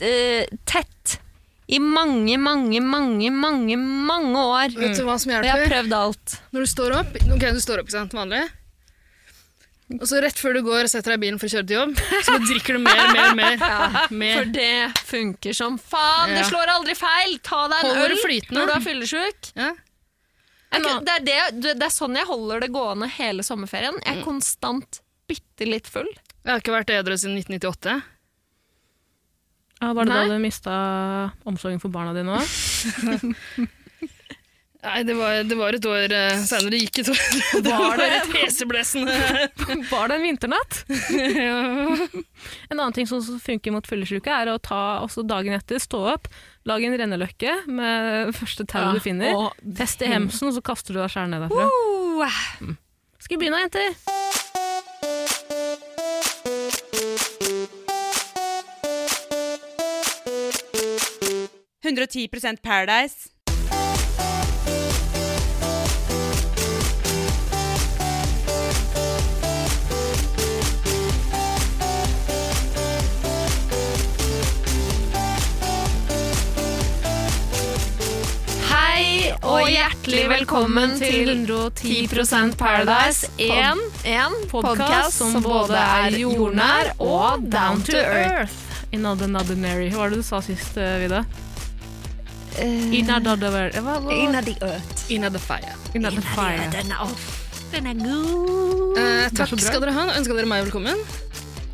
eh, tett i mange, mange, mange, mange, mange år. Mm. Vet du hva som Og jeg har hjelper? prøvd alt. Når du står opp Ok, du står opp, ikke sant, vanlig. Og så rett før du går og setter deg i bilen for å kjøre til jobb, så bare drikker du mer, mer, mer. For mer. det funker som faen! Det Eh. Ja. slår aldri feil! Ta deg en Holder øl det flytende. når du er fyllesyk. Ja. Jeg kan- Det er, det, det det er sånn jeg holder det gående hele sommerferien. Jeg Mm. er konstant bitte litt full. Jeg har ikke vært edru siden 1998. Ja, var det Nei. da du mista omsorgen for barna dine òg? Nei, det var, det var et år eh, senere. Det gikk et år. Det Var var det? et heseblesende Var det en vinternatt? ja. En annen ting som som funker mot fyllesyke, er å ta også dagen etter, stå opp, lage en renneløkke med det første tau du finner, og- test i hemsen, og så kaster du deg sjæl ned derfra. Mm. Uh, Skal vi begynne, jenter? Paradise. Hei og hjertelig velkommen til 10% Paradise. En, en podkast som både er jordnær og down to earth. In other not ordinary. Hva var det du sa sist, eh, Vida? Eh, In other ordinary. Hva- hva- the earth. In the fire. In other fire. Den er, den er god. Eh, takk så bra. skal dere ha. Ønsker dere meg velkommen?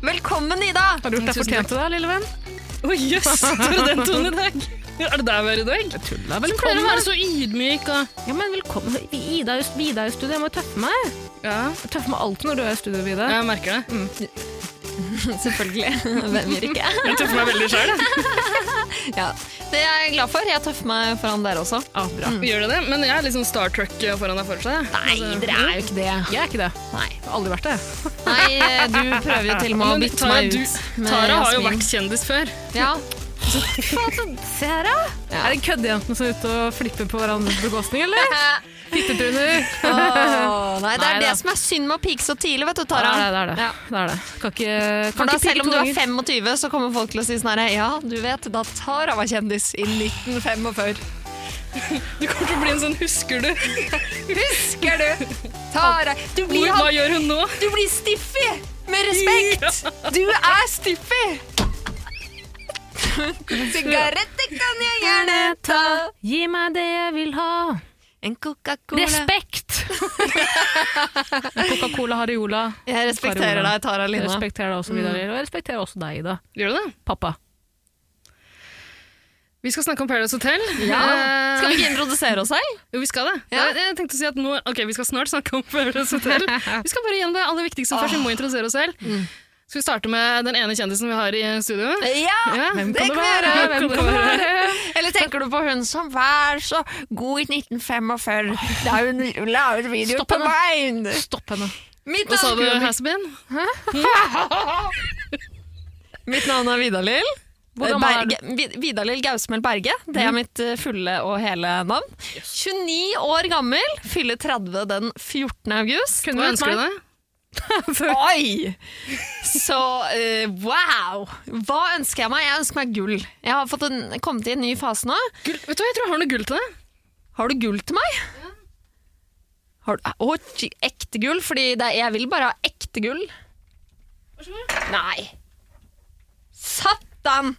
Velkommen, Ida. Har du gjort deg Tusen fortjent til det, lille venn? Å jøss, tar du den tonen i dag? Er det der vi er i dag? Jeg tuller vel. Du pleier å være så ydmyk og Ja, men velkommen. Ida er jo- Vida er jo i studio, jeg må jo tøffe meg. Ja, Jeg tøffer meg alltid når du er i studio, Vida. jeg merker det. Selvfølgelig. Hvem gjør ikke? Jeg tøffer meg veldig sjøl. Ja. Det er jeg glad for. Jeg tøffer meg foran dere også. Ja, bra. Gjør du det? Men jeg er litt sånn Star Trek foran deg fortsatt. Nei, dere er jo ikke det. Jeg er ikke det. Nei, Jeg har aldri vært det. Nei eh, du prøver jo til og med å Men bytte Tara, meg du- ut. med Tara har jo Jasmin. vært kjendis før. Ja, Se her, da. Er det køddejentene som er ute og flipper på hverandres bekostning, eller? Fittetruner. Åh, nei, det er Nei det da. som er synd med å pike så tidlig, vet du, Tara. Ja, det er det. Ja. det, er det. Kan ikke, For kan da, ikke selv pike om to du er ganger. 25, så kommer folk til å si sånn her Ja, du vet, da Tara var kjendis i 1945. Du kommer til å bli en sånn 'husker du'? Husker du? Tara, du blir, Hvor, hva gjør hun nå? du blir stiffy! Med respekt! Du er stiffy! Sigaretter kan jeg gjerne ta. Gi meg det jeg vil ha. En Coca-Cola. Respekt! Coca-Cola, Hariola. Jeg respekterer deg, Tara Jeg Lina. respekterer deg også, Vidar. Og jeg respekterer også deg, Ida. Gjør du det? Pappa. Vi skal snakke om Paradise Hotel. Ja. Eh, Skal vi ikke introdusere oss selv? Jo, vi skal det. Ja. Jeg- Jeg tenkte å si at nå, ok, Vi skal snart snakke om Paradise Hotel. Vi skal bare gjennom det aller viktigste først. Vi må introdusere oss selv. Skal vi starte med den ene kjendisen vi har i studio? Ja! Mm. Ja, Hvem det kan det kan være? være. Hvem Hvem kan det kan det være? Eller tenker du på hun som var så god i 1945 da hun la ut video Stopp på henne. Vine? Stopp henne. Mitt Hva sa du, navn, Hasbeen? mitt navn er Vidalil. Hvor gammel er du? Berge- Vi- Vidalil Gausmel Berge. Det er mitt eh, fulle og hele navn. 29 år gammel, fyller 30 den 14. august. Kunne Hva du gitt ønsker du meg? deg? Oi! Så eh, wow! Hva ønsker jeg meg? Jeg ønsker meg gull. Jeg har fått en, kommet i en ny fase nå. Gull. Vet du hva, Jeg tror jeg har noe gull til deg. Har du gull til meg? Har du, å, j- ekte gull? Fordi det, er- jeg vil bare ha ekte gull. Nei. Satan!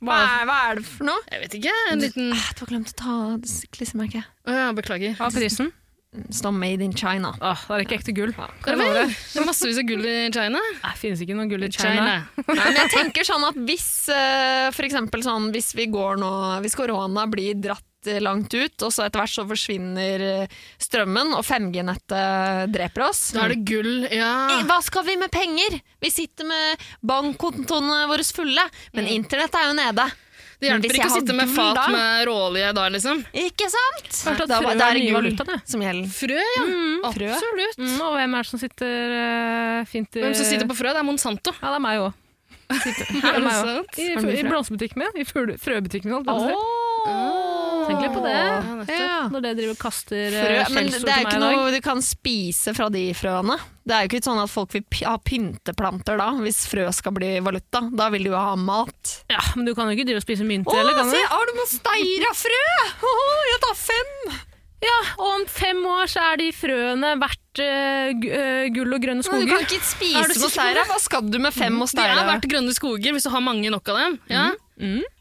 Hva er, hva er det for noe? Jeg vet ikke. En liten Ah, Du har glemt å ta av s- klissemerket. Å ja, beklager. Hva er Ah, prisen? Det står Made in China. Åh, det er ikke ekte gull. Hva er det? Det er massevis av gull i China. Det finnes ikke noe gull i China. Nei, men jeg tenker sånn at hvis eh, for eksempel sånn, hvis vi går nå, hvis korona blir dratt litt eh, langt ut, og så etter hvert så forsvinner eh, strømmen, og 5G-nettet dreper oss. Da er det gull, ja. I- Hva skal vi med penger? Vi sitter med bankkontoene våre fulle, men internett er jo nede. Det Men hvis hjelper jeg ikke å har sitte med gull fat da? med råolje da, liksom. Ikke sant? Hørte at Da, frø da er er det nye gull valutaen, jeg. som gjelder. Frø, ja. frø. Absolutt. Mm, og hvem er det som sitter eh, fint i Hvem som sitter på frø? Det er Monsanto. Ja, det er meg òg. Er det I, sant? i, Er det mye I frø? blomsterbutikken min. I fugle- frøbutikken min. holdt jeg på å si. Åh. Tenk litt på Ja, det. nettopp. Når det driver og kaster eh, Frø, men skjellsord det er til meg ikke i dag. noe du kan spise fra de frøene. Det er jo ikke sånn at folk vil py- ha pynteplanter da, hvis frø skal bli valuta. Da vil du jo ha mat. Ja, men du kan jo ikke drive og spise mynter Å, heller, kan se, du? har du noen steirafrø? Åh, jeg tar fem! Ja, og om fem år så er de frøene verdt eh, gu- eh, gull og grønne Men Du skoger. kan ikke Er spise du sikker noe på steira. Mm. Hva skal du med fem og Det steira? er verdt grønne skoger hvis du har mange nok av dem. Ja?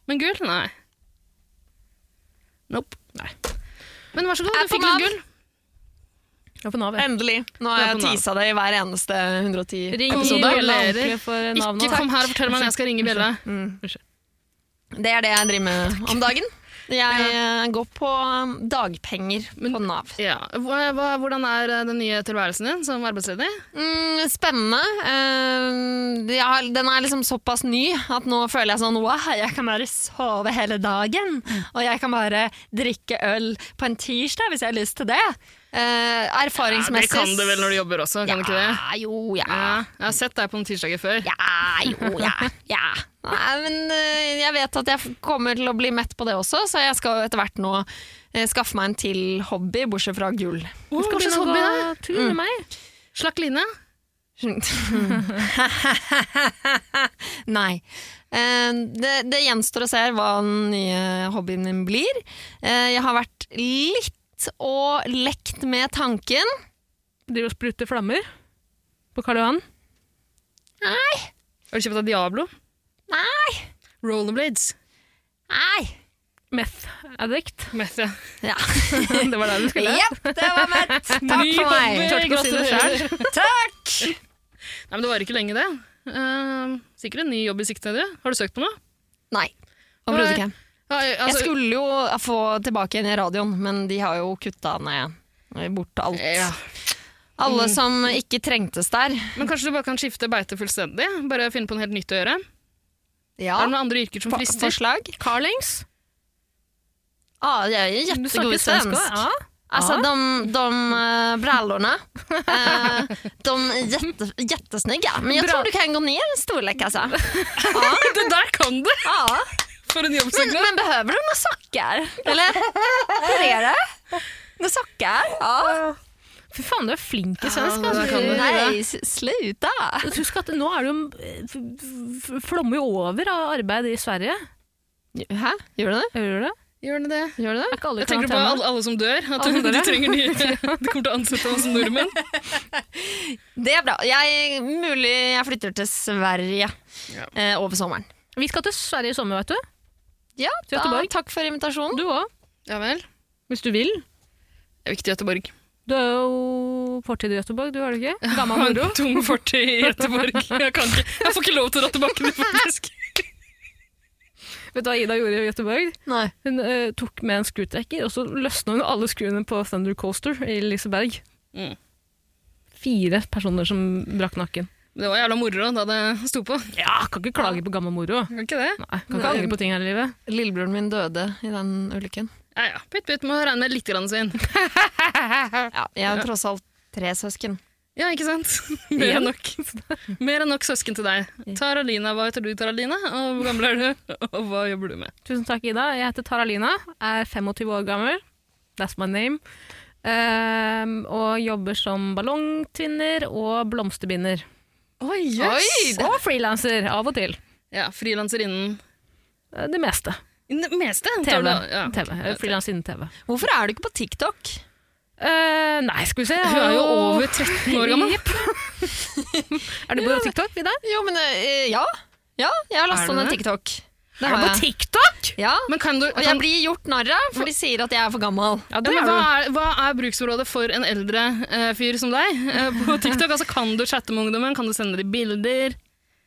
Men gull? Nei. Nope. Nei. Men vær så god, Er du på fikk litt Nav. gull. Ja, på Nav, ja. Endelig. Nå Det har er jeg på Nav. tisa det i hver eneste 110. Ring Episode. Bjella Gratulerer. ordentlig for navnet. Ikke kom her og fortell meg når jeg skal ringe Bjelle. Det er det jeg driver med om dagen. Jeg eh, går på um, dagpenger på Nav. Ja. Hva- hva- Hvordan er eh, den nye tilværelsen din som arbeidsledig? Mm, spennende. Eh, jeg har- den er liksom såpass ny at nå føler jeg sånn wow, jeg kan bare sove hele dagen. Mm. Og jeg kan bare drikke øl på en tirsdag hvis jeg har lyst til det. Eh, erfaringsmessig det kan du vel når du jobber også, kan du ikke det? Ja, jo, ja. Ja, jeg har sett deg på noen tirsdager før. Ja, jo, ja, ja. Nei, men eh, jeg vet at jeg f- kommer til å bli mett på det også, så jeg skal etter hvert nå eh, skaffe meg en til hobby, bortsett fra gull. Åh, Skal hva begynne slags å hobby gå er det? tur med meg. Slakk line? Nei. Eh, Det, det gjenstår å se hva den nye hobbyen min blir. Eh, Jeg har vært litt og lekt med tanken. Driver og spruter flammer på Karl Johan. Har du kjøpt deg Diablo? Nei! Rollerblades? Nei! Meth addict. Meth, ja. Ja. Det var der du skulle. Jepp, det var mett! Takk Ny for meg. hobby, Tørte ikke å si det selv. Takk! Nei, men det var ikke lenge det. Eh, sikkert en ny jobb i sikte, du. Har du søkt på noe? Nei. Overhodet ikke. Ja, Jeg altså- skulle jo få tilbake igjen i radioen, men de har jo kutta ned eh, bort alt. Ja. Alle som ikke trengtes der. Men kanskje du bare kan skifte beite fullstendig? Bare finne på noe helt nytt å gjøre? Ja. Er det noen andre yrker som Fa- frister? Forslag? Carlings. Ja, Ah, jeg er Du snakker jättegod i svensk svensk. også. Ja. Alltså Altså, Ja. de, de eh, brallorna, eh, de är jätte, jättesnygga. Men jag Bra. tror du kan gå ner en storlek alltså. Det der kan du! Ja. For en Men, jobbsøknad! men behöver du några sockar? Eller hur är det? Några sockar? Ja. Fy faen, du er flink i svensk. Ja, det altså. kan du. Nej, s- sluta. Husk at nå er det jo eh, f- f- f- flommer jo over av arbeid i Sverige. Hæ? Gjorde du det? Hører du det? Gjør den det? Gjør det? Er ikke alle Jeg tenker på alle, alle som dør. At Alle som dør, de ja. trenger nye De kommer til å ansette oss som nordmenn. Det er bra. Jeg, mulig jeg flytter til Sverige Ja. eh, over sommeren. Vi skal til Sverige i sommer, vet du. Ja, Til Göteborg. takk for invitasjonen. Du òg, Ja vel. hvis du vil. Det er viktig i Göteborg. Du er jo fortid i Göteborg, du har det ikke? Gammel Har moro. en tung fortid i Göteborg. Jeg, kan ikke. jeg får ikke lov til å dra tilbake dit, faktisk. Vet du hva Ida gjorde i Göteborg? Nei. Hun eh, tok med en skrutrekker, og så løsna hun alle skruene på Thunder Coaster i Liseberg. Mm. Fire personer som brakk nakken. Det var jævla moro da det sto på. Ja, kan ikke klage på gammel moro. Kan ikke det? Nei, kan ikke angre på ting her i livet. Lillebroren min døde i den ulykken. Ja ja. Pytt pytt, må regne med litt grann svinn. Ja, jeg har tross alt tre søsken. Ja, ikke sant? Mer enn nok. Mer enn nok søsken til deg. Taralina, hva heter du, Taralina? Og hvor gammel er du? Og hva jobber du med? Tusen takk, Ida. Jeg heter Taralina, er 25 år gammel. That's my name. Ehm, og jobber som ballongtvinner og blomsterbinder. Oi, Og frilanser, av og til. Ja, Frilanser innen Eh, Det meste. innen det meste. tar TV. du- ja. TV. Frilans Eh, innen TV. Hvorfor er du ikke på TikTok? Eh, nei, skal vi se. Hun er jo over 13 år gammel. Jepp. er du på TikTok, Vida? Jo, men eh, ja. Ja, jeg har Er lasta du ned det? TikTok. Det Er du har på jeg. TikTok? Ja, Men kan du, og kan, jeg blir gjort narr av, for de sier at jeg er for gammel. Ja, ja, men hva, er, hva er bruksområdet for en eldre eh, fyr som deg eh, på TikTok? Altså, kan du chatte med ungdommen? Kan du sende dem bilder?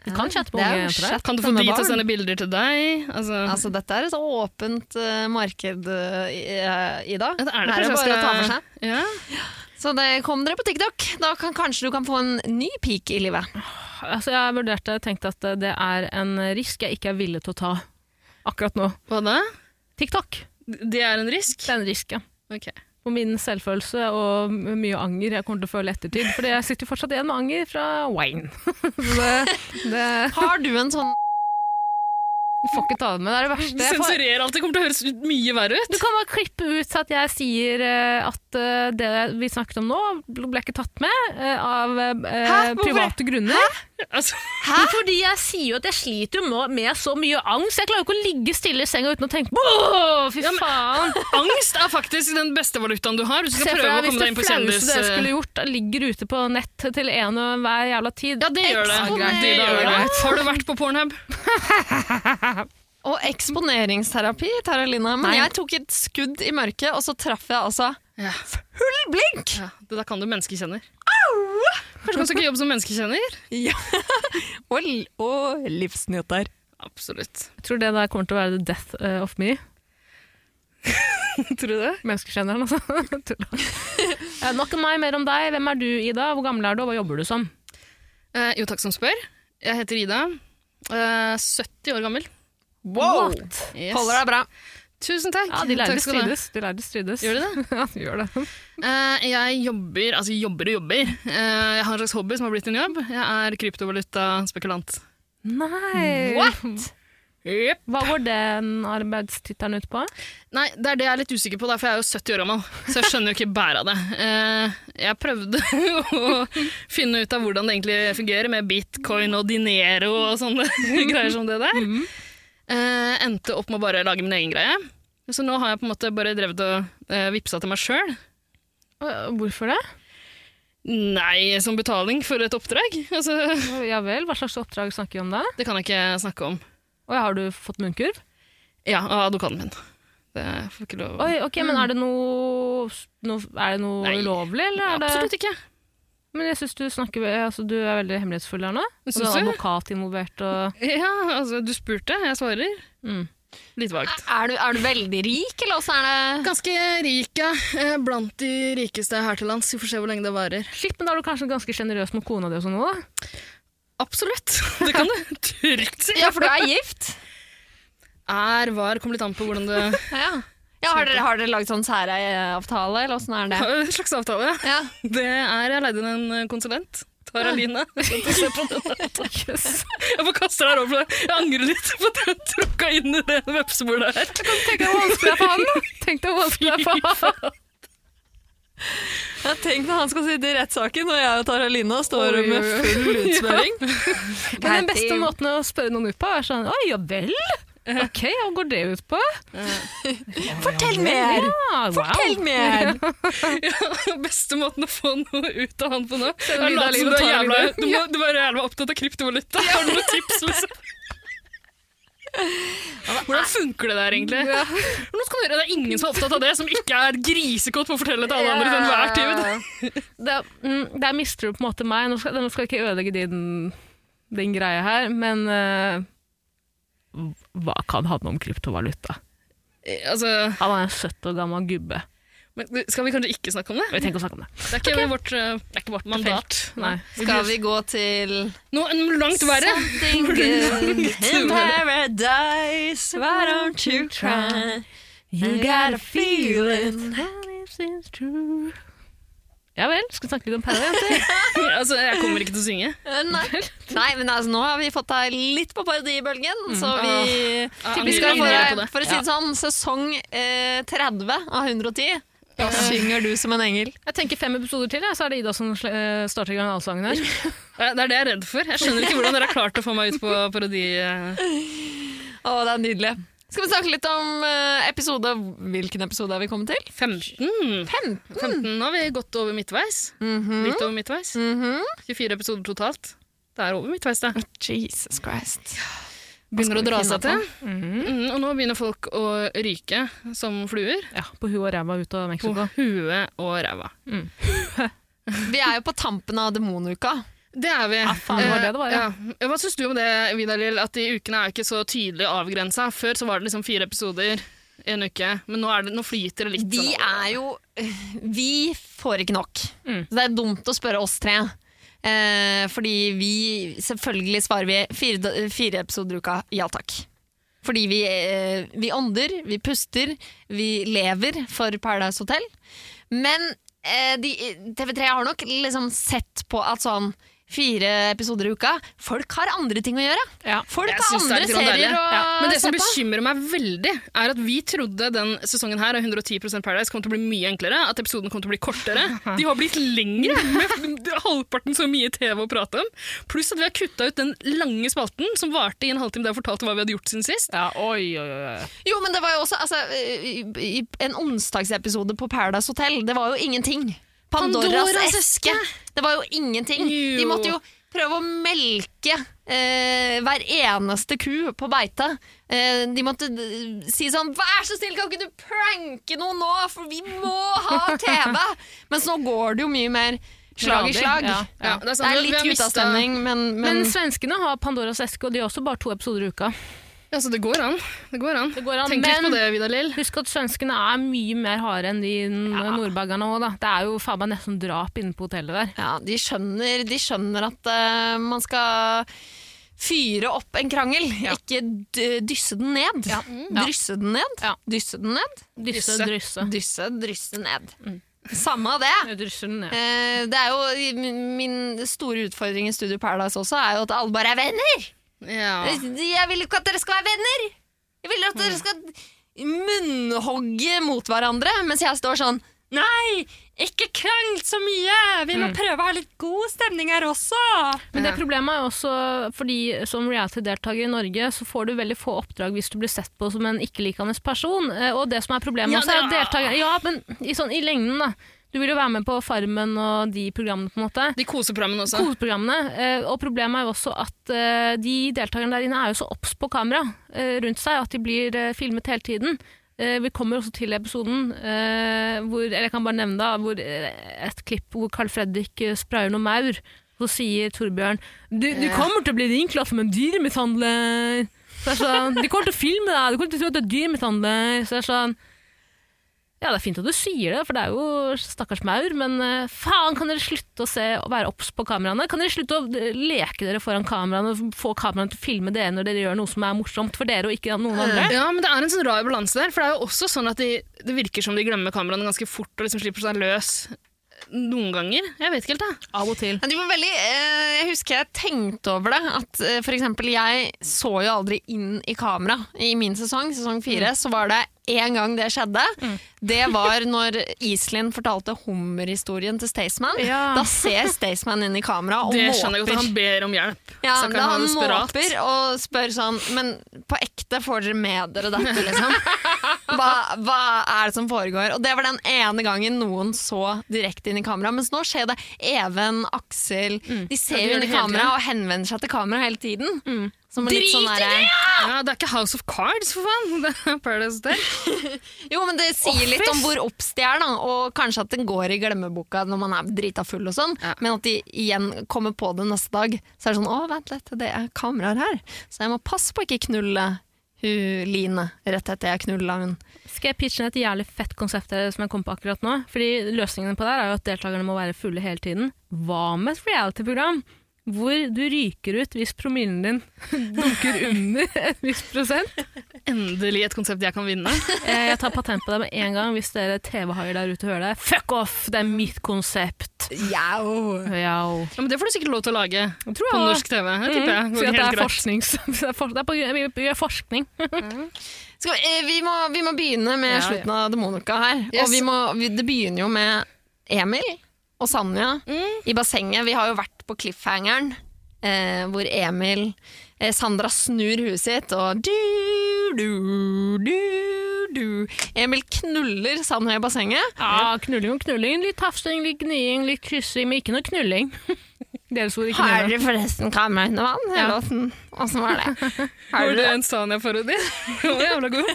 Du kan chatte Det med er unge jo jenter der. chat Kan du få med de til å barn. sende bilder til deg? Altså, Altså, dette er et åpent eh, marked, eh, Ida. det er det Her er kanskje det jeg bare å ta for seg. skal ja. Så det, kom dere på TikTok. Da kan, kanskje du kan få en ny peak i livet. Altså, jeg vurderte tenkt at eh, det er en risk jeg ikke er villig til å ta akkurat nå. Hva da? TikTok. Det er en risk? Det er en risk, ja. Ok. Og min selvfølelse og m- mye anger jeg kommer til å føle i ettertid. Fordi jeg sitter jo fortsatt igjen med anger fra wine. Så det, det Har du en sånn du får ikke ta det med. Det er det Du verste. Jeg får- sensurerer alt. Det kommer til å høres ut- mye verre ut. Du kan bare klippe ut at jeg sier eh, at eh, det vi snakket om nå, ble ikke tatt med eh, av eh, Hæ? Hvorfor? private grunner. Altså, Hæ? Fordi jeg sier jo at jeg sliter jo nå med så mye angst. Jeg klarer jo ikke å ligge stille i senga uten å tenke «Åh, Fy Ja, men- faen! angst er faktisk den beste valutaen du har. Hvis du Se skal for prøve å deg hvis komme det deg inn på kjendis... eh, flaueste dere skulle gjort, ligger ute på nett til en og hver jævla tid. Ja, det gjør det. Eksponering. det, gjør Ja. det. Har du vært på Pornhub? Og eksponeringsterapi, Tara Lina. Men Nei. jeg tok et skudd i mørket, og så traff jeg altså Ja. full blink! Det der kan du menneskekjenner. Kanskje du kan søke jobb som menneskekjenner? Ja. og, l- og livsnyter. Absolutt. Jeg tror det der kommer til å være the death eh, of me. Tror du det? Menneskeskjenneren, altså. Tull. Eh, Nok om meg, mer om deg. Hvem er du, Ida? Hvor gammel er du, og hva jobber du som? Eh, jo, takk som spør. Jeg heter Ida. Eh, 70 år gammel. Wow! What? Yes. Holder deg bra. Tusen takk. Ja, de lærde Takk skal du ha. strides. De lærde strides. Gjør de det? ja, de gjør det. Eh, jeg jobber, altså jobber og jobber. Eh, jeg har en slags hobby som har blitt en jobb. Jeg er kryptovalutaspekulant. Nei! What? Yep. Hva går den arbeidstittelen ut på? Nei, det er det jeg er litt usikker på, da, for jeg er jo 70 år gammel. Så jeg skjønner jo ikke bæret av det. Eh, jeg prøvde å finne ut av hvordan det egentlig fungerer med bitcoin og dinero og sånne greier som det der. Mhm. Eh, endte opp med å bare lage min egen greie. Så nå har jeg på en måte bare drevet og eh, vippsa til meg sjøl. Øh, Hvorfor det? Nei, som betaling for et oppdrag. Altså, Ja vel, hva slags oppdrag snakker vi om da? det kan jeg ikke snakke om. Og har du fått munnkurv? Ja, av advokaten min. Det får ikke lov å Oi, ok, men er det noe, no, er det noe Nei. ulovlig? Eller er det, Absolutt ikke. Men jeg synes du snakker, altså, du er veldig hemmelighetsfull her nå. Og du Synes er du? advokat involvert og... Ja, altså, du spurte, jeg svarer. Mm. Litt vagt. Er du, er du veldig rik, eller også er det Ganske rik, ja. Eh, Blant de rikeste her til lands. Vi får se hvor lenge det varer. Shit, men da er du kanskje ganske generøs mot kona di og sånn nå da? Absolutt! Det kan du trygt si. Ja, for du er gift? Er, var, kommer litt an på hvordan det Ja. ja har, dere, har dere laget sånn særeieavtale, eller åssen er det? En slags avtale. Ja. Det er Jeg leide inn en eh, konsulent. Tara Line. Yes. Jeg får kaste det her over. for Jeg angrer litt på at jeg tråkka inn i det vepsebordet her. Tenk deg hvor vanskelig det er for han da! Tenk deg hvor vanskelig det er for han! Jeg Tenk når han skal sitte i rettssaken, og jeg og Tara Lina står Oi, med oi, oi. full utsmøring. Men den beste måten å spørre noen ut på er sånn, oi, ja vel? Ok, hva går det ut på? Fortell mer! Ja, wow. mer! Ja, beste måten å få noe ut av han på nå er å Lyda Lina late som du er tar jævla, Lyda. du må, du må være jævla opptatt av kryptovaluta. Har du noen tips? Liksom? Hvordan funker det der, egentlig? Hvordan skal du gjøre? Det er ingen som er opptatt av det, som ikke er grisegodt på å fortelle det til alle andre til enhver tid. det, er- mm, det er mistro på en måte meg. Nå skal, nå skal jeg ikke ødelegge din, din greie her, men eh, hva kan han om kryptovaluta? Eh, Altså, Han er en 70 år gammel gubbe. men skal vi kanskje ikke snakke om det? Vi trenger ikke å snakke om det. Det er ikke vårt, eh, det er ikke vårt mandat. Nei. Skal vi gå til Noe noe langt verre. Something good in paradise, why don't you try? You got a feeling. Ja vel, skal vi snakke litt om Perra, jenter? Altså, jeg kommer ikke til å synge. Uh, Nei, Nei men altså, nå har vi fått deg litt på parodibølgen, så vi, Ah, Mm. vi skal angrer- få angrer deg, på det. for å si det sånn, sesong eh, 30 av 110. Da synger du som en engel. Jeg tenker fem episoder til, ja, så er det Ida som sl- eh, starter i gang allsangen her. Eh, Det er det jeg er redd for. Jeg skjønner ikke hvordan dere har klart å få meg ut på parodi. eh. Å, det er nydelig. Skal vi snakke litt om eh, episode Hvilken episode er vi kommet til? 15. 15. 15, nå har vi gått over midtveis. Litt over midtveis. Mhm. 24 episoder totalt. Det er over midtveis, det. Jesus Christ. Begynner å dra seg til. Mhm. Mm, og nå begynner folk å ryke som fluer Ja, på huet og ræva ut av på Mexico. huet og ræva. Vi er jo på tampen av demonuka. Det er vi. Ja, Ah, faen, det var det det var, ja. Eh, ja. Hva syns du om det, Vidar-Lill, at de ukene er ikke så tydelig avgrensa? Før så var det liksom fire episoder i en uke, men nå, er det, nå flyter det litt. Vi sånn over. er jo eh, Vi får ikke nok. Mm. Så det er dumt å spørre oss tre. Eh, fordi vi Selvfølgelig svarer vi fire, fire episoder i uka. Ja takk. Fordi vi, eh, vi ånder, vi puster, vi lever for Paradise Hotel. Men eh, de, TV3 har nok liksom sett på at sånn fire episoder i uka Folk har andre ting å gjøre. Ja. Folk Jeg har synes det er andre litt grann serier deilig. å Men det som se på. bekymrer meg veldig, er at vi trodde den sesongen her av 110 Paradise kom til å bli mye enklere, at episoden kom til å bli kortere. De har blitt lengre, med halvparten så mye TV å prate om. Pluss at vi har kutta ut den lange spalten som varte i en halvtime der jeg fortalte hva vi hadde gjort siden sist. Ja, oi, oi, oi. Jo, men det var jo også altså, i, i, En onsdagsepisode på Paradise Hotel Det var jo ingenting Pandoras, Pandoras eske Det var jo ingenting Jo. De måtte jo prøve å melke eh, hver eneste ku på beita eh, De måtte eh, si sånn Vær så snill, kan ikke du pranke noen nå For vi må ha TV Mens nå går det jo mye mer slag i Radig, slag ja, Det, ja. Det er er sant, vi- vi har litt ut mistet- av stemning men, Men men, svenskene har Pandoras eske, og de har også bare to episoder i uka. Ja, så det går an. Det går an. Det går an, Tenk litt men- på det, Vidar Lill. Husk at svenskene er mye mer harde enn de n- nordbaggerne òg, da. Det er jo faen meg nesten drap inne på hotellet der. Ja, de skjønner, de skjønner at eh, man skal fyre opp en krangel, ikke d dysse den ned. Mm. Drysse den ned, Ja. dysse den ned, Dysse, Dysse. drysse. Mm. dysse, drysse ned. Samme av det. Jeg Drysser den ned. Eh, det er jo min- Min store utfordring i Studio Paradise også er jo at alle bare er venner! Ja. Jeg vil ikke at dere skal være venner! Jeg vil at dere skal munnhogge mot hverandre, mens jeg står sånn Nei! Ikke krangl så mye! Vi må prøve å ha litt god stemning her også! Men det problemet er jo også fordi som reality-deltaker i Norge, så får du veldig få oppdrag hvis du blir sett på som en ikke-likende person. Eh, Og det som er problemet Ja, også, er at da. deltaker... Ja, men i, sånn, i lengden, da. Du vil jo være med på Farmen og de programmene, på en måte. De koser programmen også. Koseprogrammene. eh, Og problemet er jo også at eh, de deltakerne der inne er jo så obs på kamera eh, rundt seg, at de blir eh, filmet hele tiden. Eh, Vi kommer også til episoden eh, hvor, eller jeg kan bare nevne da, hvor eh, et klipp hvor Carl Fredrik eh, sprayer noe maur. Så sier Torbjørn du, du kommer til å bli ringklaffet med en dyremishandler. Så jeg er sånn, De kommer til å filme deg, du kommer til å tro at du er dyremishandler. Så jeg er sånn ja, det er fint at du sier det, for det er jo stakkars maur, men eh, faen, kan dere slutte å se, å være obs på kameraene? Kan dere slutte å eh, leke dere foran kameraene, og få kameraene til å filme dere når dere gjør noe som er morsomt for dere og ikke noen andre? Ja, men det er en sånn rar balanse der, for det er jo også sånn at de, det virker som de glemmer kameraene ganske fort og liksom slipper seg løs noen ganger. Jeg vet ikke helt, jeg. Av og til. Men De var veldig, eh, jeg husker jeg tenkte over det. At eh, for eksempel, jeg så jo aldri inn i kamera i min sesong. Sesong fire. Så var det én gang det skjedde. Det var når Iselin fortalte hummerhistorien til Staysman. Ja. Da ser Staysman inn i kamera og Det skjønner jeg godt, at måper. han ber om hjelp. Ja, Så kan da han desperat. måper og spør sånn Men på ekte får dere med dere dette, liksom? Hva, hva er det som foregår? Og det var den ene gangen noen så direkte inn i kamera. Mens nå skjer det Even, Aksel De ser Mm. jo Ja, de gjør inn i det hele kamera tiden. Mm. og henvender seg til kamera hele tiden. Som en litt Drit i sånn derre- Ja, det er ikke House of Cards, for faen! Det er Paradise Hotel. Jo, men det sier litt om hvor obs de er, da. Og kanskje at det går i glemmeboka når man er drita full og sånn. Ja. Men at de igjen kommer på det neste dag. Så er det sånn 'Å, vent litt, det er kameraer her', så jeg må passe på å ikke knulle hun Line rett etter jeg knulla hun. Skal jeg pitche inn et jævlig fett konsept her som jeg kom på akkurat nå? Fordi løsningen på det her er jo at deltakerne må være fulle hele tiden. Hva med et reality-program? Hvor du ryker ut hvis promillen din dunker under et visst prosent. Endelig et konsept jeg kan vinne. Eh, Jeg tar patent på det med en gang hvis dere TV-haier der ute hører det. Fuck off! Det er mitt konsept. Yo. Ja, men det får du sikkert lov til å lage på Tror jeg. Mm-hmm. norsk TV. Det tipper jeg. Si Går Mm. at det helt er greit. forsknings... Det er for- det er på grunn- vi gjør forskning. Skal vi, eh, vi, må, vi må begynne med Ja, ja. slutten av Demonuka her. Yes. Og vi må, vi, det begynner jo med Emil og Sanja Mm. i bassenget. Vi har jo vært på cliffhangeren eh, hvor Emil eh, Sandra snur huet sitt og du, du, du, du. Emil knuller Sanja i bassenget. Ja, knulling og knulling. Litt tafsing, litt gniing, litt kyssing, men ikke noe knulling. Deres ord, ikke Har mine. du forresten kamera under vann? Eller åssen- åssen var det? Har Var du det en Sanja-parodi? Den var jævla god.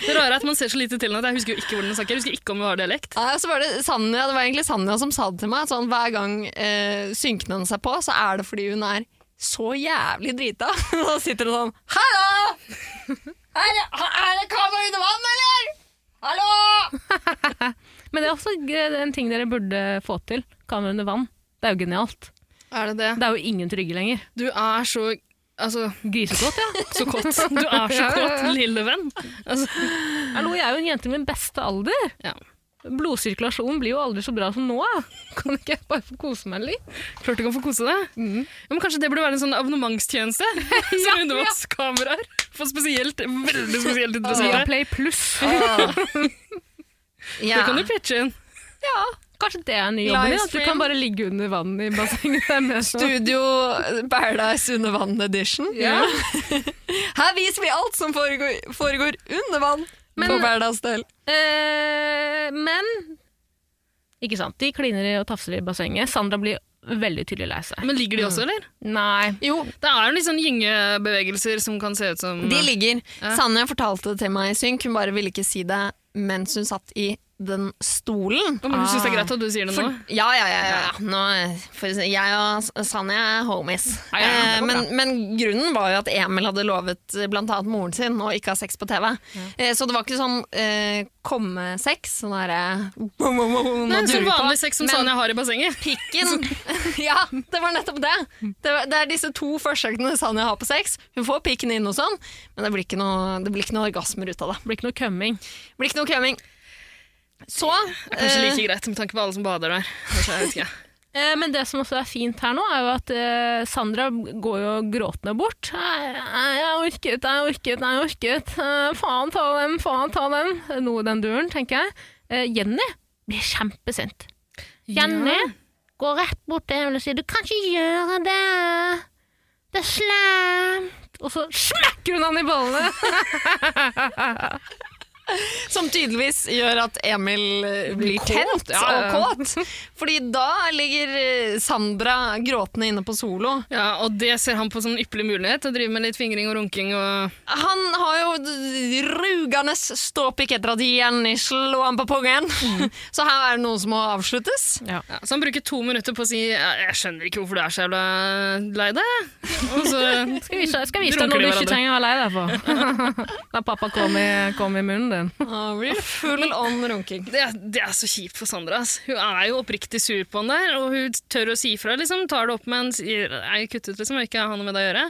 Det rare er at man ser så lite til henne at jeg husker jo ikke hvordan hun snakker. Jeg husker ikke om hun har dialekt. Ja, så var det, Sanja, det var egentlig Sanja som sa det til meg. at Sånn, hver gang eh, synker hun seg på, så er det fordi hun er så jævlig drita. da sitter hun sånn Hallo! Er det, er det kamera under vann, eller? Hallo! Men det er også g- en ting dere burde få til. Kamera under vann. Det er jo genialt. Er det det? Det er jo ingen trygge lenger. Du er så Altså, Grisekåt, ja. så kåt. Du er så kåt, lille venn. Altså, Hallo, jeg er jo en jente i min beste alder. ja. Blodsirkulasjonen blir jo aldri så bra som nå. ja. Kan ikke jeg bare få kose meg litt? Klart du kan få kose deg. Mm-hmm. Ja, men kanskje det burde være en sånn abonnementstjeneste? Sånn undervannskameraer. For spesielt, veldig spesielt interesserte. Viaplay pluss. Det kan du pitche inn. Ja, kanskje det er den nye jobben din. At du Livestream. kan bare ligge under vann i bassenget. Det er mer sånn. Studio Paradise under vann edition. Ja. Her viser vi alt som foregår, foregår under vann Men- på Paradise Del. Eh, men Ikke sant. De kliner i og tafser i bassenget. Sandra blir veldig tydelig lei seg. Men ligger de også, eller? Nei. Jo, Det er jo litt sånn gyngebevegelser som kan se ut som De ligger. Sanja fortalte det til meg i synk, hun bare ville ikke si det mens hun satt i den stolen. Å, men du syns Ah. det er greit at du sier det nå? Ja, ja, ja. ja. ja. Nå, for, å si- jeg og S- Sanja er homies. Ja, ja, ja, eh, det går men, men grunnen var jo at Emil hadde lovet eh, blant annet moren sin å ikke ha sex på TV. Eh, så det var ikke sånn eh, komme-sex. Sånn derre Nei, Nei, Som vanlig sex som Men- Sanja har i bassenget. pikken. Ja, det var nettopp det. Det, var, det er disse to forsøkene Sanja har på sex. Hun får pikken inn og sånn, men det blir ikke noe, det blir ikke noe orgasmer ut av det. Det blir ikke noe kømming. Det blir ikke noe kømming. Så Kanskje eh, like greit med tanke på alle som bader der. Kanskje, jeg vet ikke. Eh, Men det som også er fint her nå, er jo at eh, Sandra går jo gråtende bort. «Nei, nei, Jeg orket, jeg orket, jeg orket. Eh, Faen ta dem, faen ta dem. Noe i den duren, tenker jeg. Eh, Jenny blir kjempesint. Jenny går rett bort til henne og sier 'du kan ikke gjøre det'. Det er slemt. Og så smekker hun han i ballene! Som tydeligvis gjør at Emil eh, blir Blir kåt, tent ja, ja. og kåt. Fordi da ligger eh, Sandra gråtende inne på solo. Ja, og det ser han på som en ypperlig mulighet, å drive med litt fingring og runking og Han har jo d- rugende ståpikk etter at Jenny slo ham på pungen. Så her er det noe som må avsluttes. ja, Så han bruker to minutter på å si «Ja, 'jeg skjønner ikke hvorfor du er så jævla lei deg'. Og så Skal vise, skal vise deg Runker noe du de ikke hverandre? trenger å være lei deg for. Da pappa kom i, kom i munnen din. Nå blir det full on runking. det, er- det er så kjipt for Sandra. ass. Hun er jo oppriktig sur på han der, og hun tør å si ifra. Liksom, tar det opp med en sier, «Nei, kutt ut, liksom, jeg vil ikke ha noe med deg å gjøre.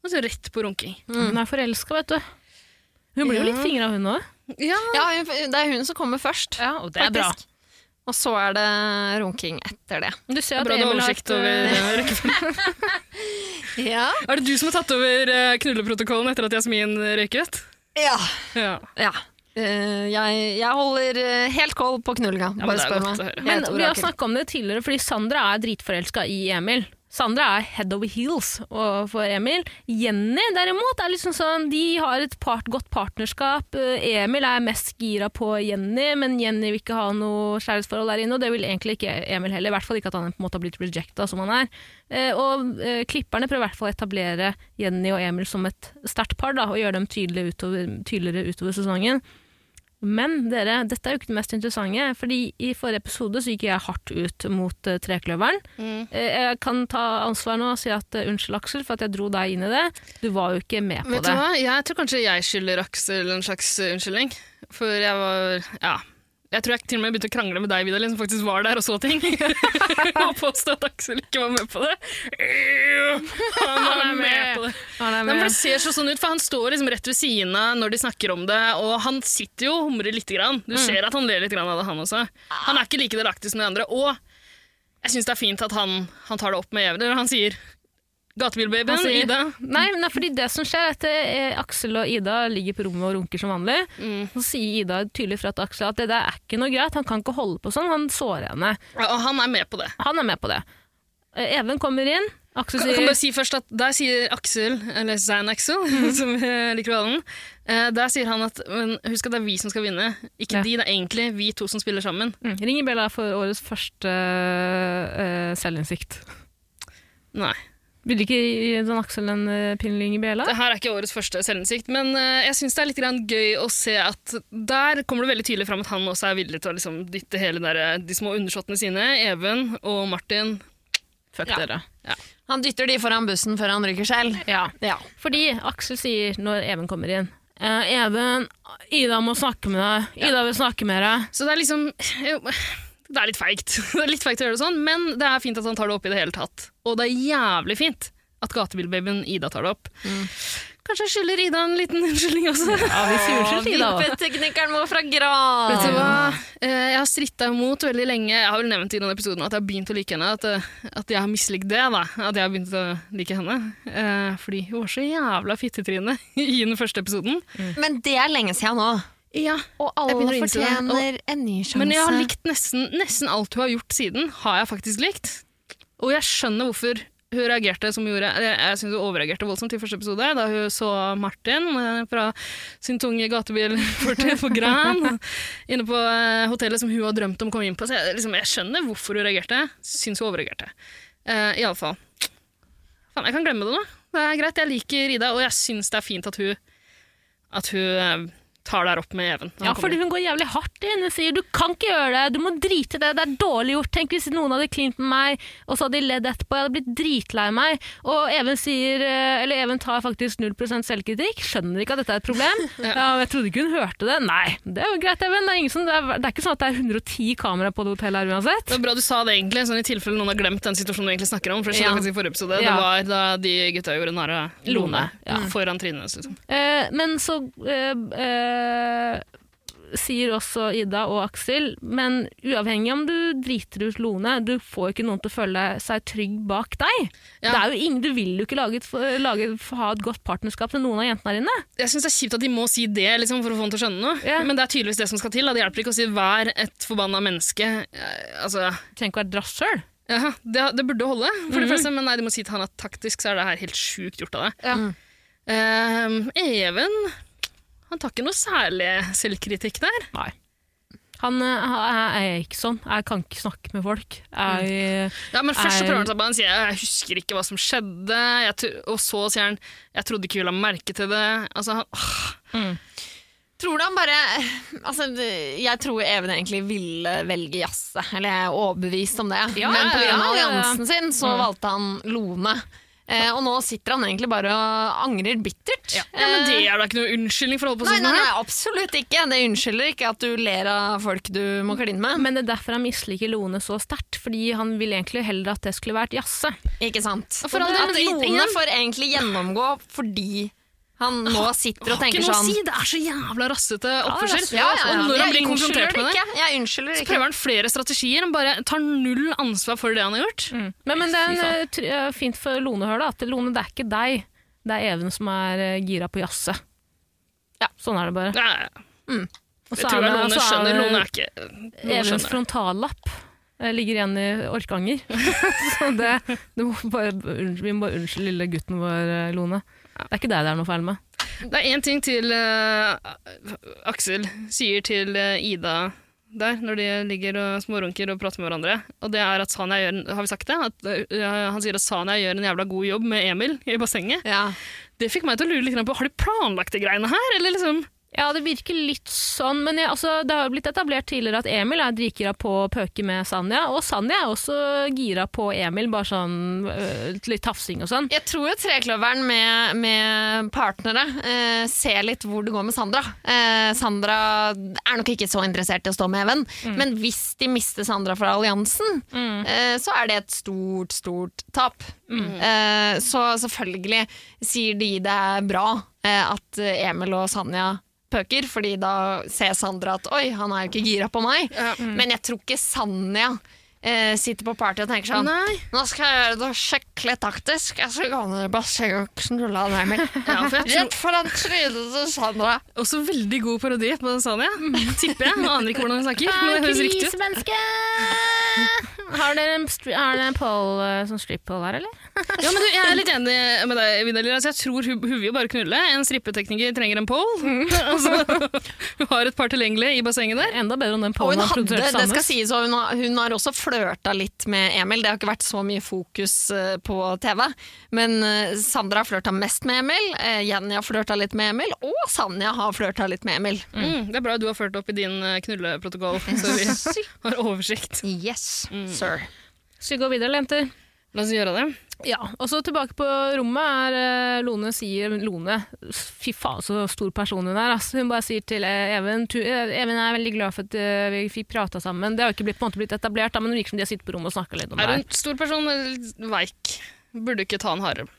Og så rett på runking. Hun er forelska, vet du. Hun blir jo litt fingra, hun òg. Ja, Ja, hun- det er hun som kommer først. Ja, og faktisk. Og så er det runking etter det. Du ser det er at bra du har Emil har oversikt et, over eh, eh, rekkefølgen. Ja. Er det du som har tatt over eh, knulleprotokollen etter at Jasmin røyket? Ja. Ja. Eh, jeg, jeg holder eh, helt koll på knullinga. men Bare det er spør meg. godt å høre. Jeg Men heter vi har Orakel. snakka om det tidligere, fordi Sandra er dritforelska i Emil. Sandra er head over heels overfor Emil. Jenny derimot er liksom sånn De har et part, godt partnerskap. Eh, Emil er mest gira på Jenny, men Jenny vil ikke ha noe kjærlighetsforhold der inne. Og det vil egentlig ikke Emil heller. I hvert fall ikke at han på en måte har blitt rejecta som han er. Eh, Og eh, klipperne prøver i hvert fall å etablere Jenny og Emil som et sterkt par, da, og gjøre dem tydelige utover, tydeligere utover sesongen. Men dere, dette er jo ikke det mest interessante, fordi i forrige episode så gikk jeg hardt ut mot eh, trekløveren. Mm. Eh, jeg kan ta ansvar nå og si at eh, unnskyld Aksel for at jeg dro deg inn i det. Du var jo ikke med på Vet du det. hva? Jeg tror kanskje jeg skylder Aksel en slags eh, unnskyldning. For jeg var Ja. Jeg tror jeg til og med begynte å krangle med deg, Vidar, som faktisk var der og så ting. og påstå at Aksel ikke var med på det. Han var med på det. Han er Nei, men med. det ser så sånn ut, for Han står liksom rett ved siden av når de snakker om det, og han sitter jo og humrer litt. Grann. Du Mm. ser at han ler litt grann av det, han også. Han er ikke like delaktig som de andre. Og jeg syns det er fint at han, han tar det opp med Even. Han sier 'Gatebilbabyen', Han sier- Ida. Nei, nei, fordi det som skjer er at eh, Aksel og Ida ligger på rommet og runker som vanlig. Mm. Så sier Ida tydelig fra til Aksel at det der er ikke noe greit, han kan ikke holde på sånn, han sårer henne. Ja, Og han er med på det. Han er med på det. Eh, Even kommer inn, Aksel Kan, kan sier bare si først at Der sier Aksel, eller Zain Axel, Mm. som jeg liker å kalle den, eh, der sier han at men husk at det er vi som skal vinne. Ikke Ja. de, det er egentlig vi to som spiller sammen. mm, Ringer eh, Bella for årets første eh, selvinnsikt. Nei. Vil du ikke gi Dan Aksel en eh, pinnling i bjella? Det her er ikke årets første selvinnsikt, men eh, jeg syns det er litt grann gøy å se at der kommer det veldig tydelig fram at han også er villig til å liksom dytte hele der, de små undersåttene sine, Even og Martin. Fuck Ja. dere. Han dytter de foran bussen før han ryker selv. Ja. Ja. Fordi Aksel sier når Even kommer inn eh, Even, Ida må snakke med deg. Ida vil snakke med deg. Så det er liksom jo, Det er litt feigt. Det er litt feigt å gjøre det sånn, men det er fint at han tar det opp i det hele tatt. Og det er jævlig fint at gatebilbabyen Ida tar det opp. Kanskje jeg skylder Ida en liten unnskyldning også. Mm. Ja, vi sier unnskyld, Ida. også. Vippeteknikeren vår fra Gran. Vet du hva? Eh, Jeg har stritta imot veldig lenge. Jeg har vel nevnt i denne episoden at jeg har begynt å like henne. At, eh, at jeg har mislikt det. da. At jeg har begynt å like henne. Eh, Fordi hun var så jævla fittetryne i den første episoden. Men det er lenge siden nå. Ja, Og Jeg alle begynner å innse det. fortjener en ny sjanse. Men jeg har likt nesten, nesten alt hun har gjort siden, har jeg faktisk likt. Og jeg skjønner hvorfor hun reagerte som hun gjorde. Jeg, jeg synes hun overreagerte voldsomt i første episode, da hun så Martin eh, fra sin tunge gatebil fortid på Gran, inne på eh, hotellet som hun har drømt om å komme inn på. Så jeg, liksom, jeg skjønner hvorfor hun reagerte. Syns hun overreagerte. Uh, Iallfall. Faen, jeg kan glemme det nå. Det er greit, jeg liker Ida, og jeg syns det er fint at hun, at hun eh, tar det her opp med Even. når han Ja, kommer fordi hun går jævlig hardt inn og sier du kan ikke gjøre det, du må drite i det, det er dårlig gjort. Tenk hvis noen hadde klint med meg, og så hadde de ledd etterpå, jeg hadde blitt dritlei meg. Og Even sier, eh, eller Even tar faktisk 0 selvkritikk, skjønner ikke at dette er et problem. ja. Jeg trodde ikke hun hørte det. Nei, det er jo greit, Even. Det er, ingen som, det er, det er ikke sånn at det er 110 kameraer på det hotellet her uansett. Det var bra du sa det, egentlig, sånn i tilfelle noen har glemt den situasjonen vi egentlig snakker om. for det skjedde Ja. faktisk i forrige episode. Ja. Det var da de gutta gjorde narr av Lone Ja. Mm. foran trynet hennes. Liksom. Eh, men så eh, eh, sier også Ida og Aksel, men uavhengig om du driter ut Lone, du får ikke noen til å føle seg trygg bak deg. Ja. Det er jo ingen, du vil jo ikke lage et, lage, ha et godt partnerskap til noen av jentene her inne. Jeg synes Det er kjipt at de må si det liksom, for å få henne til å skjønne noe, Ja. men det er tydeligvis det som skal til. Da. Det hjelper ikke å si 'vær et forbanna menneske'. Eh, Altså, Du trenger ikke være drass sjøl. ja, det, det burde holde, for Mhm. det første, men nei, de må si til han at taktisk så er det her helt sjukt gjort av deg. Ja. Mm. Eh, Even han tar ikke noe særlig selvkritikk der. Nei. Han eh, er, er ikke sånn. Jeg kan ikke snakke med folk. Jeg, Ja, men først så Er- prøver han seg på han sier jeg husker ikke hva som skjedde, jeg tro- og så sier han jeg trodde ikke vi la merke til det. Altså, han, åh, Tror du han bare altså, det- Jeg tror Even egentlig ville velge Jasse, eller jeg er overbevist om det. Ja, Men pga. ja, ja, ja. alliansen sin Mm. så valgte han Lone. Eh, og nå sitter han egentlig bare og angrer bittert. Eh, ja, men det er da ikke noe unnskyldning for å holde på Nei, sånn. nei, her. nei, absolutt ikke. Det unnskylder ikke at du ler av folk du må kline med. men det er derfor han misliker Lone så sterkt, fordi han ville egentlig heller at det skulle vært Jasse. Ikke sant? for all del, at men det- Lone igjen- får egentlig gjennomgå fordi han nå sitter og Har tenker ikke noe å sånn si, det er så jævla rassete oppførsel. Ja, ja, ja. Og når han Jeg blir konfrontert unnskylder med det, ikke. Jeg unnskylder så ikke. prøver han flere strategier. Han bare tar null ansvar for det han har gjort. Mm. Men, men det er Fy en, faen. eh, tr- eh, fint for Lone å høre, da. At Lone, det er ikke deg. Det er Even som er eh, gira på jazze. Ja. Sånn er det bare. Ja, ja, ja. Og Jeg så tror er jeg det- Lone så er skjønner. det Lone er ikke Lone Evens skjønner. frontallapp eh, ligger igjen i Orkanger. så det, du må bare, unnskyld- vi må bare unnskylde lille gutten vår, eh, Lone. Det er ikke deg det er noe feil med. Det er én ting til eh, Aksel sier til eh, Ida der, når de ligger og smårunker og prater med hverandre. Og det er at Sanja gjør en, Har vi sagt det? At, eh, han sier at Sanja gjør en jævla god jobb med Emil i bassenget. Ja. Det fikk meg til å lure litt grann på Har de planlagt de greiene her, eller liksom? Ja, det virker litt sånn, men jeg, altså, det har jo blitt etablert tidligere at Emil er dritgira på å pøke med Sanja, og Sanja er også gira på Emil, bare sånn eh, litt tafsing og sånn. Jeg tror jo trekløveren med, med partnere eh, ser litt hvor det går med Sandra. Eh, Sandra er nok ikke så interessert i å stå med Even, men hvis de mister Sandra fra alliansen, eh, så er det et stort, stort tap. Eh, så selvfølgelig sier de det er bra eh, at Emil og Sanja pøker, fordi da ser Sandra at oi, han er jo ikke gira på meg. Men jeg tror ikke Sanja eh, sitter på party og tenker sånn Nei. nå skal jeg gjøre det skikkelig taktisk. Jeg skal gå ned i bassenget og knulle han Emil. Ja, for jeg tror- Rett foran trynet til Sandra. Også veldig god parodi på Sanja, tipper jeg. Nå aner jeg ikke hvordan hun snakker, men det høres riktig ut. Grisemenneske! Har dere en, stri- har dere en poll, eh, sånn strip-poll her, eller? Ja, men du, jeg er litt enig med deg, Vidalina. Altså, jeg tror hun, hun vil jo bare knulle. En strippetekniker trenger en pole. altså, hun har et par tilgjengelig i bassenget der. Enda bedre enn den Og pollen hun han hadde, produserte det skal sammen. sies, og hun har, hun har også flørta litt med Emil. Det har ikke vært så mye fokus eh, på TV. Men eh, Sandra har flørta mest med Emil, eh, Jenny har flørta litt med Emil, og Sanja har flørta litt med Emil. Mm, det er bra du har ført opp i din eh, knulleprotokoll, så vi har oversikt. Yes, Mm. sir. Skal vi gå videre, eller, jenter? La oss gjøre det. Ja, og så tilbake på rommet er eh, Lone sier Lone, fy faen så stor person hun er. Altså. Hun bare sier til eh, Even tu, eh, Even jeg er veldig glad for at eh, vi fikk prata sammen. Det har jo ikke blitt, på en måte blitt etablert, da, men det virker som de har sittet på rommet og snakka litt om Er det. hun her. stor person eller litt veik? Burde ikke ta en hardere.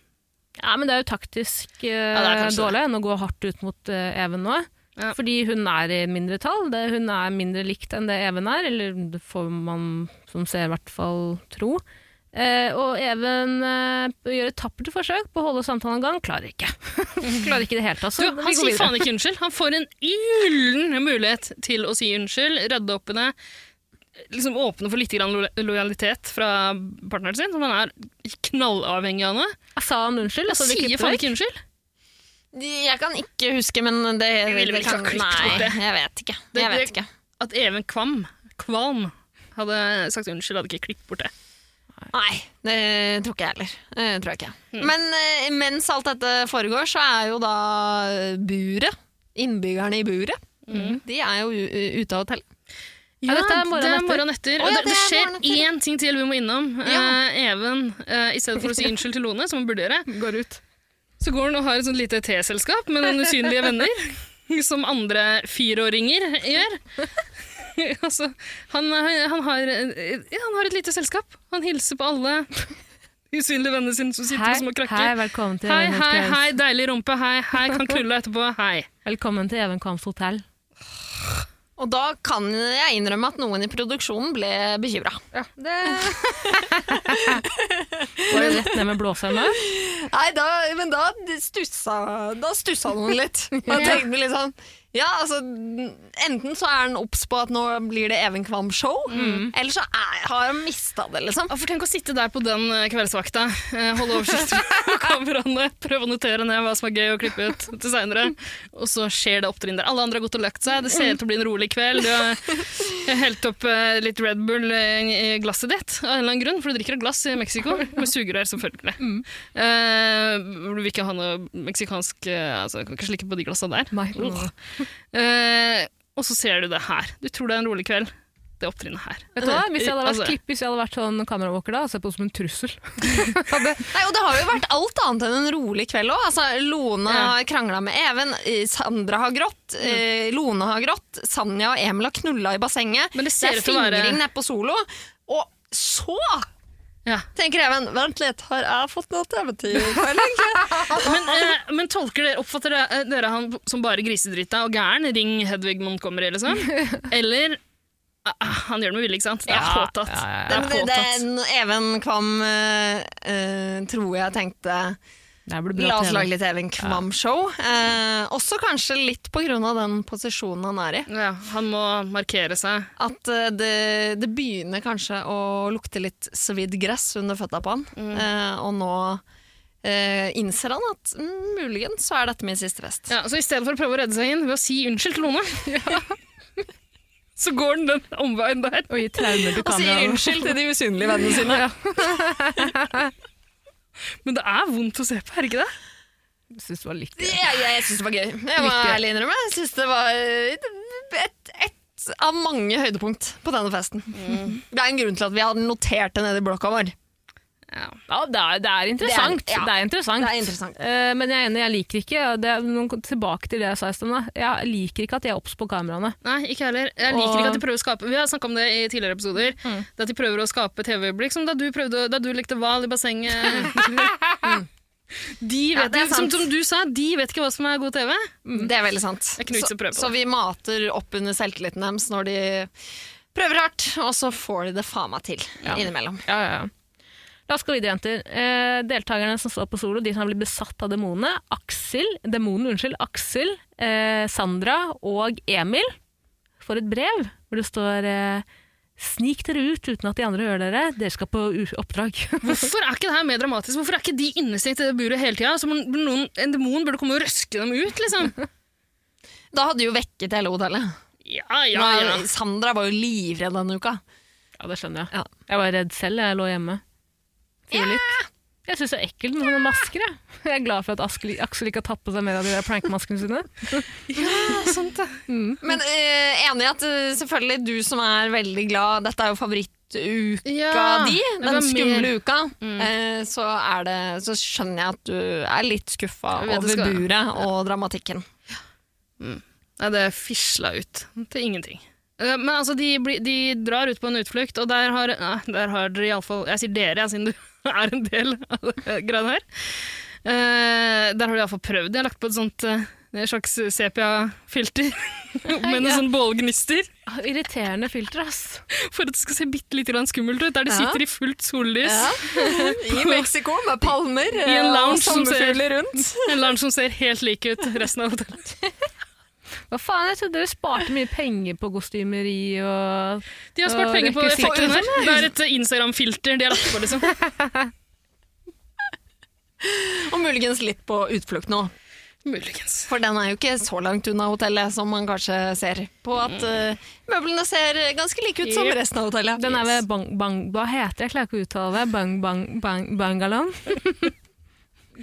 Ja, men det er jo taktisk eh, det er kanskje dårlig enn å gå hardt ut mot eh, Even nå. Ja. Fordi hun er i mindretall. det- Hun er mindre likt enn det Even er, eller det får man som ser i hvert fall tro. Eh, og Even eh, gjør et tappert forsøk på å holde samtalen i gang, klarer ikke. klarer ikke i det hele tatt. Du, så vi han går sier videre. faen ikke unnskyld. Han får en ullen mulighet til å si unnskyld, redde opp i det. Liksom åpne for litt grann lo lojalitet fra partneren sin, som han er knallavhengig av nå. Jeg sa han unnskyld, og så Altså, vi Sier klippet faen vekk. ikke unnskyld. Jeg kan ikke huske, men det, ville vel det ikke kan, ha klippet Nei, bort det. jeg vet ikke. Det- Jeg det- vet ikke. At Even Kvam, Kvalm hadde sagt unnskyld, hadde ikke klippet bort det. Nei, det tror ikke jeg heller. Det tror jeg ikke. Hmm. Men eh, mens alt dette foregår, så er jo da buret, innbyggerne i buret, Hmm. de er jo u- u- ute av hotellet. Ja, dette er morgenen det etter. morgenen etter. Å, ja, og det, det det er skjer morgenen etter. én ting til vi må innom. Ja. Eh, Even, eh, i stedet for å si unnskyld til Lone, som hun burde gjøre, Går ut. Så går han og har et sånt lite teselskap med noen usynlige venner, som andre fireåringer gjør. altså, han, han, har, ja, han har et lite selskap. Han hilser på alle usynlige vennene sine som sitter Hei, med små hei, krakker. velkommen til Hei, Even hei, Kams- hei, deilig rumpe. Hei, hei, kan knulle etterpå. Hei. Velkommen til Even Kvams hotell. Og da kan jeg innrømme at noen i produksjonen ble bekymra. Går det rett ned med blåseøynene? Nei, da, men da stussa, da stussa noen litt. Da tenkte litt sånn ja, altså, Enten så er han obs på at nå blir det Even Kvam-show, Hmm. eller så er, har han mista det, liksom. Ja, For tenk å sitte der på den eh, kveldsvakta, eh, holde oversikt over kameraene, prøve å notere ned hva som er gøy å klippe ut til seinere, og så skjer det opptrinn der. Alle andre har gått og lagt seg, det ser ut til å bli en rolig kveld. Du har eh, helt opp eh, litt Red Bull eh, i glasset ditt, av en eller annen grunn, for du drikker av glass i Mexico, med sugerør selvfølgelig. Mm. Eh, Du vil ikke ha noe meksikansk eh, altså, Kan ikke slikke på de glassa der. Ugh. Eh, Og så ser du det her. Du tror det er en rolig kveld. Det opptrinnet her. Vet du hva? Hvis jeg hadde vært Altså- klipp, hvis jeg hadde vært sånn kameravåker da, hadde jeg sett på det som en trussel. Nei, og Det har jo vært alt annet enn en rolig kveld òg. Altså, Lone Ja. Mm. har krangla med Even, eh, Sandra har grått, eh, Lone har grått, Sanja og Emil har knulla i bassenget. Men det ser er ut til å være- fingring nede på solo. Og så Ja. tenker Even Vent litt, har jeg fått noe TV-tid i kveld, egentlig? Men, eh, men tolker dere, oppfatter dere, eh, dere han som bare grisedrita og gæren? Ring Hedvig Montgomery, liksom? Eller ah, ah, Han gjør det med vilje, ikke sant? Det er Ja, påtatt. ja, ja, ja. Det er Det, det, påtatt. Even Kvam eh, eh, tror jeg tenkte Det blir bra La oss TV. lage litt Even Kvam-show. Eh, også kanskje litt på grunn av den posisjonen han er i. Ja, han må markere seg. at eh, det, det begynner kanskje å lukte litt svidd gress under føtta på han. Eh, og nå eh, innser han at mm, muligens så er dette min siste fest. Ja, så i stedet for å prøve å redde seg inn ved å si unnskyld til Lone, så går han den omveien der. Og gi traumer til Og sier kameraet. unnskyld til de usynlige vennene sine. Men det er vondt å se på, er det ikke det? Jeg synes det var litt gøy. Ja, jeg syns det var gøy. Jeg må Litt gøy. ærlig innrømme. Jeg syns det var eh, et, et av mange høydepunkt på denne festen. Det er en grunn til at vi hadde notert det nede i blokka vår. Ja. Ja, det er, det er interessant. ja. Det er interessant. Det er interessant. Eh, men jeg er enig, jeg liker ikke og det, er noen- Tilbake til det jeg sa i sted. da. Jeg liker ikke at de er obs på kameraene. Nei, ikke heller. Jeg liker Og- ikke at de prøver å skape Vi har snakka om det i tidligere episoder. Mm. Det At de prøver å skape TV-øyeblikk, som da du, prøvde, da du lekte hval i bassenget. Mm. De vet, Ja, det er ikke- som, sant. som du sa, de vet ikke hva som er god TV. Det er veldig sant. Det er Knut som Så, prøver på så vi mater opp under selvtilliten deres når de prøver hardt, og så får de det faen meg til innimellom. Ja, ja, ja. La oss gå videre, jenter. Eh, deltakerne som står på solo, de som har blitt besatt av demonene, Aksel, demonen, unnskyld, Aksel, eh, Sandra og Emil, får et brev hvor det står eh, Snik dere ut uten at de andre hører dere. Dere skal på u- oppdrag. Hvorfor er ikke det her mer dramatisk? Hvorfor er ikke de innestengt i det buret hele tida? Så man- noen- En demon burde komme og røske dem ut, liksom. Da hadde jo vekket hele hotellet. Ja, ja, Nå, ja. Sandra var jo livredd denne uka. Ja, det skjønner jeg. Ja. Jeg var redd selv, jeg lå hjemme. Fyr litt. Jeg syns det er ekkelt med sånne masker. Jeg. jeg er glad for at Aksel, Aksel ikke har tatt på seg mer av de der plankmaskene sine. Men eh, enig i at eh, selvfølgelig du som er veldig glad Dette er jo favorittuka Ja, di, det var den skumle mer- Mm. uka. eh, så, er det, så skjønner jeg at du er litt skuffa Jeg vet over det skal- buret og dramatikken. Nei, det fisla ut til ingenting. Eh, Men altså, de, blir- de drar ut på en utflukt, og der har, ja, der har dere iallfall Jeg sier dere, jeg, siden du er en del av det greiene her. Eh, der har de iallfall prøvd. De har lagt på et sånt eh, en slags sepia-filter med noen Ja. sånne bålgnister Ah, Irriterende filter, ass. for at det skal se bitte litt grann skummelt ut, der de Ja. sitter i fullt sollys. I Mexico med palmer I en eh, lounge og som ser- sommerfugler rundt. En larm som ser helt lik ut resten av hotellet. Hva faen, jeg trodde dere sparte mye penger på kostymeri og De har spart Å, penger på rekker effekten sikkert. her. Det er et eh, Instagram-filter de har lagt på, liksom. Og muligens litt på utflukt nå. Muligens. For den er jo ikke så langt unna hotellet som man kanskje ser på at eh, møblene ser ganske like ut som Yep. resten av hotellet. Den er ved bang, bang, Hva heter det? Jeg klarer ikke å uttale det. Bang, bang, bang, bangalong?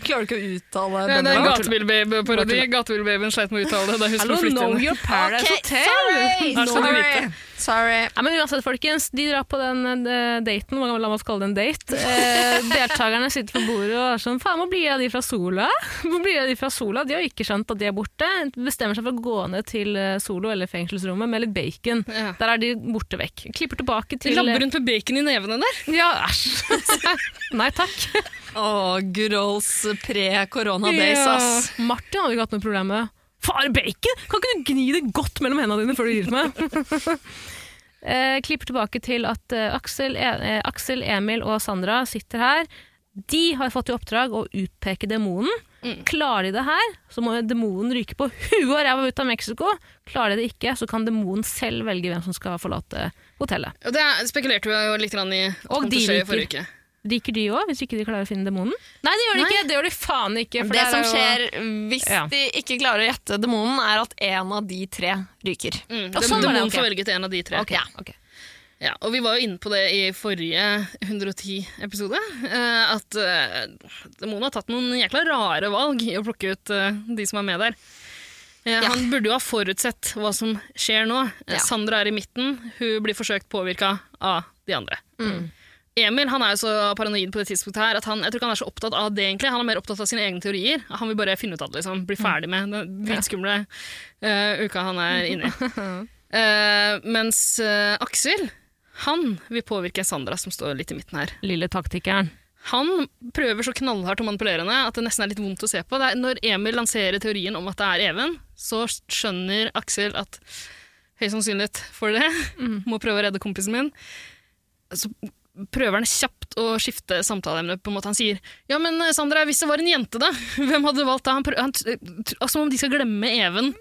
Klarer du ikke å uttale Ja, det er en bøndene? gatebilbaby-parodi. Gatebilbabyen sleit med å uttale det da hun Hallo, skulle flytte know inn. your Paradise Ok, Hotel! Da skal du Sorry! vite. Sorry. Ja, men uansett, folkens. De drar på den eh, daten. Hva- La oss kalle det en date. Eh, deltakerne sitter på bordet og er sånn Faen, hvor blir av de fra Sola? Hvor blir av de fra Sola? De har jo ikke skjønt at de er borte. Bestemmer seg for å gå ned til eh, Solo eller fengselsrommet med litt bacon. Ja. Der er de borte vekk. Klipper tilbake De til eh, labber rundt med bacon i nevene der. Ja, æsj. Nei takk. Å, good olds pre-corona days, Ja. ass. Martin hadde ikke hatt noe problem med det. Far, bacon! Kan ikke du gni det godt mellom hendene dine før du gir det til meg? eh, klipper tilbake til at eh, Aksel, e eh, Aksel, Emil og Sandra sitter her. De har fått i oppdrag å utpeke demonen. Klarer de det her, så må demonen ryke på huet og ræva ut av Mexico. Klarer de det ikke, så kan demonen selv velge hvem som skal forlate hotellet. Og det spekulerte vi jo litt grann i. at Og kom de til å skje i liker. forrige uke. Ryker de òg, hvis ikke de klarer å finne demonen? Nei, det gjør de ikke! Det gjør de faen ikke. for Det der som er jo- skjer hvis Ja. de ikke klarer å gjette demonen, er at en av de tre ryker. Mm. Ja, Det, sånn var det, demonen ok. får velge til en av de tre. Ok. Ja. Ok. Ja, og vi var jo inne på det i forrige 110-episode. eh, At eh, demonen har tatt noen jækla rare valg i å plukke ut eh, de som er med der. Eh, Ja. Han burde jo ha forutsett hva som skjer nå. Eh, Ja. Sandra er i midten. Hun blir forsøkt påvirka av de andre. Mm. Emil han er jo så paranoid på det tidspunktet her at han, jeg tror ikke han er så opptatt av det. egentlig. Han er mer opptatt av sine egne teorier. Han vil bare finne ut av det. liksom. Bli Mm. ferdig med den dritskumle eh, uka han er inne i. Eh, mens eh, Aksel han vil påvirke Sandra, som står litt i midten her. Lille taktikeren. Han prøver så knallhardt å manipulere henne at det nesten er litt vondt å se på. Det er, når Emil lanserer teorien om at det er Even, så skjønner Aksel at høy sannsynlighet for det, må prøve å redde kompisen min. Så prøver han kjapt å skifte samtaleemne. på en måte. Han sier ja, men eh, Sandra, hvis det var en jente, da, hvem hadde du valgt da? Han prøver, han, t- t- som om de skal glemme Even.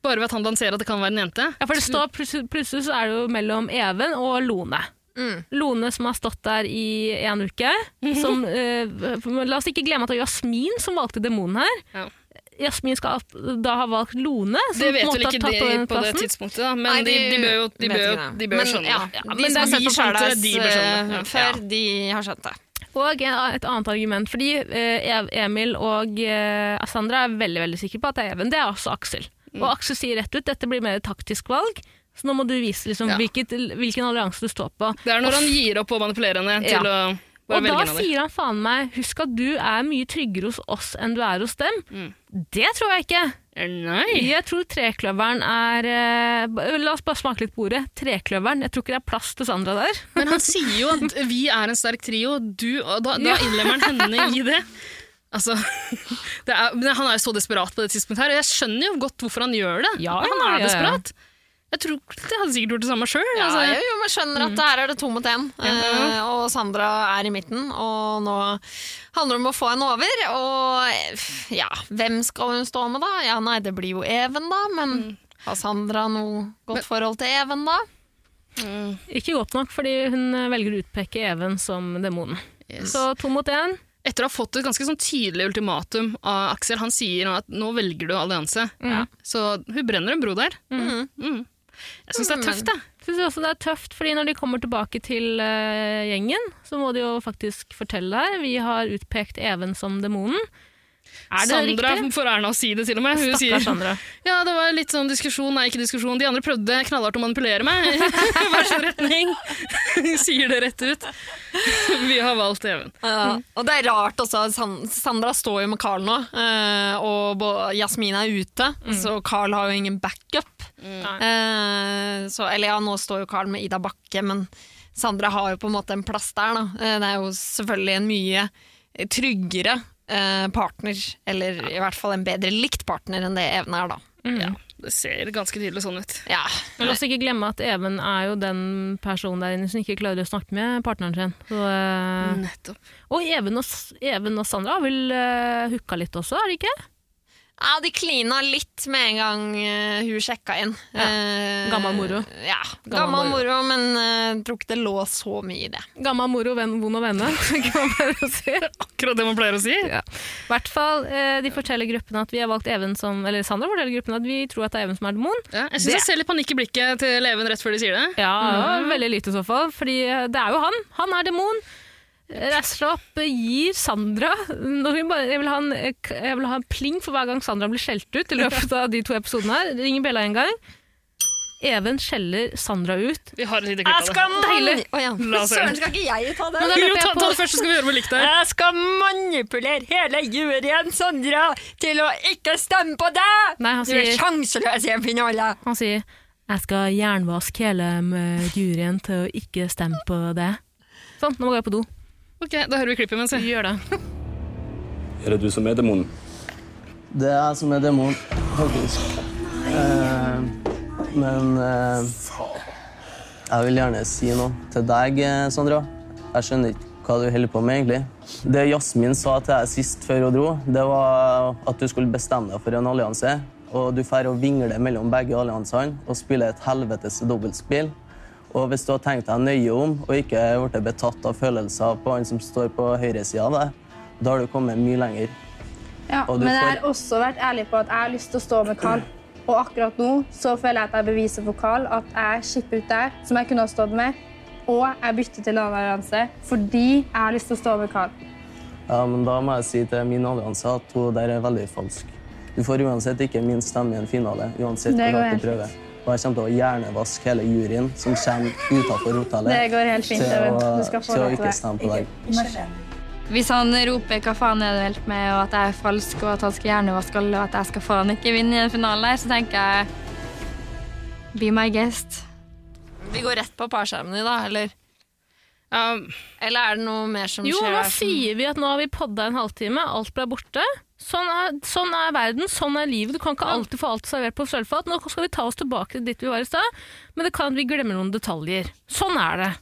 Bare ved at han lanserer at det kan være en jente. Ja, for det står plutselig, plutselig så er det jo mellom Even og Lone. Lone som har stått der i en uke. Mhm. Som, eh, la oss ikke glemme at det var Jasmin som valgte demonen her. Ja. Jasmin skal da ha valgt Lone. Som Det vet på en vel måte har ikke de tatt over den på det plassen. tidspunktet, da. men Nei, de, de bør jo, de vet bør, jo- ikke det. de bør jo Men, skjønne ja, det. De som har vi sett på skjønte det, Paradise de bør skjønne eh, det. Ja. før, de har skjønt det. Og en- et annet argument, fordi eh, Ev- Emil og eh, Sandra er veldig veldig sikre på at det er Even. Det er også Aksel. Mm. Og Aksel sier rett ut dette blir mer et taktisk valg, så nå må du vise liksom, Ja. hvilket, hvilken allianse du står på. Det er når han gir opp å manipulere henne til Ja. å bare og da velge en av dem. sier han faen meg Husk at du er mye tryggere hos oss enn du er hos dem. Mm. Det tror jeg ikke. Nei! Jeg tror trekløveren er eh, ba- La oss bare smake litt på ordet. Trekløveren. Jeg tror ikke det er plass til Sandra der. Men han sier jo at vi er en sterk trio, du, og da, da innlemmer han henne i det. Altså, det er, men Han er jo så desperat på det tidspunktet, her, og jeg skjønner jo godt hvorfor han gjør det. Ja, han ja, er ja, ja. desperat. Jeg tror Jeg hadde sikkert gjort det samme sjøl. Ja, altså. jo, jo, man skjønner at her er det to mot én. Eh, og Sandra er i midten, og nå handler det om å få henne over. Og eh, ja, hvem skal hun stå med, da? Ja, Mm. nei, det blir jo Even, da. Men har Sandra noe godt forhold til Even, da? Ikke godt nok, fordi hun eh, velger å utpeke Even som demonen. Yes. Så to mot én. Etter å ha fått et ganske sånn tydelig ultimatum av Aksel, han sier nå at nå velger du allianse. Ja. Så hun brenner en bro der. Mm. Jeg syns det er tøft, jeg. Synes jeg også det er tøft, fordi når de kommer tilbake til eh, gjengen, så må de jo faktisk fortelle det her. Vi har utpekt Even som demonen. Er det Sandra riktig? får æren av å si det, til og med. Hun Stakkars sier Sandra. ja, det var litt sånn diskusjon, nei, ikke diskusjon. De andre prøvde knallhardt å manipulere meg. Hver sin retning. sier det rett ut. Vi har valgt Even. Ja, og det er rart også. at San- Sandra står jo med Carl nå, eh, og Bo- Jasmin er ute, så Carl har jo ingen backup. Eh, Så, eller ja, nå står jo Carl med Ida Bakke, men Sandra har jo på en måte en plass der. Da. Eh, Det er jo selvfølgelig en mye tryggere eh, partner, eller i hvert fall en bedre likt partner enn det Even er, da. Ja, det ser ganske tydelig sånn ut. Ja. Men la oss ikke glemme at Even er jo den personen der inne som ikke klarer å snakke med partneren sin. Så, eh, Mm. Nettopp. Og Even og, S- Even og Sandra har vel eh, hooka litt også, er det ikke? Ja, de klina litt med en gang eh, hun sjekka inn. Eh, Gammel moro. Ja, gammel moro, men eh, tror ikke det lå så mye i det. Gamma moro, venn, vond å vende, kan man bare si. Akkurat det man pleier å si. I hvert fall, eh, de forteller gruppen at vi har valgt Even som, eller Sandra forteller gruppen at vi tror at det er Even som er demon. Ja, jeg syns jeg ser litt panikk i blikket til Even rett før de sier det. Ja, veldig lite i så fall, fordi eh, det er jo han. Han er demon. Reiser seg opp, eh, gir Sandra når hun bare, jeg, vil ha en, eh, k- jeg vil ha en pling for hver gang Sandra blir skjelt ut i løpet av de to episodene her. Ringer Bella en gang. Even skjeller Sandra ut. Vi har et lite klipp av det. Deilig. Å ja. La oss høre. Søren, skal ikke jeg ta den? løper Jo, jeg ta, på- ta det først, så skal vi høre hvor likt det er. Jeg skal manipulere hele juryen, Sandra, til å ikke stemme på deg! Nei, han Du er sier, sjanseløs i en finale! han sier jeg skal jernvaske hele eh, juryen til å ikke stemme på det. Sånn, nå må jeg på do. Ok, Da hører vi klippet mens jeg gjør det. Er det du som er demonen? Det er som en demon, faktisk. Eh, men eh, jeg vil gjerne si noe til deg, eh, Sandra. Jeg skjønner ikke hva du holder på med, egentlig. Det Jasmin sa til deg sist før hun dro, det var at du skulle bestemme deg for en allianse. Og du drar og vingler mellom begge alliansene og spiller et helvetes dobbeltspill. Og hvis du har tenkt deg nøye om og ikke blitt betatt av følelser på han som står på høyresida av deg, da har du kommet mye lenger. Ja, Og du men jeg får- har også vært ærlig på at jeg har lyst til å stå med Carl. Og akkurat nå så føler jeg at jeg beviser for Carl at jeg skipper ut der, som jeg kunne ha stått med. Og jeg bytter til en annen allianse fordi jeg har lyst til å stå med Carl. Ja, men da må jeg si til min allianse at hun der er veldig falsk. Du får uansett ikke min stemme i en finale, uansett Det hvor går hardt helt du prøver. Og jeg kommer til å hjernevaske hele juryen som kommer utenfor hotellet. Det går helt fint, til Even. å- Du skal få til å lov til ikke det. stemme på deg. Hvis han roper hva faen er det helt med, og at jeg er falsk, og at han skal hjernevaske alle, og at jeg skal faen ikke vinne i den finalen der, så tenker jeg Be my guest. Vi går rett på parskjermene, da, eller? Ja, Eller er det noe mer som Jo, skjer? nå her som- sier vi at nå har vi podda en halvtime, alt ble borte. Sånn er, sånn er verden, sånn er livet. Du kan ikke alltid få alt servert på sølvfat. Nå skal vi ta oss tilbake til dit vi var i stad, men det kan at vi glemmer noen detaljer. Sånn er det.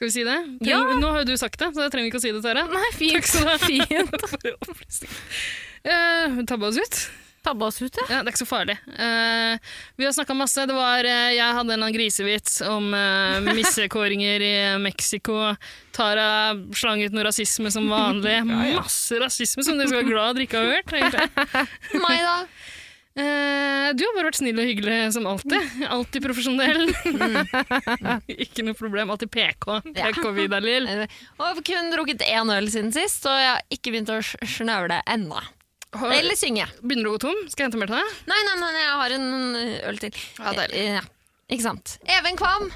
skal vi si det? Treng- Ja. Nå har jo du sagt det, så jeg trenger ikke å si det til dere. Nei, fint. Takk skal du ha. Fint. Eh, hun tabba oss ut. Tabba oss ut, ja. Ja, det er ikke så farlig. Eh, vi har snakka masse. Det var, eh, jeg hadde en eller annen grisevits om eh, missekåringer i Mexico. Tara slang ut noe rasisme som vanlig. Masse rasisme som dere skal være glad dere ikke har hørt. egentlig. Meg, da? Eh, du har bare vært snill og hyggelig som alltid. Alltid profesjonell. ikke noe problem. Alltid PK. PK Vidar-Lill. Eh, Og jeg har kun drukket én øl siden sist, og jeg har ikke begynt å sj- snøvle ennå. Eller synge. Begynner du å gå tom? Skal jeg hente mer til deg? Nei, nei, nei, jeg har en eh, øl til. Ja, deilig. Eh, ja. Ikke sant. Even Kvam.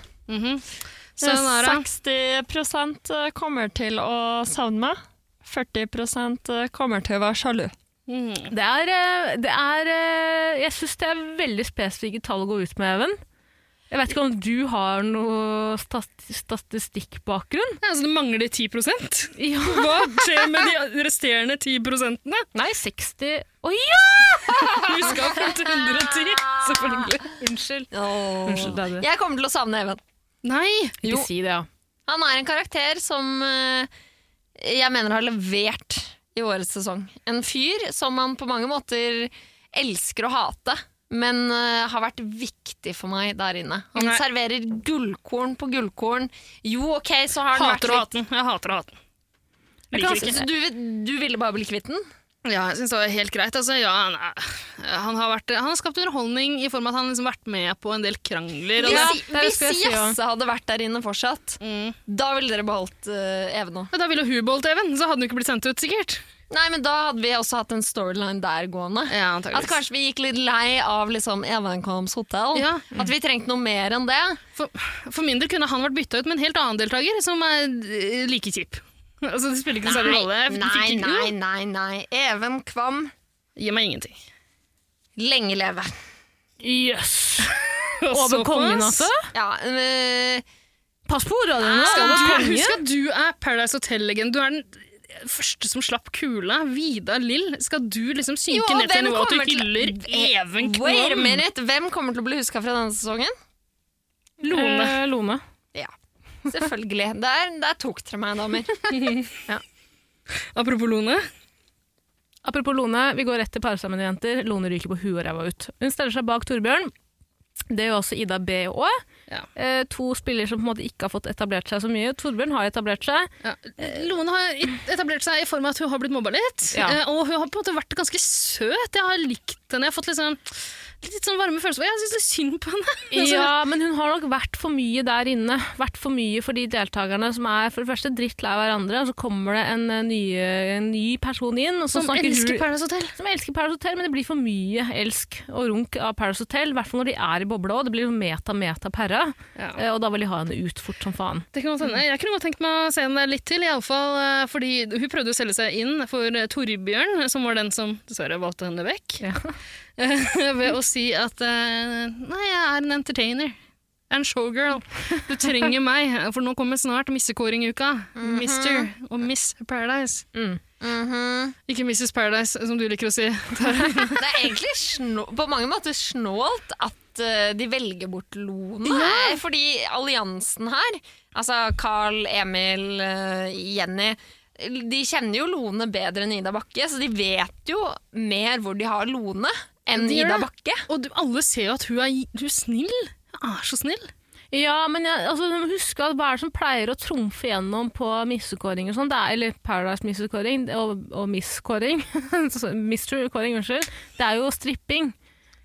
Sånn er det. eh, 60 kommer til å savne meg. eh, 40 kommer til å være sjalu. Det er, eh, det er eh, Jeg syns det er veldig spesifikke tall å gå ut med, Even. Jeg vet ikke om du har noe stat statistikkbakgrunn? Ja, så det mangler 10 Ja. Hva skjer med de resterende 10 prosentene? Nei, 60 Å ja! Vi skal frem til 110, selvfølgelig. Unnskyld. Unnskyld, Unnskyld, det Eh, er det. Jeg kommer til å savne Even. Nei! Ikke si det, ja. Han er en karakter som eh, jeg mener har levert i årets sesong. En fyr som man på mange måter elsker å hate. men eh, har vært viktig for meg der inne. Han Nei. serverer gullkorn på gullkorn. Jo, OK, så har han Hater å vært hate den. Jeg hater å hate den. Liker litt ikke. Så du, vil- du ville bare bli kvitt den? Ja, jeg syns det var helt greit. Altså, ja, han, er- han, har vært, han har skapt underholdning i form av at han har liksom vært med på en del krangler. Og Ja, det det, er det hvis skal jeg si, ja. Jasse hadde vært der inne fortsatt, mm. da ville dere beholdt uh, Even òg. Ja, Da ville hun beholdt Even, så hadde hun ikke blitt sendt ut, sikkert. Nei, men da hadde vi også hatt en storyline der gående. Ja, At kanskje vi gikk litt lei av liksom Evenkoms hotell. Ja. At vi trengte noe mer enn det. For, for min del kunne han vært bytta ut med en helt annen deltaker, som er eh, like kjip. Altså, det spiller ikke noen særlig rolle. Jeg fikk nei, ikke- nei, nei, nei. Even Kvam, Gi meg ingenting. lenge leve. Jøss! Over kongen, altså? Ja, Ah, øh, Pass på ordene nå! Skal Over du, kongen? husk at du er Paradise Hotel-legenden. Du er den første som slapp kula. Vidar Lill. Skal du liksom synke Jo, ned til hvem nivå at du kommer til- hyller Even wait a Kvam? minute. Hvem kommer til å bli huska fra denne sesongen? Lone. Eh, Lone. Selvfølgelig. Der, der tok dere meg, damer. Apropos Lone. Apropos Lone, vi går rett til parsammen, jenter. Lone ryker på huet og ræva ut. Hun stiller seg bak Torbjørn. Det gjør også Ida B òg. Ja. Eh, to spillere som på en måte ikke har fått etablert seg så mye. Torbjørn har etablert seg. Ja. Lone har etablert seg i form av at hun har blitt mobba litt. Ja. eh, Og hun har på en måte vært ganske søt. Jeg har likt henne. Jeg har fått litt sånn, litt sånn varme følelser. Jeg syns litt synd på henne. Ja, men hun har nok vært for mye der inne. Vært for mye for de deltakerne som er for det første drittlei av hverandre, og så kommer det en, eh, nye, en ny person inn, og så Sånn Som snakker elsker hun Paradise Hotel. som elsker Paradise Hotel, men det blir for mye elsk og runk av Paradise Hotel. I hvert fall når de er i bobla òg. Det blir jo meta-meta-perra. Ja. Eh, Og da vil de ha henne ut fort som faen. Det kan godt hende. Jeg kunne godt tenkt meg å se henne der litt til, i alle fall, eh, fordi hun prøvde å selge seg inn for eh, Torbjørn, som var den som dessverre valgte henne vekk, Ja. ved å si at eh, nei, jeg er en entertainer. En showgirl. Du trenger meg, for nå kommer snart missekåringuka. Mister og Miss Paradise. Ikke Mrs. Paradise, som du liker å si. Det er egentlig snå, på mange måter snålt at eh, de velger bort Lone. her, Fordi alliansen her, altså Carl, Emil, eh, Jenny De kjenner jo Lone bedre enn Ida Bakke, så de vet jo mer hvor de har Lone enn De gjør Ida det. Bakke. Og du, alle ser jo at hun er, hun er snill. Hun er så snill. Ja, men jeg, altså, du må huske at hva er det som pleier å trumfe gjennom på missekåring og sånn? Det er- Eller Paradise-missekåring og, og misskåring. Så- Mister-kåring, unnskyld. Det er jo stripping.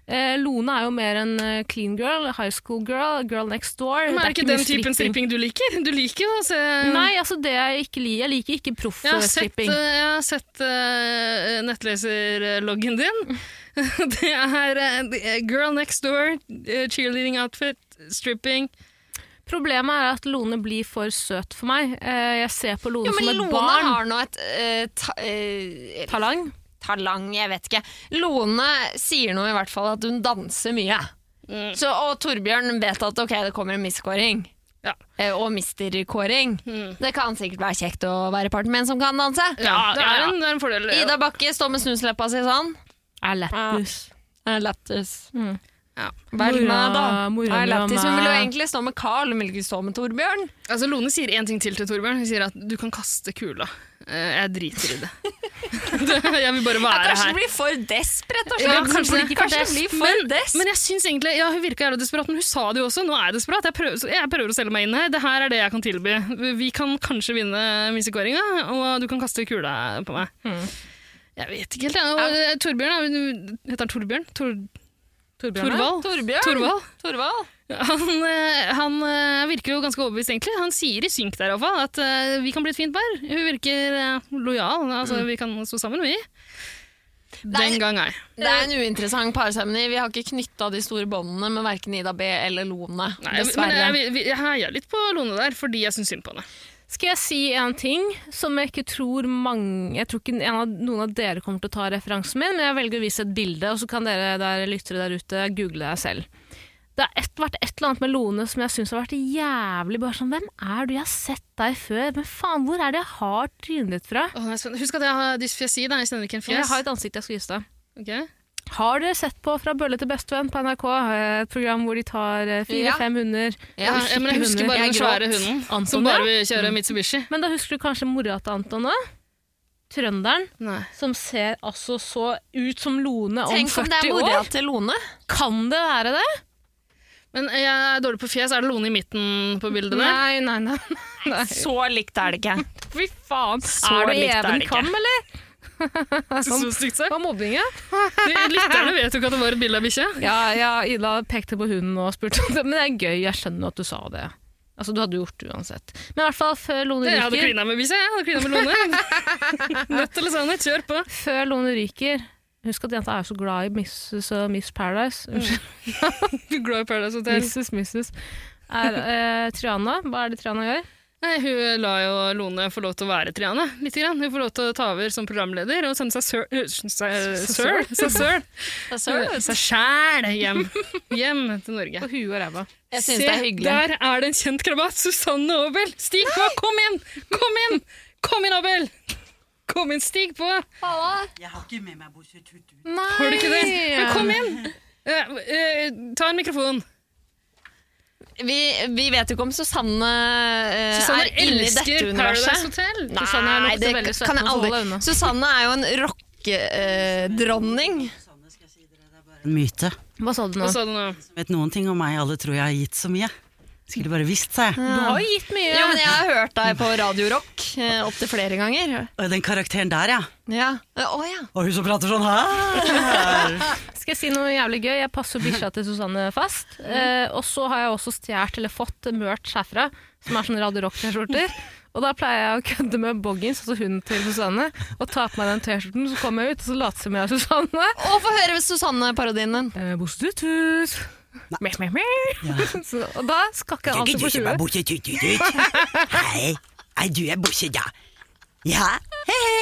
Eh, Lone er jo mer en eh, clean girl, high school girl, girl next door. Men er det ikke den mye typen stripping du liker? Du liker jo å se Nei, altså det jeg ikke liker. Jeg liker ikke Jeg har sett, proff-stripping. eh, jeg har sett eh, nettleserloggen din. det er eh, det er Girl Next Door, eh, cheerleading outfit, stripping. Problemet er at Lone blir for søt for meg. Eh, jeg ser på Lone Jo, som men et Lone barn. har nå et eh, ta, eh, Talang. talang, jeg vet ikke. Lone sier nå i hvert fall at hun danser mye. Mm. Så, og Torbjørn vet at ok, det kommer en misskåring. Ja. Mm. Eh, Og misterkåring. Det kan sikkert være kjekt å være part med en som kan danse. Ja, det, ja, er ja. en, det er en fordel. eh, Ida Bakke står med snusleppa si sånn. Mm. Er lættis. Er lættis. Ja. Vær med, da. Mora- mora Er lættis. Hun mi. vil jo egentlig stå med Carl, hun vil ikke stå med Torbjørn. Altså, Lone sier én ting til til Torbjørn. Hun sier at du kan kaste kula. Eh, jeg driter i det. det. Jeg vil bare være Kanskje her. hun blir for desperat. Ja, Kanskje, kanskje kanskje, det. kanskje hun Kanskje. blir for dess. Men jeg synes egentlig, ja, Hun virka jævla desperat, men hun sa det jo også. Nå er jeg desperat. Jeg prøver, så jeg prøver å selge meg inn her. Det her er det jeg kan tilby. Vi kan kanskje vinne missekåringa, og du kan kaste kula på meg. Jeg vet ikke helt. Ja. Og, eh, Torbjørn er- Heter han Torbjørn? Tor, Torbjørn, ja. Torvald? Torbjørn. Torvald? Torvald. Han, eh, han eh, virker jo ganske overbevist, egentlig. Han sier i synk der iallfall at eh, vi kan bli et fint par. Hun virker eh, lojal. Altså, Vi kan stå sammen, vi. Nei. Den gang ei. Det er en uinteressant parseremoni. Vi har ikke knytta de store båndene med verken Ida B eller Lone. Nei, men dessverre. eh, jeg, jeg, jeg heier litt på Lone der, fordi jeg syns synd på henne. Skal jeg si en ting som jeg ikke tror mange Jeg tror ikke en av, noen av dere kommer til å ta referansen min, men jeg velger å vise et bilde, og så kan dere der, lyttere der ute google det selv. Det har et, vært et eller annet med Lone som jeg syns har vært jævlig bare sånn Hvem er du? Jeg har sett deg før. Men faen, hvor er det jeg har trynet ditt fra? Åh, det er spennende. Husk at jeg har dysfjesi, da. Jeg kjenner ikke en Jeg fjes. har et ansikt jeg skal vise deg. Ok. Har dere sett på Fra bølle til bestevenn på NRK? eh, Et program hvor de tar Ja. fire-fem hunder. Ja, og men jeg husker hunder. bare Jeg gråt. den svære hunden som Anton, bare da? vil kjøre Mitsubishi. Men da husker du kanskje mora til Anton òg? trønderen Nei. som ser altså så ut som Lone om Tenk om det 40 er år. mora til Lone. Kan det være det? Men eh, jeg er dårlig på fjes. Er det Lone i midten på bildet der? Nei, nei, nei. nei. Så likt er det ikke. Fy faen. Så er du likt er det Even ikke. Kam, eller? Så stygt sagt. Hva mobbing, ja? De- Lytterne vet jo ikke at det var et bilde av bikkje. Ja, ja, Ida pekte på hunden og spurte om det. Men det er gøy, jeg skjønner jo at du sa det. Altså, du hadde jo gjort det uansett. Men i hvert fall, før Lone Jeg hadde ryker, klina med bikkje. Jeg hadde klina med Lone. Nødt eller sannhet, kjør på. før Lone ryker Husk at jenta er jo så glad i Mrs. og Miss Paradise. Unnskyld, Glad i Paradise Hotel. Mrs. Mrs. Er, eh, Triana, hva er det Triana gjør? Nei, hun la jo Lone få lov til å være Triane litt. Grann. Hun får lov til å ta over som programleder og sende seg sør... øh, seg- Sør? Seg søl. Seg sjæl hjem. Hjem til Norge. På huet og ræva. Jeg synes det er hyggelig. der er det en kjent krabat! Susanne Aabel! Stig på! Kom inn! Kom inn! Kom inn, Aabel! Kom inn, stig på! Jeg har ikke med meg bortsett tut-tut. Har du ikke det? Men kom inn! Eh, eh, ta en mikrofon. Vi, vi vet jo ikke om Susanne, eh, Susanne er inne i dette elsker Paradise universet. Hotel. Susanne er nok Nei, også det veldig søt, kan må jeg holde aldri. unna. Susanne er jo en eh, rockedronning. Sanne, skal jeg si dere, det er bare en myte. Hva sa du nå? Hva sa du nå? Som vet noen ting om meg, alle tror jeg har gitt så mye. Skulle bare visst, sa Mm. jeg. Du har jo gitt mye. Jo, men jeg har hørt deg på Radio Rock eh, opptil flere ganger. Og den karakteren der, ja. Ja. Eh, Å ja. Og hun som prater sånn her. Skal jeg si noe jævlig gøy? Jeg passer bikkja til Susanne fast. Eh, og så har jeg også stjålet eller fått merch herfra, som er sånn Radio Rock-T-skjorter. Og da pleier jeg å kødde med Boggins, altså hunden til Susanne, og ta på meg den T-skjorten. Så kommer jeg ut, og så later som jeg er Susanne. Å, få høre Susanne-parodien din. Eh, Bostutut. Meh, meh, meh. Så- Og da skakker jeg Det er alltid ikke på du som er huet. bortsett tut-tut. Hei, er du er bortsett, ja. Ja, he-he.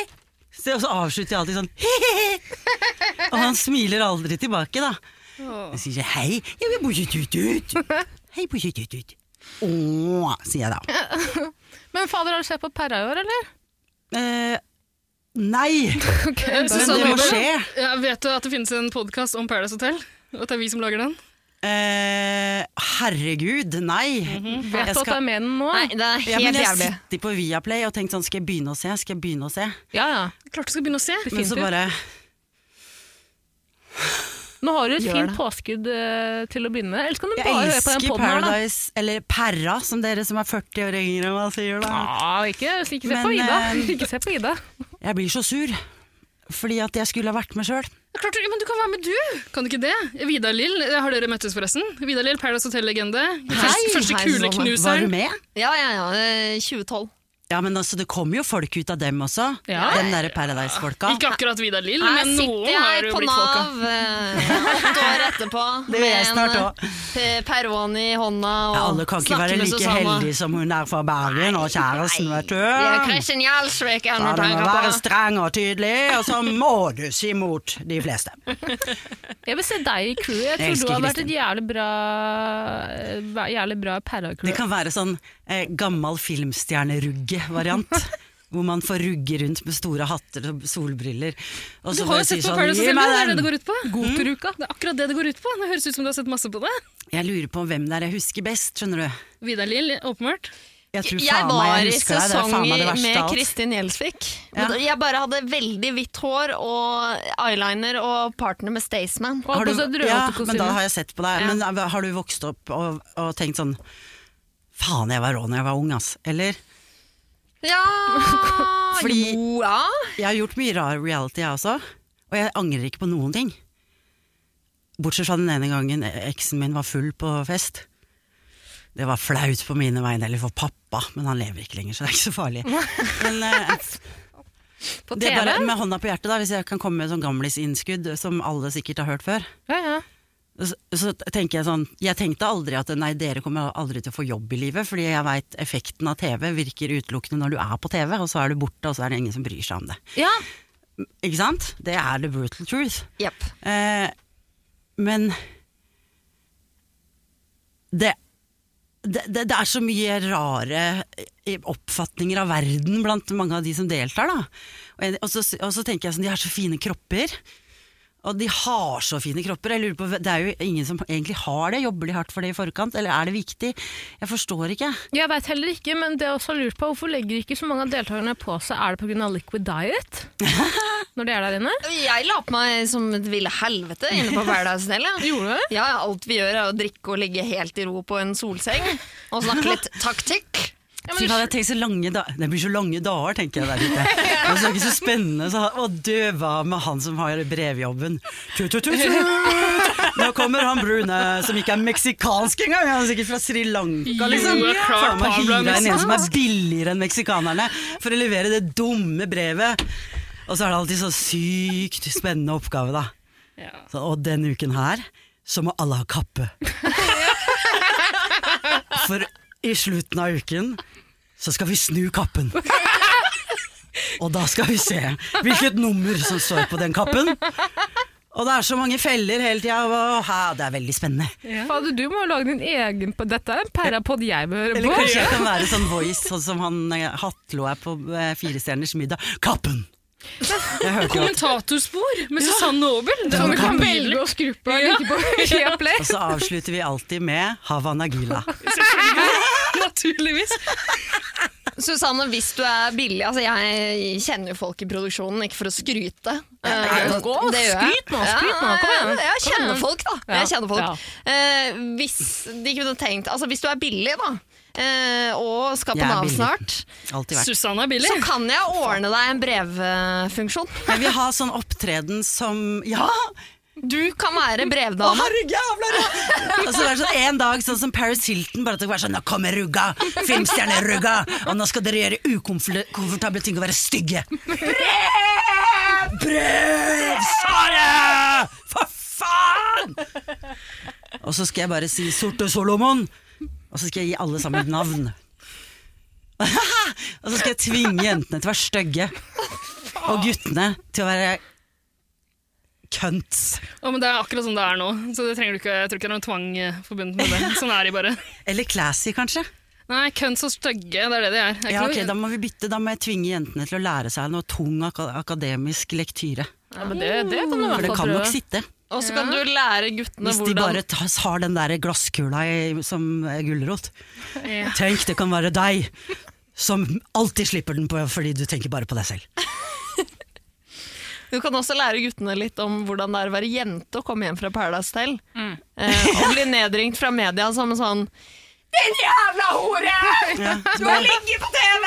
Så, og så avslutter jeg alltid sånn he-he. Og han smiler aldri tilbake, da. Jeg sier jeg, hei, jeg vil bortsett tut-tut. Hei, bortsett tut-tut. Åh, sier jeg da. Men fader, har du sett på Perra i år, eller? Eh, nei, Eh, men det Susanne må Aabel, skje. Ja, vet du at det finnes en podkast om Paradise Hotel? Og at det er vi som lager den? Eh, herregud, nei. Vet Jeg du at det er skal, med den nå? Nei, det er ja, men helt jeg jævlig. sitter på Viaplay og tenker sånn, skal jeg begynne å se? Skal jeg begynne å se? Ja, ja. Klart du skal begynne å se. Men så Definitivt. bare Nå har du et Gjør fint det. påskudd eh, til å begynne med. Ellers kan du Jeg bare høre på den elsker podden her, da. Paradise, eller Perra, som dere som er 40 år yngre enn meg sier da. Ja, Ah, ikke, ikke se på Men, Ida. eh, Ikke se på Ida. Jeg blir så sur, fordi at jeg skulle ha vært med sjøl. Ja, Klart, du- ja, men du kan være med, du! Kan du ikke det? Vidar Lill, eh, har dere møttes forresten? Vidar Lill, Paradise Hotel-legende. Første, første hei, Var du kuleknuseren. med? Ja, ja, ja. eh, 2012. Ja, men altså, det kommer jo folk ut av dem også. Ja. Den derre Paradise-folka. Ikke akkurat Vidar Lill, Her men noen sitter har jeg jo på blitt folk av. Nav eh, åtte år etterpå Det gjør jeg med snart en òg. eh, Peroni i hånda og Ja, alle kan ikke snakker være med like Susanne. heldige som hun der fra Bergen og kjæresten, vet du. Det er Kristin Gjelsvik jeg Ja, nå du må tenker være på. streng og tydelig, og så må du si mot de fleste. Jeg vil se deg i crewet. Jeg tror Jeg elsker du hadde vært et Kristin. jævlig bra, eh, væ- jævlig bra Det para-crew. kan være sånn eh, gammel filmstjernerugge-variant. Hvor man får rugge rundt med store hatter og solbriller. Og Du så har bare jo sett sier på sånn Paradise Gi Hotel, det meg er det det den! går ut på. Det er akkurat det det går ut på. Det høres ut som du har sett masse på det. Jeg lurer på hvem det er jeg husker best, skjønner du. Vidar Lill, åpenbart. Jeg tror Jeg faen meg var jeg i husker deg. Det er faen meg det sesonger verste med av alt. Kristin Gjelsvik. Ja. Jeg bare hadde veldig hvitt hår og eyeliner og partner med Staysman. Og Har på du, seg ja, drømmekostyme. men da har jeg sett på deg. Men eh, har du vokst opp og, og tenkt sånn Faen, jeg var rå når jeg var ung, ass. Eller? Ja Fordi- Jo, ja. Jeg har gjort mye rar reality, jeg også. Og jeg angrer ikke på noen ting. Bortsett fra den ene gangen eksen min var full på fest. Det var flaut på mine vegne, eller for pappa, men han lever ikke lenger, så det er ikke så farlig. Men, eh, På det TV. er bare, med hånda på hjertet, da, hvis jeg kan komme med sånn gamlisinnskudd som alle sikkert har hørt før, Ja, ja. så, så tenker jeg sånn Jeg tenkte aldri at nei, dere kommer aldri til å få jobb i livet, fordi jeg veit effekten av TV virker utelukkende når du er på TV, og så er du borte, og så er det ingen som bryr seg om det. ja. Ikke sant? Det er the brutal truth. Jepp. Eh, men det, det, det, det er så mye rare eh, oppfatninger av verden blant mange av de som deltar. Da. Og, jeg, og, så, og så tenker jeg sånn, de har så fine kropper. Og de har så fine kropper. Jeg lurer på, Det er jo ingen som egentlig har det. Jobber de hardt for det i forkant, eller er det viktig? Jeg forstår ikke. Jeg veit heller ikke, men det er også lurt på hvorfor legger ikke så mange av deltakerne på seg? Er det pga. liquid diet? Når de er der inne? Jeg la på meg som et ville helvete inne på Paradise Hotel. ja. Gjorde du det? Ja, ja, alt vi gjør er å drikke og ligge helt i ro på en solseng og snakke litt taktikk. Fy faen, jeg tenker så lange da Det blir så lange dager, tenker jeg der ute. Det er så ikke så spennende. Så, å, døva med han som har brevjobben. Tut, tut, tut, tut. Nå kommer han brune, som ikke er meksikansk engang. Han er sikkert fra Sri Lanka, liksom. Jo, det er klart Faen, må Pablo er hyre inn en som er billigere enn meksikanerne, for å levere det dumme brevet. Og så er det alltid så sykt spennende oppgave, da. Ja. Så, og denne uken her, så må alle ha kappe. For i slutten av uken, så skal vi snu kappen. Og da skal vi se hvilket nummer som står på den kappen. Og det er så mange feller hele tida. og hæ, Det er veldig spennende. Fader, du må jo lage din egen pod- Dette er en pærapod jeg bør høre Eller på. kanskje jeg kan være sånn voice, sånn som han eh, Hatlo er på eh, Firestjerners middag. Kappen! Jeg hørte jo at Kommentatorspor med Susanne Nobel. Det Kan var vi kan helt velge nydelig. å skru på like på Viaplay? Og så avslutter vi alltid med Havana Gila. Naturligvis. Susanne, hvis du er billig altså Jeg kjenner jo folk i produksjonen, ikke for å skryte. Eh, gå og det gjør jeg. skryt nå, skryt nå, kom igjen. Ja, Jeg kjenner folk, da. Ja, Jeg kjenner folk. ja. Eh, hvis de kunne tenkt Altså, hvis du er billig, da, eh, og skal på Jeg er Nav billig. snart, Alltid vært. Susanne er billig. så kan jeg ordne deg en brevfunksjon. Jeg vil ha sånn opptreden som Ja! Du kan være Å, brevdame. herregud, jævla rå! Og så var det sånn en dag sånn som Paris Hilton, bare at det var sånn Nå kommer rugga! Filmstjerne-rugga! Og nå skal dere gjøre ukomfortable ting og være stygge! Brev! Brev! Sara! For faen! Og så skal jeg bare si Sorte Solomon, og så skal jeg gi alle sammen et navn. og så skal jeg tvinge jentene til å være stygge, og guttene til å være cunts. Å, men det er akkurat sånn det er nå, så det trenger du ikke, jeg tror ikke det er noen tvang eh, forbundet med det. Sånn er de bare. Eller classy, kanskje. Nei, kønn så stygge, det er det de er. Det er Ja, ikke ok, noe- Da må vi bytte, da må jeg tvinge jentene til å lære seg noe tung ak akademisk lektyre. Ja, men det, det kan du i Mm. For hvert det fall kan nok prøve. sitte, Og så kan du lære guttene hvis de hvordan bare ta- har den der glasskula i, som eh, gulrot. Ja. Tenk, det kan være deg som alltid slipper den på fordi du tenker bare på deg selv. Du kan også lære guttene litt om hvordan det er å være jente og komme hjem fra Paradise Hotel. Eh, og bli nedringt fra media som en sånn Du har ligget på TV!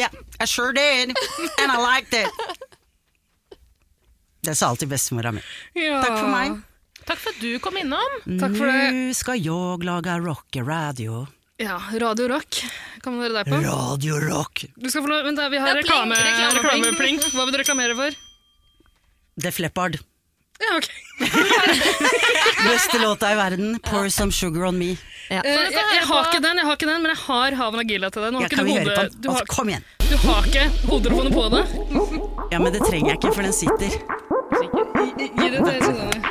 Ja, I sure did, and I liked it. Det sa alltid bestemora mi. Ja. Takk for meg. Mm. Takk for at du kom innom. Takk for det. Nå skal jeg lage rockeradio. Ja, Radio Rock kan dere deg på. Radio rock. Du skal få lov, vent da, Vi har reklame, reklameplink. Hva vil du reklamere for? Def Leppard. Ja, ok. Beste låta i verden, 'Pour Some Sugar On Me'. Eh, jeg, jeg har ikke den, jeg har ikke den, men jeg har Havana Gila til deg. Nå Ja, har kan ikke vi du, høre på hode, den? du, Å, har, Kom igjen! du har ikke hodetelefoner på deg? Ja, men det trenger jeg ikke, for den sitter. Gi det til Susanne. Å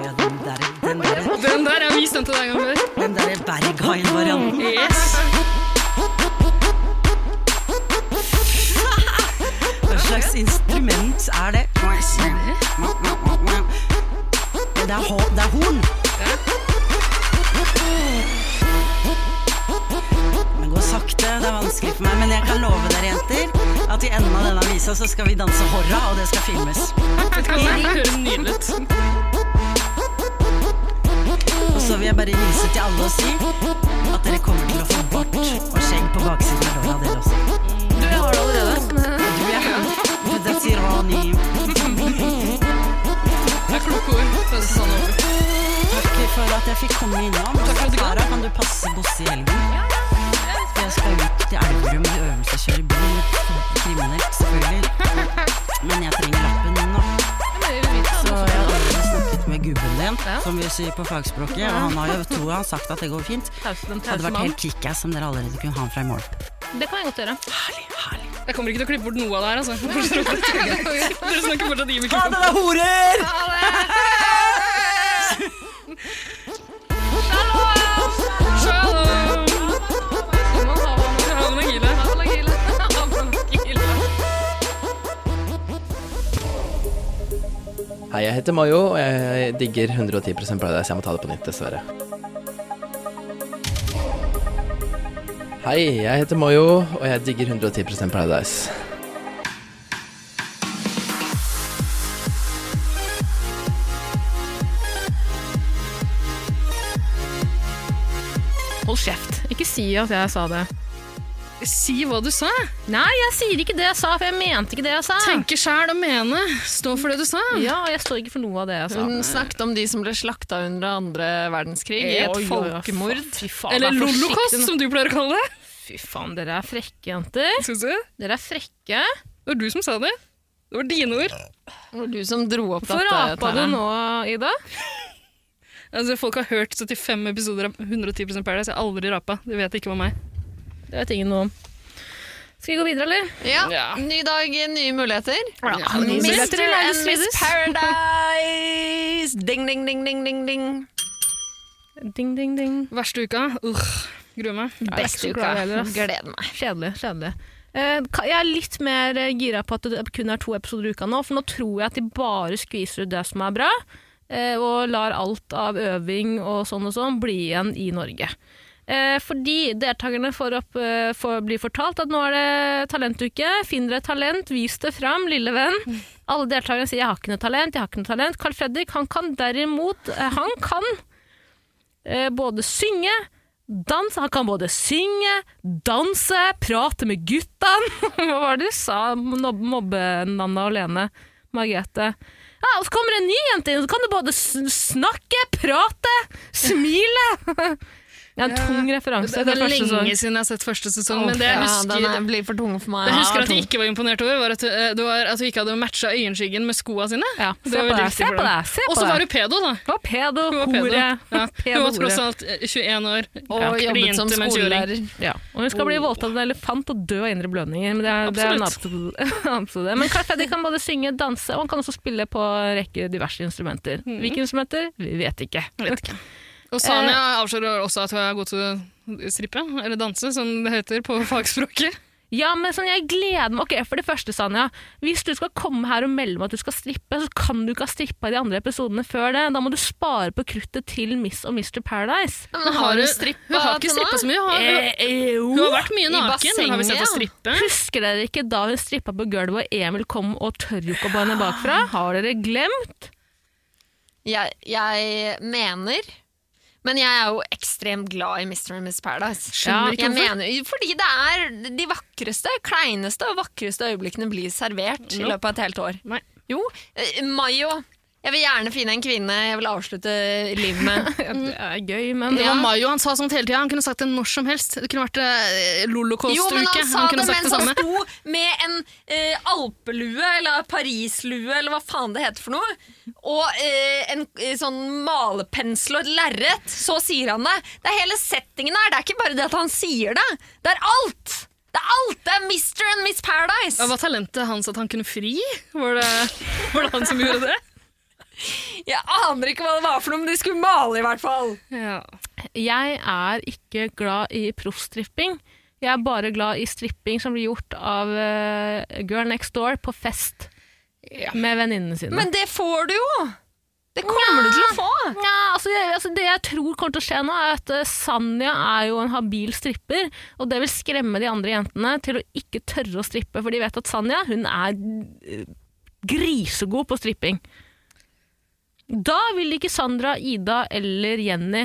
Ja, den der, den der, Den der, jeg har vist den til deg en gang før. den der Berghain-varianten. Yes. Hva slags instrument er det? Det er, ho- det er horn. Det går sakte, det er vanskelig for meg, men jeg kan love dere, jenter, at i enden av denne visa så skal vi danse horra, og det skal filmes. Vet du hva, Det høres nydelig ut. Og så vil jeg bare hilse til alle og si at dere kommer til å få bart og skjegg på baksiden av låra, dere også. Du, jeg har det allerede. Du, jeg That's irony. Det er kloke ord. Det er Susanne Aabel. Takk for at jeg fikk komme innom. Sara, kan du passe Bosse i helgen? For jeg skal ut til Elverum i øvelseskjøre bil. Kriminelt, selvfølgelig. Men jeg trenger lappen nå. Så jeg har allerede snakket med gubben din, som vi sier på fagspråket. Og han har jo, tror jeg, har sagt at det går fint. Tause den Hadde tause vært mann. helt kickass om dere allerede kunne ha han fra i morgen. Det kan jeg godt gjøre. Herlig, herlig. Jeg kommer ikke til å klippe bort noe av det her, altså. Dere snakker fortsatt i Ha mikrofonen. det, da, horer! Shalom! Havana Gila. Jeg heter Mayo, og jeg digger 110 Paradise. Jeg må ta det på nytt, dessverre. Hei, jeg heter Mayo, og jeg digger 110 Paradise. Hold kjeft. Ikke si at jeg sa det. Si hva du sa. Nei, jeg sier ikke det jeg sa, for jeg mente ikke det jeg sa. Tenke sjæl og mene. Stå for det du sa. Ja, og jeg står ikke for noe av det jeg sa. Hun snakket om de som ble slakta under andre verdenskrig i Eh, Oi, et oi, oi, folkemord. Fy faen, Eller vær forsiktig lolokost, nå. som du pleier å kalle det. Fy faen, dere er frekke, jenter. Skal vi se. Dere er frekke. Det var du som sa det. Det var dine ord. Det var du som dro opp Hvorfor dette, apa du Tara. nå, Ida? Altså, folk har hørt 75 episoder av 110 Paradise. Jeg har aldri rapa. Det vet ikke om meg. Det vet ingen noe om. Skal vi gå videre, eller? Ja. Ja. Ny dag, nye muligheter. Ja, men Mr. muligheter i and Lagos Miss Readers. Paradise! Ding, ding, ding, ding, ding, ding. Ding, ding, ding. Verste uka. Urgh. Gruer meg. Beste så uka. glad i dere, ass. Gleder meg. Kjedelig. kjedelig. Eh, ka- jeg er litt mer eh, gira på at det kun er to episoder i uka nå, for nå tror jeg at de bare skviser ut det som er bra, eh, og lar alt av øving og sånn og sånn bli igjen i Norge. Eh, fordi deltakerne får, opp, eh, får bli fortalt at nå er det talentuke, finn dere et talent, vis det fram, lille venn. Alle deltakerne sier 'jeg har ikke noe talent', 'jeg har ikke noe talent'. Carl Fredrik han kan derimot eh, Han kan eh, både synge, danse Han kan både synge, danse, prate med guttene. Hva var det du sa, Nob- mobbe-Nanna og Lene? Margrethe. Ja, og så kommer det en ny jente inn, så kan du både sn- snakke, prate, smile. Det er en tung referanse. Det til er lenge første sesong. siden jeg har sett første sesong, Åh, men det jeg Ja, husker, den er, blir for tung for meg. det jeg husker at jeg ikke var imponert over, var at, eh, det var at hun ikke hadde matcha øyenskyggen med skoa sine. Ja, Det se på var veldig deg, se viktig for på dem. deg, se Og på så deg. var hun pedo, da. Hun var pedo, Hun var pedo. hore. Ja. Hun var Pedo-hore. tross alt eh, 21 år. Og jobbet som skolelærer. Ja. Og hun skal bli voldtatt av en elefant og dø av indre blødninger. Men det er, det er en annen episode. Men Carl Freddy kan både synge, danse og han kan også spille på en rekke diverse instrumenter. Hvilke instrumenter? Mhm. Vi vet ikke. Og Sanja Eh. avslører også at hun er god til å strippe, eller danse, som det heter på fagspråket. Ja, men sånn, jeg gleder meg. Ok, For det første, Sanja. Hvis du skal komme her og melde om at du skal strippe, så kan du ikke ha strippa i de andre episodene før det. Da må du spare på kruttet til Miss og Mr. Paradise. Eh, Ja, Men har du Hun strippa har ikke strippa så mye. Hun har, jo. hun har vært Eh, mye i naken, men har vi sett henne bassenget, strippe? Husker dere ikke da hun strippa på gulvet og Emil kom og tørrjokka på henne bakfra? Har dere glemt? Jeg, jeg mener Men jeg er jo ekstremt glad i Mr. and Miss Paradise. Skjønner ikke jeg hvorfor. mener, fordi det er de vakreste, kleineste og vakreste øyeblikkene blir servert i løpet av et helt år. Nei. Jo, eh, Mayo. Jeg vil gjerne finne en kvinne jeg vil avslutte livet med. Det er gøy, men Det var Mayo, han sa sånt hele tida. Han kunne sagt det når som helst. Det kunne vært eh, Lolokost-uke. Jo, men han sa kunne det sagt mens det han samme. sto med en eh, alpelue, eller parislue, eller hva faen det heter for noe, og eh, en eh, sånn malepensel og et lerret. Så sier han det. Det er hele settingen her. Det er ikke bare det at han sier det. Det er alt! Det er alt! Det er Mr. and Miss Ja, Paradise! var talentet hans at han kunne fri? Var det, var det han som gjorde det? Jeg aner ikke hva det var for noe, men de skulle male, i hvert fall. Ja. jeg er ikke glad i proffstripping. Jeg er bare glad i stripping som blir gjort av eh, Girl Next Door på fest med venninnene sine. Men det får du jo! Det kommer du til å få. Ja, altså, jeg, altså Det jeg tror kommer til å skje nå, er at eh, Sanja er jo en habil stripper. Og det vil skremme de andre jentene til å ikke tørre å strippe, for de vet at Sanja hun er eh, grisegod på stripping. Da vil ikke Sandra, Ida eller Jenny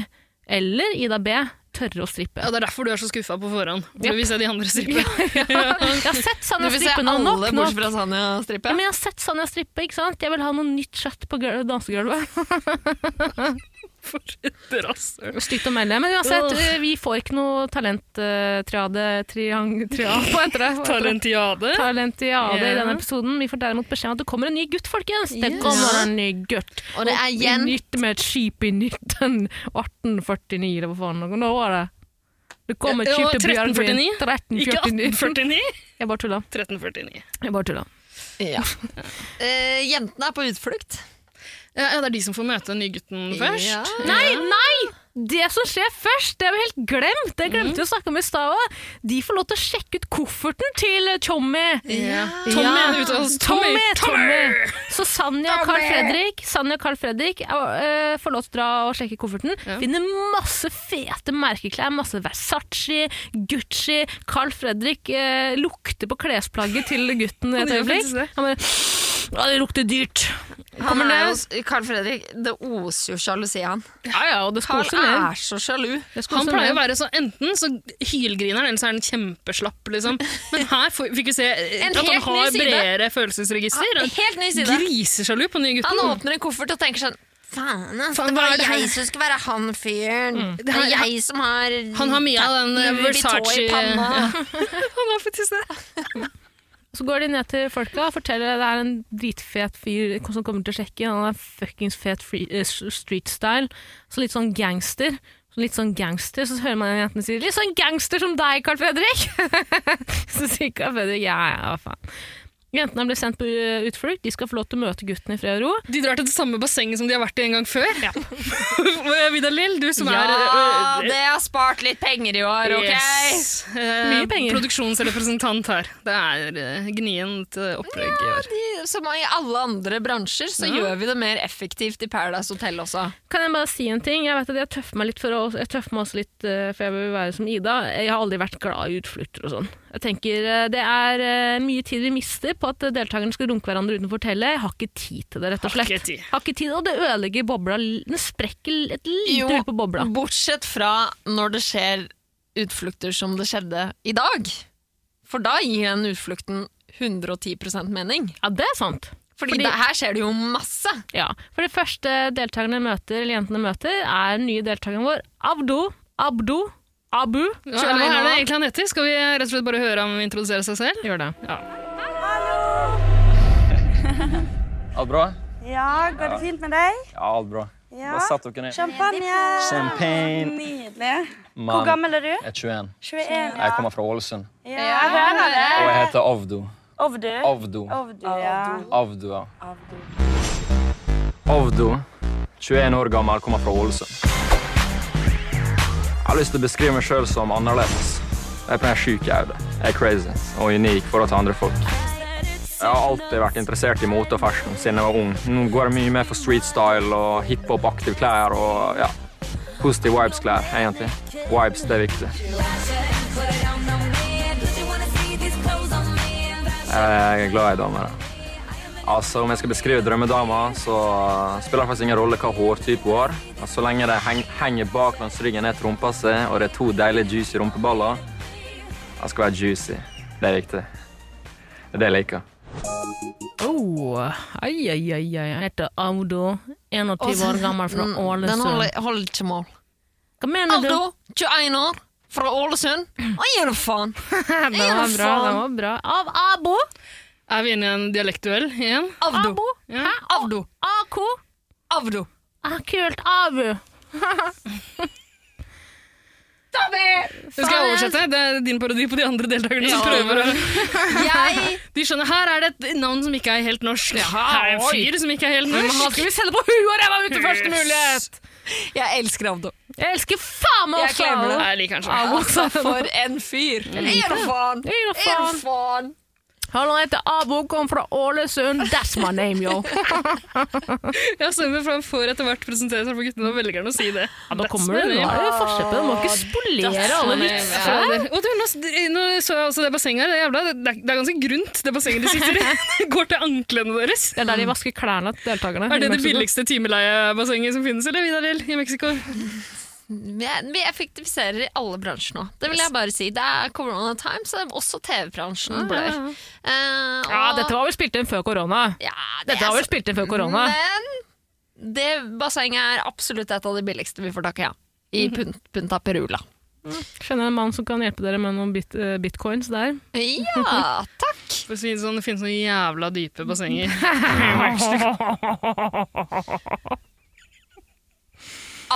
eller Ida B tørre å strippe. ja, Det er derfor du er så skuffa på forhånd. Du Japp. vil se de andre strippe. Jeg har sett Sanja strippe nå nok. nok. fra Sanja Ja, strippe. men jeg har sett Sanja strippe, ikke sant? Jeg vil ha noe nytt kjøtt på gul- dansegulvet. For et rasshøl. Stygt å melde. Men uansett, eh, vi får ikke noe talenttriade triang... Triang, hva heter det? Hva heter det? Talentiade. Talentiade i Ja. denne episoden. Vi får derimot beskjed om at det kommer en ny gutt, folkens! Det kommer en ny gutt. Og det er igjen- Nytt med et skip i 19... 1849, eller hva faen nå var det? Det kom et Ja, skip til byen 1349. min. 1349. Ikke 1849. Jeg bare tulla. 1349. Jeg bare tulla. Ja. Eh, jentene er på utflukt. Ja, ja, det er de som får møte den nye gutten først. Ja. Nei, nei! det som skjer først, det har vi helt glemt. Det glemte vi å snakke om i stad òg. De får lov til å sjekke ut kofferten til Tommy. Tommy Ja. er ute hos Tommy! Tommy! Tommy! Så Sanja og Carl Fredrik, Sanja og Carl Fredrik eh, eh, får lov til å dra og sjekke kofferten. Finner masse fete merkeklær. Masse Versace, Gucci. Carl Fredrik eh, lukter på klesplagget til gutten et gjør øyeblikk. faktisk det. Han bare Ja, det lukter dyrt. Han Kommer er ned. jo, Carl Fredrik, det oser jo sjalusi av han. Ja, ja, og det skal Carl også ned. er så sjalu. Det skal Han også pleier å ned. være så enten så hylgriner han, eller så er han kjempeslapp, liksom. Men her får- fikk vi se eh, En at han helt ny har side. bredere følelsesregister. Han Helt ny side. Grisesjalu på den nye Han gutten. åpner en koffert og tenker sånn Faen, ass, Faen, det hva var er det her? jeg som skulle være han fyren. Det er her- jeg som har Han har mye av den eh, Louis Vuitton Versace i panna. Ja. Han har faktisk det. Så går de ned til folka og forteller at det er en dritfet fyr som kommer til å sjekke. Han er fuckings fet free- eh, street style. Så litt sånn gangster. Så litt sånn gangster, så hører man jentene si 'litt sånn gangster som deg, Carl Fredrik'. så sier Carl Fredrik 'ja, ja, hva faen'. Jentene blir sendt på eh, utflukt. De skal få lov til å møte guttene i fred og ro. De drar til det samme bassenget som de har vært i en gang før. Vidar Lill, du som er Ja, eh, det har spart litt penger i år, OK? Yes. Eh, Mye penger. Produksjonsrepresentant her. Det er eh, gnient eh, opplegg i år. De- Som i alle andre bransjer, så gjør vi det mer effektivt i Paradise Hotel også. Kan jeg bare si en ting? Jeg vet at jeg tøffer meg litt for å, jeg tøffer meg også litt eh, for jeg vil være som Ida. Jeg har aldri vært glad i utflukter og sånn. Jeg tenker eh, Det er eh, mye tid vi mister på at eh, deltakerne skal runke hverandre utenfor hotellet. Jeg har ikke tid til det, rett og Har slett. ikke tid. Har ikke tid, Og det ødelegger bobla. Den sprekker et lite Jo. hull på bobla. Bortsett fra når det skjer utflukter som det skjedde i dag. For da gir den utflukten 110 mening. Ja, det er sant. Fordi, Fordi- det, her skjer det jo masse. Ja. For det første deltakerne møter, eller jentene møter, er den nye deltakeren vår, Abdo. Abdo. Abu. Ja, eller hva er det egentlig han heter? Skal vi rett og slett bare høre ham introdusere seg selv? Gjør det. Alt bra? Ja, går det fint med deg? Ja, alt bra. Ja. Satt dere ned. Champagne! Champagne. Nydelig. Mann, Hvor gammel er du? jeg er 21. 21. Ja, Jeg kommer fra Ålesund. jeg hører det. Og jeg heter Avdo. Ovdu. Avdo. Ovdu, ja. Avdo, ja. Avdo, 21 år gammel, kommer fra Ålesund. Jeg har lyst til å beskrive meg sjøl som annerledes. Jeg er på en sjuk jævel. Jeg er crazy og unik forhold til andre folk. Jeg har alltid vært interessert i mote og fashion siden jeg var ung. Nå går jeg mye mer for street style og hiphop-aktive klær og ja, positive vibes-klær, egentlig. Vibes, det er viktig. Jeg er glad i damer. da. Altså, Om jeg skal beskrive drømmedama, så spiller det faktisk ingen rolle hva hårtype hun har. Og så lenge det heng henger bak langs ryggen ned trompa si, og det er to deilige juicy rumpeballer Han skal være juicy. Det er viktig. Det er det jeg liker. Oh, ai, ai, ai, ai. Jeg heter Audo, 21 år gammel fra Mm. Den Ålesund. holder, holder ikke mål. Hva mener du? Aldo, 21 år, fra Ålesund. Hva gjør du faen? Den var bra, den var bra. Av Abo? Er vi inne i en dialektduell igjen? Avdo. Abo? Ja. Avdo. AK? Avdo. Ah, kult, Abu. Skal jeg oversette? Det er din parodi på de andre deltakerne som prøver å Jeg De skjønner, her er det et navn som ikke er helt norsk. her er en fyr som ikke er helt Nå norsk. skal vi selge på huet og ræva ut til første mulighet! Jeg elsker Avdo. Jeg elsker faen meg Jeg også klemmer Abo. det. Jeg liker han sånn. Altså, for en fyr. Hva gjør du faen? Jeg gir da Hva gjør faen. du faen? Hallo, jeg heter Abo, kom fra Ålesund. That's my name, yo. Jeg stemmer for han får etter hvert presentere seg for guttene, og velger han å si det. Ja, da kommer du, nå er det forskjell på det. Du må ikke spolere alle vitser. Fader. Og du, nå, nå så jeg altså det bassenget her. Det, er jævla, det, er- det er ganske grunt, det bassenget de sitter i. Det går til anklene deres. Det er der de vasker klærne til deltakerne. Er i det det Mexico. billigste timeleiebassenget som finnes, eller, Vidar Lill, i Mexico? Vi, er- vi effektiviserer i alle bransjer nå. Det vil jeg bare si. Det er corona time, så også TV-bransjen blør. Eh, og- Ja, dette var vel spilt inn før korona. Ja, det Dette er var vel så- spilt inn før korona. Men det bassenget er absolutt et av de billigste vi får tak i, ja. I Pun- Punta Perula. Kjenner en mann som kan hjelpe dere med noen bit, eh, bitcoins der. Ja, takk! For å si det sånn, det finnes noen jævla dype bassenger.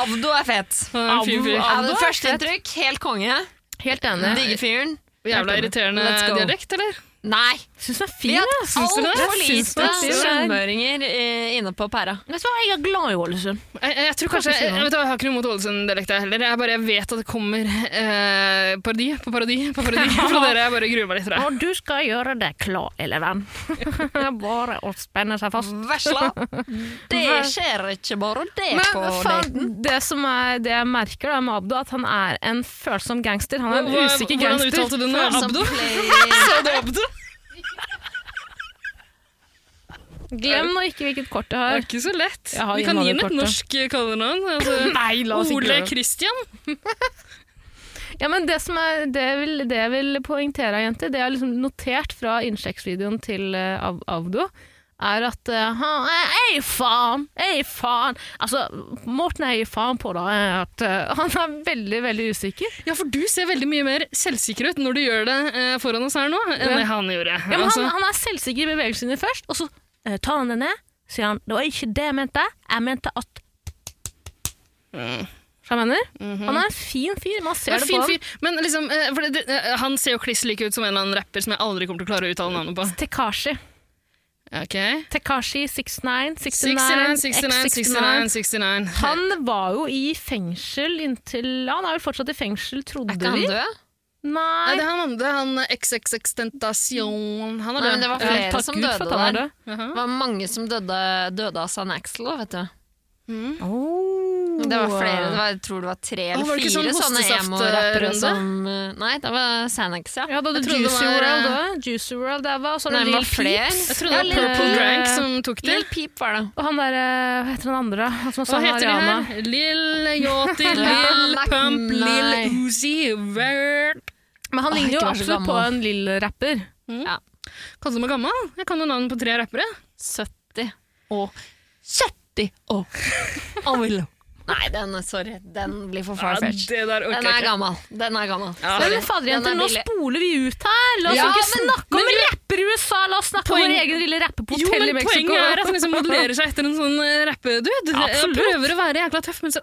Avdo er fet. Han er en fin fyr. Avdo Førsteinntrykk, helt konge. Helt enig. Digger fyren. Jævla irriterende Let's go. dialekt, eller? Nei! Syns den er Vi fin, har jeg. hatt altfor Syns lite den er fin, jeg. sunnmøringer eh, inne på pæra. Vet du hva, jeg er glad i Ålesund. Jeg, jeg tror kanskje, jeg, vet du, hva, jeg har ikke noe mot Ålesund-dialekta heller. Jeg bare jeg vet at det kommer eh, parodi på parodi på parodi fra dere. Jeg bare gruer meg litt til det. Og du skal gjøre deg klar, lille venn. Bare å spenne seg fast. Vesla! Det skjer ikke bare det på Men daten. faen, det som er det jeg merker da med Abdu, at han er en følsom gangster. Han er en Hva- usikker Hvordan gangster. uttalte du det nå? Som Abdo? play- Sa du Abdo? Glem nå ikke hvilket kort jeg Det har. er ikke så lett. Jeg har Vi kan gi den et innvandrerkortet. norsk eh, kallenavn. Altså, Nei, Ole Christian. Ja, men det, som er, det, jeg vil, det jeg vil poengtere, her, jenter, det jeg har liksom notert fra innsjekksvideoen til eh, Av Avdo, er at eh, han Ei, faen! Ei, faen! Altså, Morten er ei faen på da, er at eh, han er veldig, veldig usikker. Ja, for du ser veldig mye mer selvsikker ut når du gjør det eh, foran oss her nå, enn det han gjorde. Ja, men altså, han, han er selvsikker i bevegelsene sine først, og så eh, tar han det ned, sier han 'det var ikke det jeg mente, jeg mente at' Skjønner du hva jeg mener? Han er en fin fyr, man ser det, Mm. Mhm. det er på fin ham. fyr. Men liksom, eh, for det, det, han ser jo kliss like ut som en eller annen rapper som jeg aldri kommer til å klare å uttale navnet på. Tekashi. Ok. Tekashi 69, 69, 69, 69, 69, 69. Han var jo i fengsel inntil Han er vel fortsatt i fengsel, trodde Er ikke han vi. død? Nei, Nei, det er han andre. Han eh, XXX Tentacion. Han er Nei, død. men det var Ja. flere takk som Gud for døde at han er der. død. Det var mange som døde, døde av San Axel òg, vet du. Oh. Det var flere, det var, jeg tror det var tre eller var det ikke fire sånn sånne emo-rappere hostesaft-runde? som eh, Nei, det var San Axel, ja. Ja, da hadde Jeg trodde det Juicy var, World eh, òg. Juicy World, der var, og så var Nei, det det Lil var flere. Peeps. Jeg tror det var Ja, Purple Lil- Drank som tok det. Lill Peep var det. Og han der, eh, hva heter han andre? Han som Hva sang heter de Ariana. her? Lill Yachty, Lill Ja, Pump, nei. Lill Uzi Vert. Men han Åh, ligner jo ikke vær så absolutt på gammel. en lille rapper. Kalte meg gammel. Jeg kan jo navn på tre rappere. 70 og 70 og Avilo. Nei, den, sorry. Den blir for farfetch. det der orker Den jeg er ikke. gammel. Den er gammel. Ja. Sorry. Men fader, jenter, Den er nå billig. spoler vi ut her! La oss Ja, ikke men- snakke om rapper i USA! La oss snakke om Poeng- vår egen lille Jo, rappepotell i men Mexico. poenget er at han liksom modellerer seg etter en sånn eh, rappedude. Jeg Absolutt. prøver å være jækla tøff, men så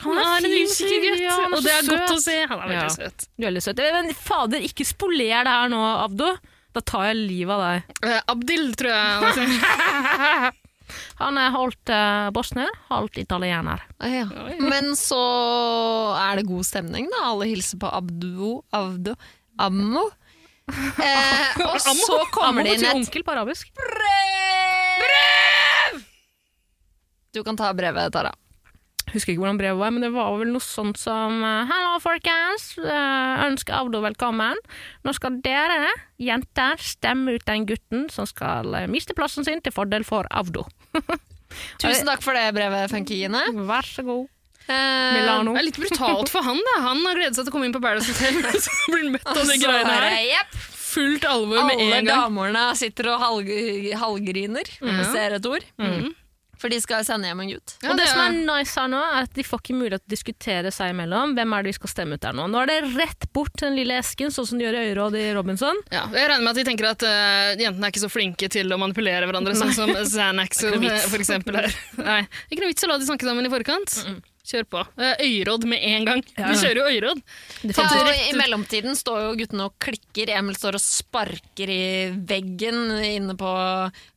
Han er er en fin usikker fyr, ja, han er gutt, og så det er godt søt. å se. Han er Ja. veldig søt. Du er veldig søt. Men fader, ikke spoler det her nå, Abdo. Da tar jeg livet av deg. Eh, Abdil, tror jeg. han heter. Han er halvt eh, bosnier, halvt italiener. Å, ja. Men så er det god stemning, da. Alle hilser på Abduo, Avdo, Ammo. Eh, og så kommer det Ammo inn betyr et onkel på arabisk. Du kan ta brevet, Tara. Husker ikke hvordan brevet var, men det var vel noe sånt som eh, Hallo, folkens. Eh, Ønsker Avdo velkommen. Nå skal dere, jenter, stemme ut den gutten som skal eh, miste plassen sin til fordel for Avdo. Tusen takk for det brevet, Funkygine. Vær så god. Eh, Milano. Det er litt brutalt for han. da. Han har gledet seg til å komme inn på Paradise Hotel, og så blir han møtt av og de så greiene er her. det jepp, Fullt alvor med alle en gang. damene sitter og halg, halvgriner, hvis det er et ord. Mhm. For de skal sende hjem en gutt. Ja, og det, det som er- er nice her nå, er at de får ikke mulighet til å diskutere seg imellom. Hvem er det vi skal stemme ut der nå? Nå er det rett bort til den lille esken, sånn som de gjør i Øyråd i Robinson. Ja, jeg regner med at de tenker at eh, jentene er ikke så flinke til å manipulere hverandre, sånn som Xanax og, eh, for eksempel her. Nei, det er ikke noe vits å la de snakke sammen i forkant. Kjør på. Eh, Øyråd med en gang. Vi kjører jo øyråd. Ja, og I mellomtiden står jo guttene og klikker. Emil står og sparker i veggen inne på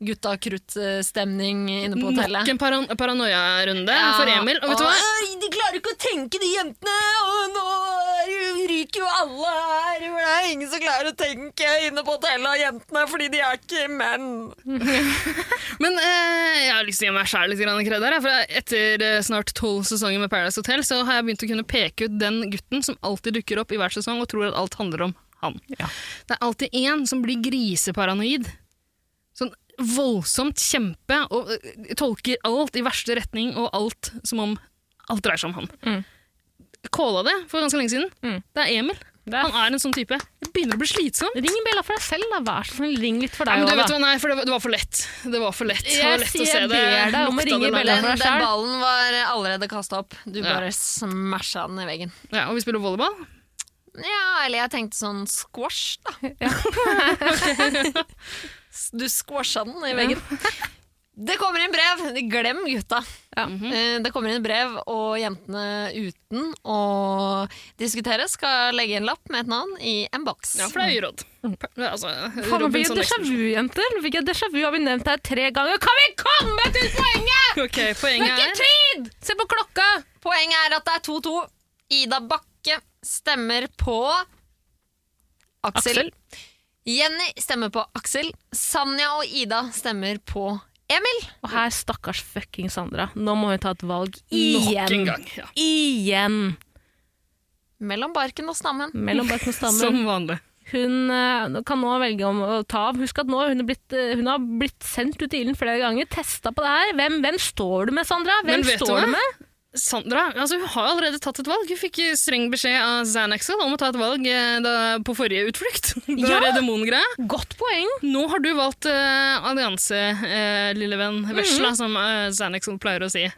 gutta krutt-stemning inne på Nok hotellet. en paran paranoia-runde for Emil. Og vet du hva? «Øy, De klarer ikke å tenke, de jentene! Og nå er- ryker jo alle her! For det er ingen som klarer å tenke inne på hotellet av jentene, fordi de er ikke menn! Men eh, jeg har lyst til å gi meg sjæl litt grann kred her. jeg, For etter eh, snart tolv sesonger med Paradise Hotel så har jeg begynt å kunne peke ut den gutten som alltid dukker opp i hver sesong og tror at alt handler om han. Det er alltid én som blir griseparanoid. Sånn voldsomt kjempe og eh, tolker alt i verste retning og alt som om alt dreier seg om han. Mm. Kåla det for ganske lenge siden. Mm. Det er Emil. Det er- Han er en sånn type. Jeg begynner å bli slitsom. Ring bjella for deg selv, da. Vær så snill, ring litt for Nei, deg men òg, du vet da. hva, nei, for det var, det var for lett. Det var for lett. Det Jeg var lett å sier se jeg det. ber deg om å Lukta ringe det Bella. langt. Den, for deg den selv. ballen var allerede kasta opp. Du Ja. bare smasha den i veggen. Ja, og vi spiller volleyball. Ja, eller jeg tenkte sånn squash, da. Du squasha den i veggen. Det kommer inn brev! Glem gutta. Mhm. Eh, Det kommer inn brev, og jentene uten å diskutere skal legge en lapp med et navn i en boks. Ja, for det er uråd. Altså, Faen, nå blir det Robinson déjà vu, jenter. Nå fikk jeg déjà vu, har vi nevnt det her tre ganger. Kan vi komme til poenget?! Expedition. Ok, Det er poenget ikke er tid! Se på klokka! Poenget er at det er 2-2. Ida Bakke stemmer på Aksel. Aksel. Jenny stemmer på Aksel. Sanja og Ida stemmer på Emil. Og her, stakkars fucking Sandra. Nå må hun ta et valg nok en igjen. gang. Ja. Igjen! Mellom barken og stammen. Mellom barken og stammen. Som vanlig. Hun eh, kan nå velge om å ta av. Husk at nå hun, er blitt, eh, hun har blitt sendt ut i ilden flere ganger, testa på det her. Hvem, hvem står du med, Sandra? Men Hvem vet du står hva? du med? Sandra altså, hun har allerede tatt et valg. Hun fikk eh, streng beskjed av Xanaxel om å ta et valg eh, da, på forrige utflukt. Da Ja! var det demongreia. Godt poeng! Nå har du valgt eh, allianse, eh, lille venn Vesla, Mhm. som eh, Xanaxel pleier å si.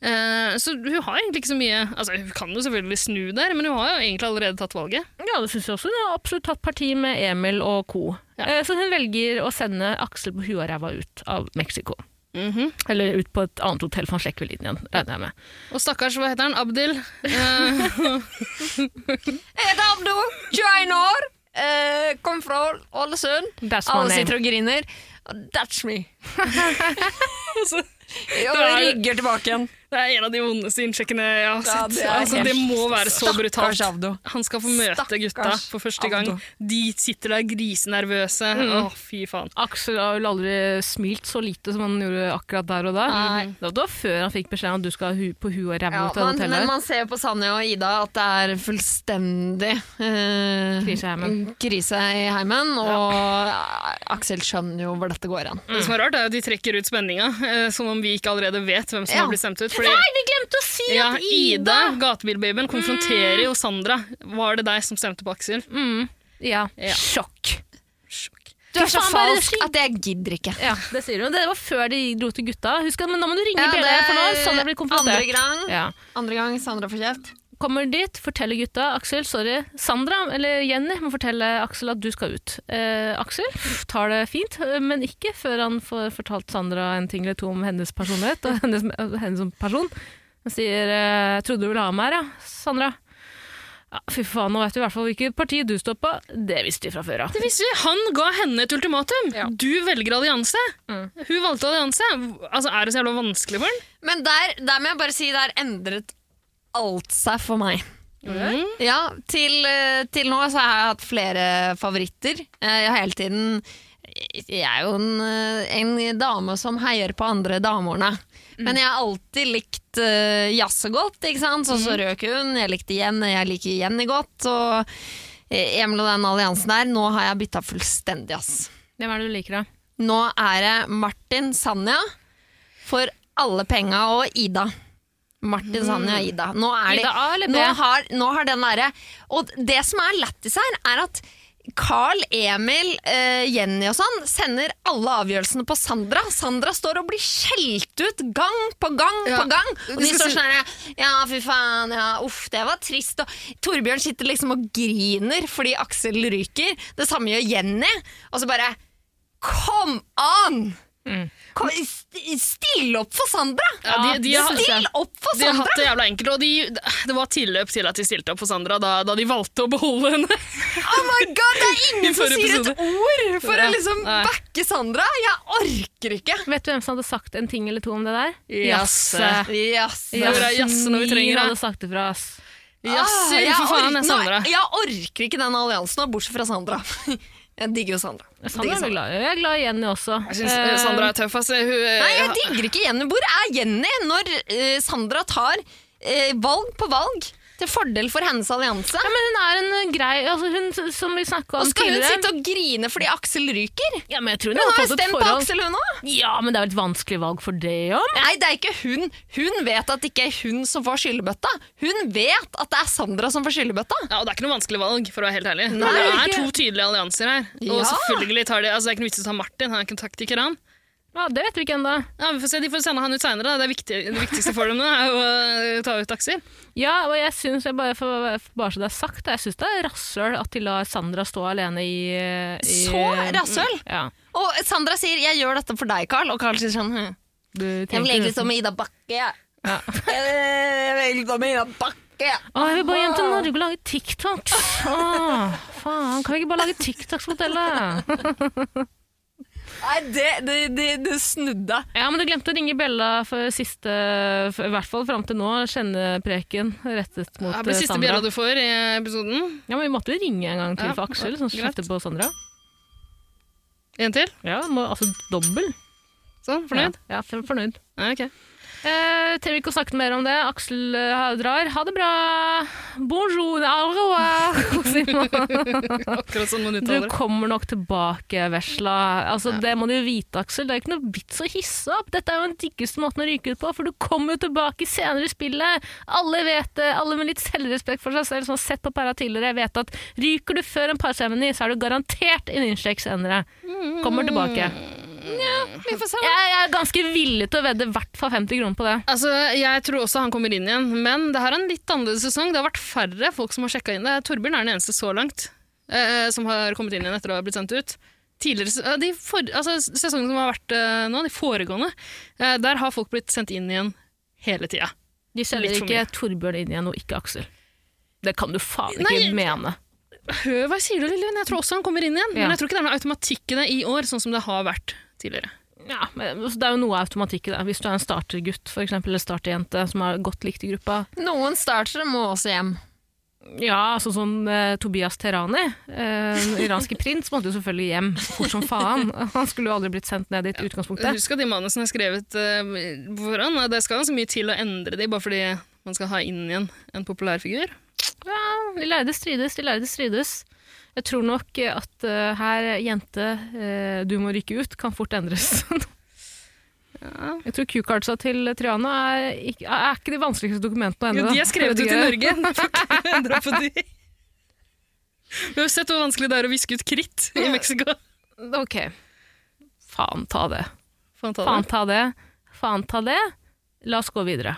Eh, så hun har egentlig ikke så mye altså, Hun kan jo selvfølgelig snu der, men hun har jo egentlig allerede tatt valget. Ja, det syns jeg også. Hun har absolutt tatt parti med Emil og co. Eh, Så hun velger å sende Aksel på huet og ræva ut av Mexico. Mhm. Eller ut på et annet hotell, for han slekker vel inn igjen, regner jeg med. Og stakkars, hva heter han? Abdil? Eh, Jeg heter Abdo, 21 år, eh, kom fra Ålesund. That's my Alle name. sitter og griner. That's me. Og det er- rygger tilbake igjen. det er en av de vondeste innsjekkene jeg Ja, har sett. det er altså, det må være så brutalt. Stakkars Abdo. Han skal få møte Stakkars gutta for første gang. Abdo. Mhm. De sitter der grisenervøse. Å, fy faen. Aksel har vel aldri smilt så lite som han gjorde akkurat der og da. Nei. Det var før han fikk beskjed om at du skal hu på huet og ræva Ja, ut av man, hotellet. men man ser jo på Sanja og Ida at det er fullstendig eh, Krise i heimen. krise i heimen, og eh, Aksel skjønner jo hvor dette går an. Det som er rart, er at de trekker ut spenninga, eh, som om vi ikke allerede vet hvem som Ja. har blitt stemt ut. Fordi Nei, vi glemte å si ja, at Ida Ida, gatebilbabyen, konfronterer jo Sandra. Var det deg som stemte på Aksel? Ja. Ja. Sjokk. Sjokk. Du er så faen, bare falsk slik- at jeg gidder ikke. Ja, det sier hun. Det var før de dro til gutta. Husk at, men nå må du ringe Ja, BD, for nå har det er Sandra blitt Andre konfrontert. gang, Ja. andre gang Sandra får kjeft. Kommer dit, forteller gutta Aksel, sorry, Sandra eller Jenny må fortelle Aksel at du skal ut. Eh, Aksel pff, tar det fint, eh, men ikke før han får fortalt Sandra en ting eller to om hennes personlighet og hennes, og henne som person. Han sier eh, 'jeg trodde du ville ha meg her, ja, Sandra'. Ja, fy faen, nå vet du i hvert fall hvilket parti du står på. Det visste vi fra før av. Det visste vi. Han ga henne et ultimatum. Du velger allianse. Mm. Hun valgte allianse. Altså, Er det så jævla vanskelig for ham? Men der, der må jeg bare si, der endret alt seg for meg. Mm. Ja, til, eh, til nå så har jeg hatt flere favoritter. Eh, Jeg har hele tiden Jeg er jo en, eh, en dame som heier på andre damerne. Men jeg har alltid likt uh, Jasse godt, ikke sant? Sånn som røk hun. Jeg likte Jenny, jeg liker Jenny godt. Og eh, Emil og den alliansen der, nå har jeg bytta fullstendig, ass. Hvem er det du liker, da? Nå er det Martin Sanja for alle penga og Ida. Martin Sanja og Ida. Nå er de, Mm. Ida A eller B? Nå har, nå har den derre Og det som er lættis her, er at Carl, Emil, eh, Jenny og sånn sender alle avgjørelsene på Sandra. Sandra står og blir skjelt ut gang på gang Ja. på gang. Og de skal står si- sånn her Ja, fy faen, ja, uff, det var trist. Og Torbjørn sitter liksom og griner fordi Aksel ryker. Det samme gjør Jenny. Og så bare Kom an! Kom, st- still opp for Sandra! Mm. Ja, de- de har- still opp for De har Sandra! hatt det jævla enkelt, og de, det var tilløp til at de stilte opp for Sandra da, da de valgte å beholde henne. Oh my god, det er I ingen som forrige sier et ord for å Ja, liksom nei. backe Sandra! Jeg orker ikke! Vet du hvem som hadde sagt en ting eller to om det der? Jasse. Yes. Hvor er Jasse når vi trenger Mye det? hadde sagt det fra oss. Jasser, for faen, det er Sandra. Ah, Nei, jeg orker ikke den alliansen, nå, bortsett fra Sandra. Jeg digger jo Sandra. Jeg Sandra digger er vi glad i. Jeg er glad i Jenny også. Jeg syns eh, Sandra er tøff, ass. Hun, eh, Nei, jeg digger ikke Jenny. Hvor er Jenny når eh, Sandra tar eh, valg på valg til fordel for hennes allianse? Ja, men hun er en eh, grei altså hun, Som vi snakket om Og skal hun tidligere. sitte og grine fordi Aksel ryker? Ja, men jeg tror hun, Hun har har jo fått et stemt på forhold. Aksel, hun òg! Ja, men det er jo et vanskelig valg for det òg. Nei, det er ikke hun. Hun vet at det ikke er hun som får skyllebøtta. Hun vet at det er Sandra som får skyllebøtta. ja, og det er ikke noe vanskelig valg, for å være helt ærlig. Nei, det er ikke. to tydelige allianser her. Og Ja. selvfølgelig tar de, altså, Det er ikke noe vits i å ta Martin, han er ikke en taktiker, han. Ja, det vet vi ikke ennå. Ja, vi får se, De får sende han ut seinere. Det, er viktig, det viktigste for dem nå er å eh, ta ut Aksel. Ja, og jeg syns, jeg bare, for, for bare så det er sagt, jeg syns det er rasshøl at de lar Sandra stå alene i, eh, i Så rasshøl! Ja. Og Sandra sier 'jeg gjør dette for deg, Carl', og Carl sier sånn «Hm, Du Jeg vil tenker egentlig nesten- stå med Ida Bakke, jeg. Jeg vil egentlig stå med Ida Bakke, jeg. Å, jeg vil bare hjem til Norge og lage TikToks. Å, faen, kan vi ikke bare lage TikToks på hotellet? Nei, det, det, det, det snudde. Ja, men du glemte å ringe Bella for siste, for, i hvert fall fram til nå, kjennepreken rettet mot Det eh, blir siste Sandra. bjella du får i episoden. Ja, men vi måtte jo ringe en gang til Ja, for Aksel, som greit. skifter på Sandra. En til. Ja, må, altså dobbel. Sånn, fornøyd? Ja, ja for- fornøyd. Ja, ok. Eh, trenger ikke å snakke mer om det. Aksel eh, drar. Ha det bra! Bonjour, au revoir! sier man. Akkurat sånn Du man uttaler det. kommer nok tilbake, vesla. Altså, Det må du jo vite, Aksel. Det er ikke noe vits å hisse opp. Dette er jo den diggeste måten å ryke ut på, for du kommer jo tilbake senere i spillet. Alle vet det. Alle med litt selvrespekt for seg selv som har sett på para tidligere, vet at ryker du før en parseremoni, så er du garantert en innsjekk senere. Kommer tilbake. Vi får se. Jeg, jeg er ganske villig til å vedde i hvert fall 50 kroner på det. Altså, Jeg tror også han kommer inn igjen, men det her er en litt annerledes sesong. Det har vært færre folk som har sjekka inn. Det er- Torbjørn er den eneste så langt eh, som har kommet inn igjen etter å ha blitt sendt ut. Tidligere, se- eh, de for, altså, Sesongen som har vært eh, nå, de foregående, eh, der har folk blitt sendt inn igjen hele tida. De selger Litt for ikke Torbjørn inn igjen og ikke Aksel. Det kan du faen ikke Nei, mene. Hør hva jeg sier, du, Lillian. Jeg tror også han kommer inn igjen. Ja. Men jeg tror ikke det er noe automatikk i det i år, sånn som det har vært tidligere. Ja, men altså, Det er jo noe automatikk i det. Hvis du er en startergutt for eksempel, eller starterjente som er godt likt i gruppa. Noen startere må også hjem. Ja, altså sånn eh, Tobias Terani, eh, den iranske prins, måtte jo selvfølgelig hjem fort som faen. Han skulle jo aldri blitt sendt ned dit i utgangspunktet. Husk at de manusene er skrevet eh, på forhånd. og Det skal ganske mye til å endre de, bare fordi man skal ha inn igjen en populær figur. Ja, de lærde strides, de lærde strides. Jeg tror nok eh, at eh, her, jente, eh, du må ryke ut, kan fort endres. Jeg tror Q-cardsa til Triana er ikke, er ikke de vanskeligste dokumentene å endre. Jo, da. de er Jeg skrevet vet ut i ikke. Norge. Du får ikke endre på de. Vi har jo sett hvor vanskelig det er å viske ut kritt i Mexico. Ok. Faen ta det. Faen ta Faen det. ta det. Faen ta det. La oss gå videre.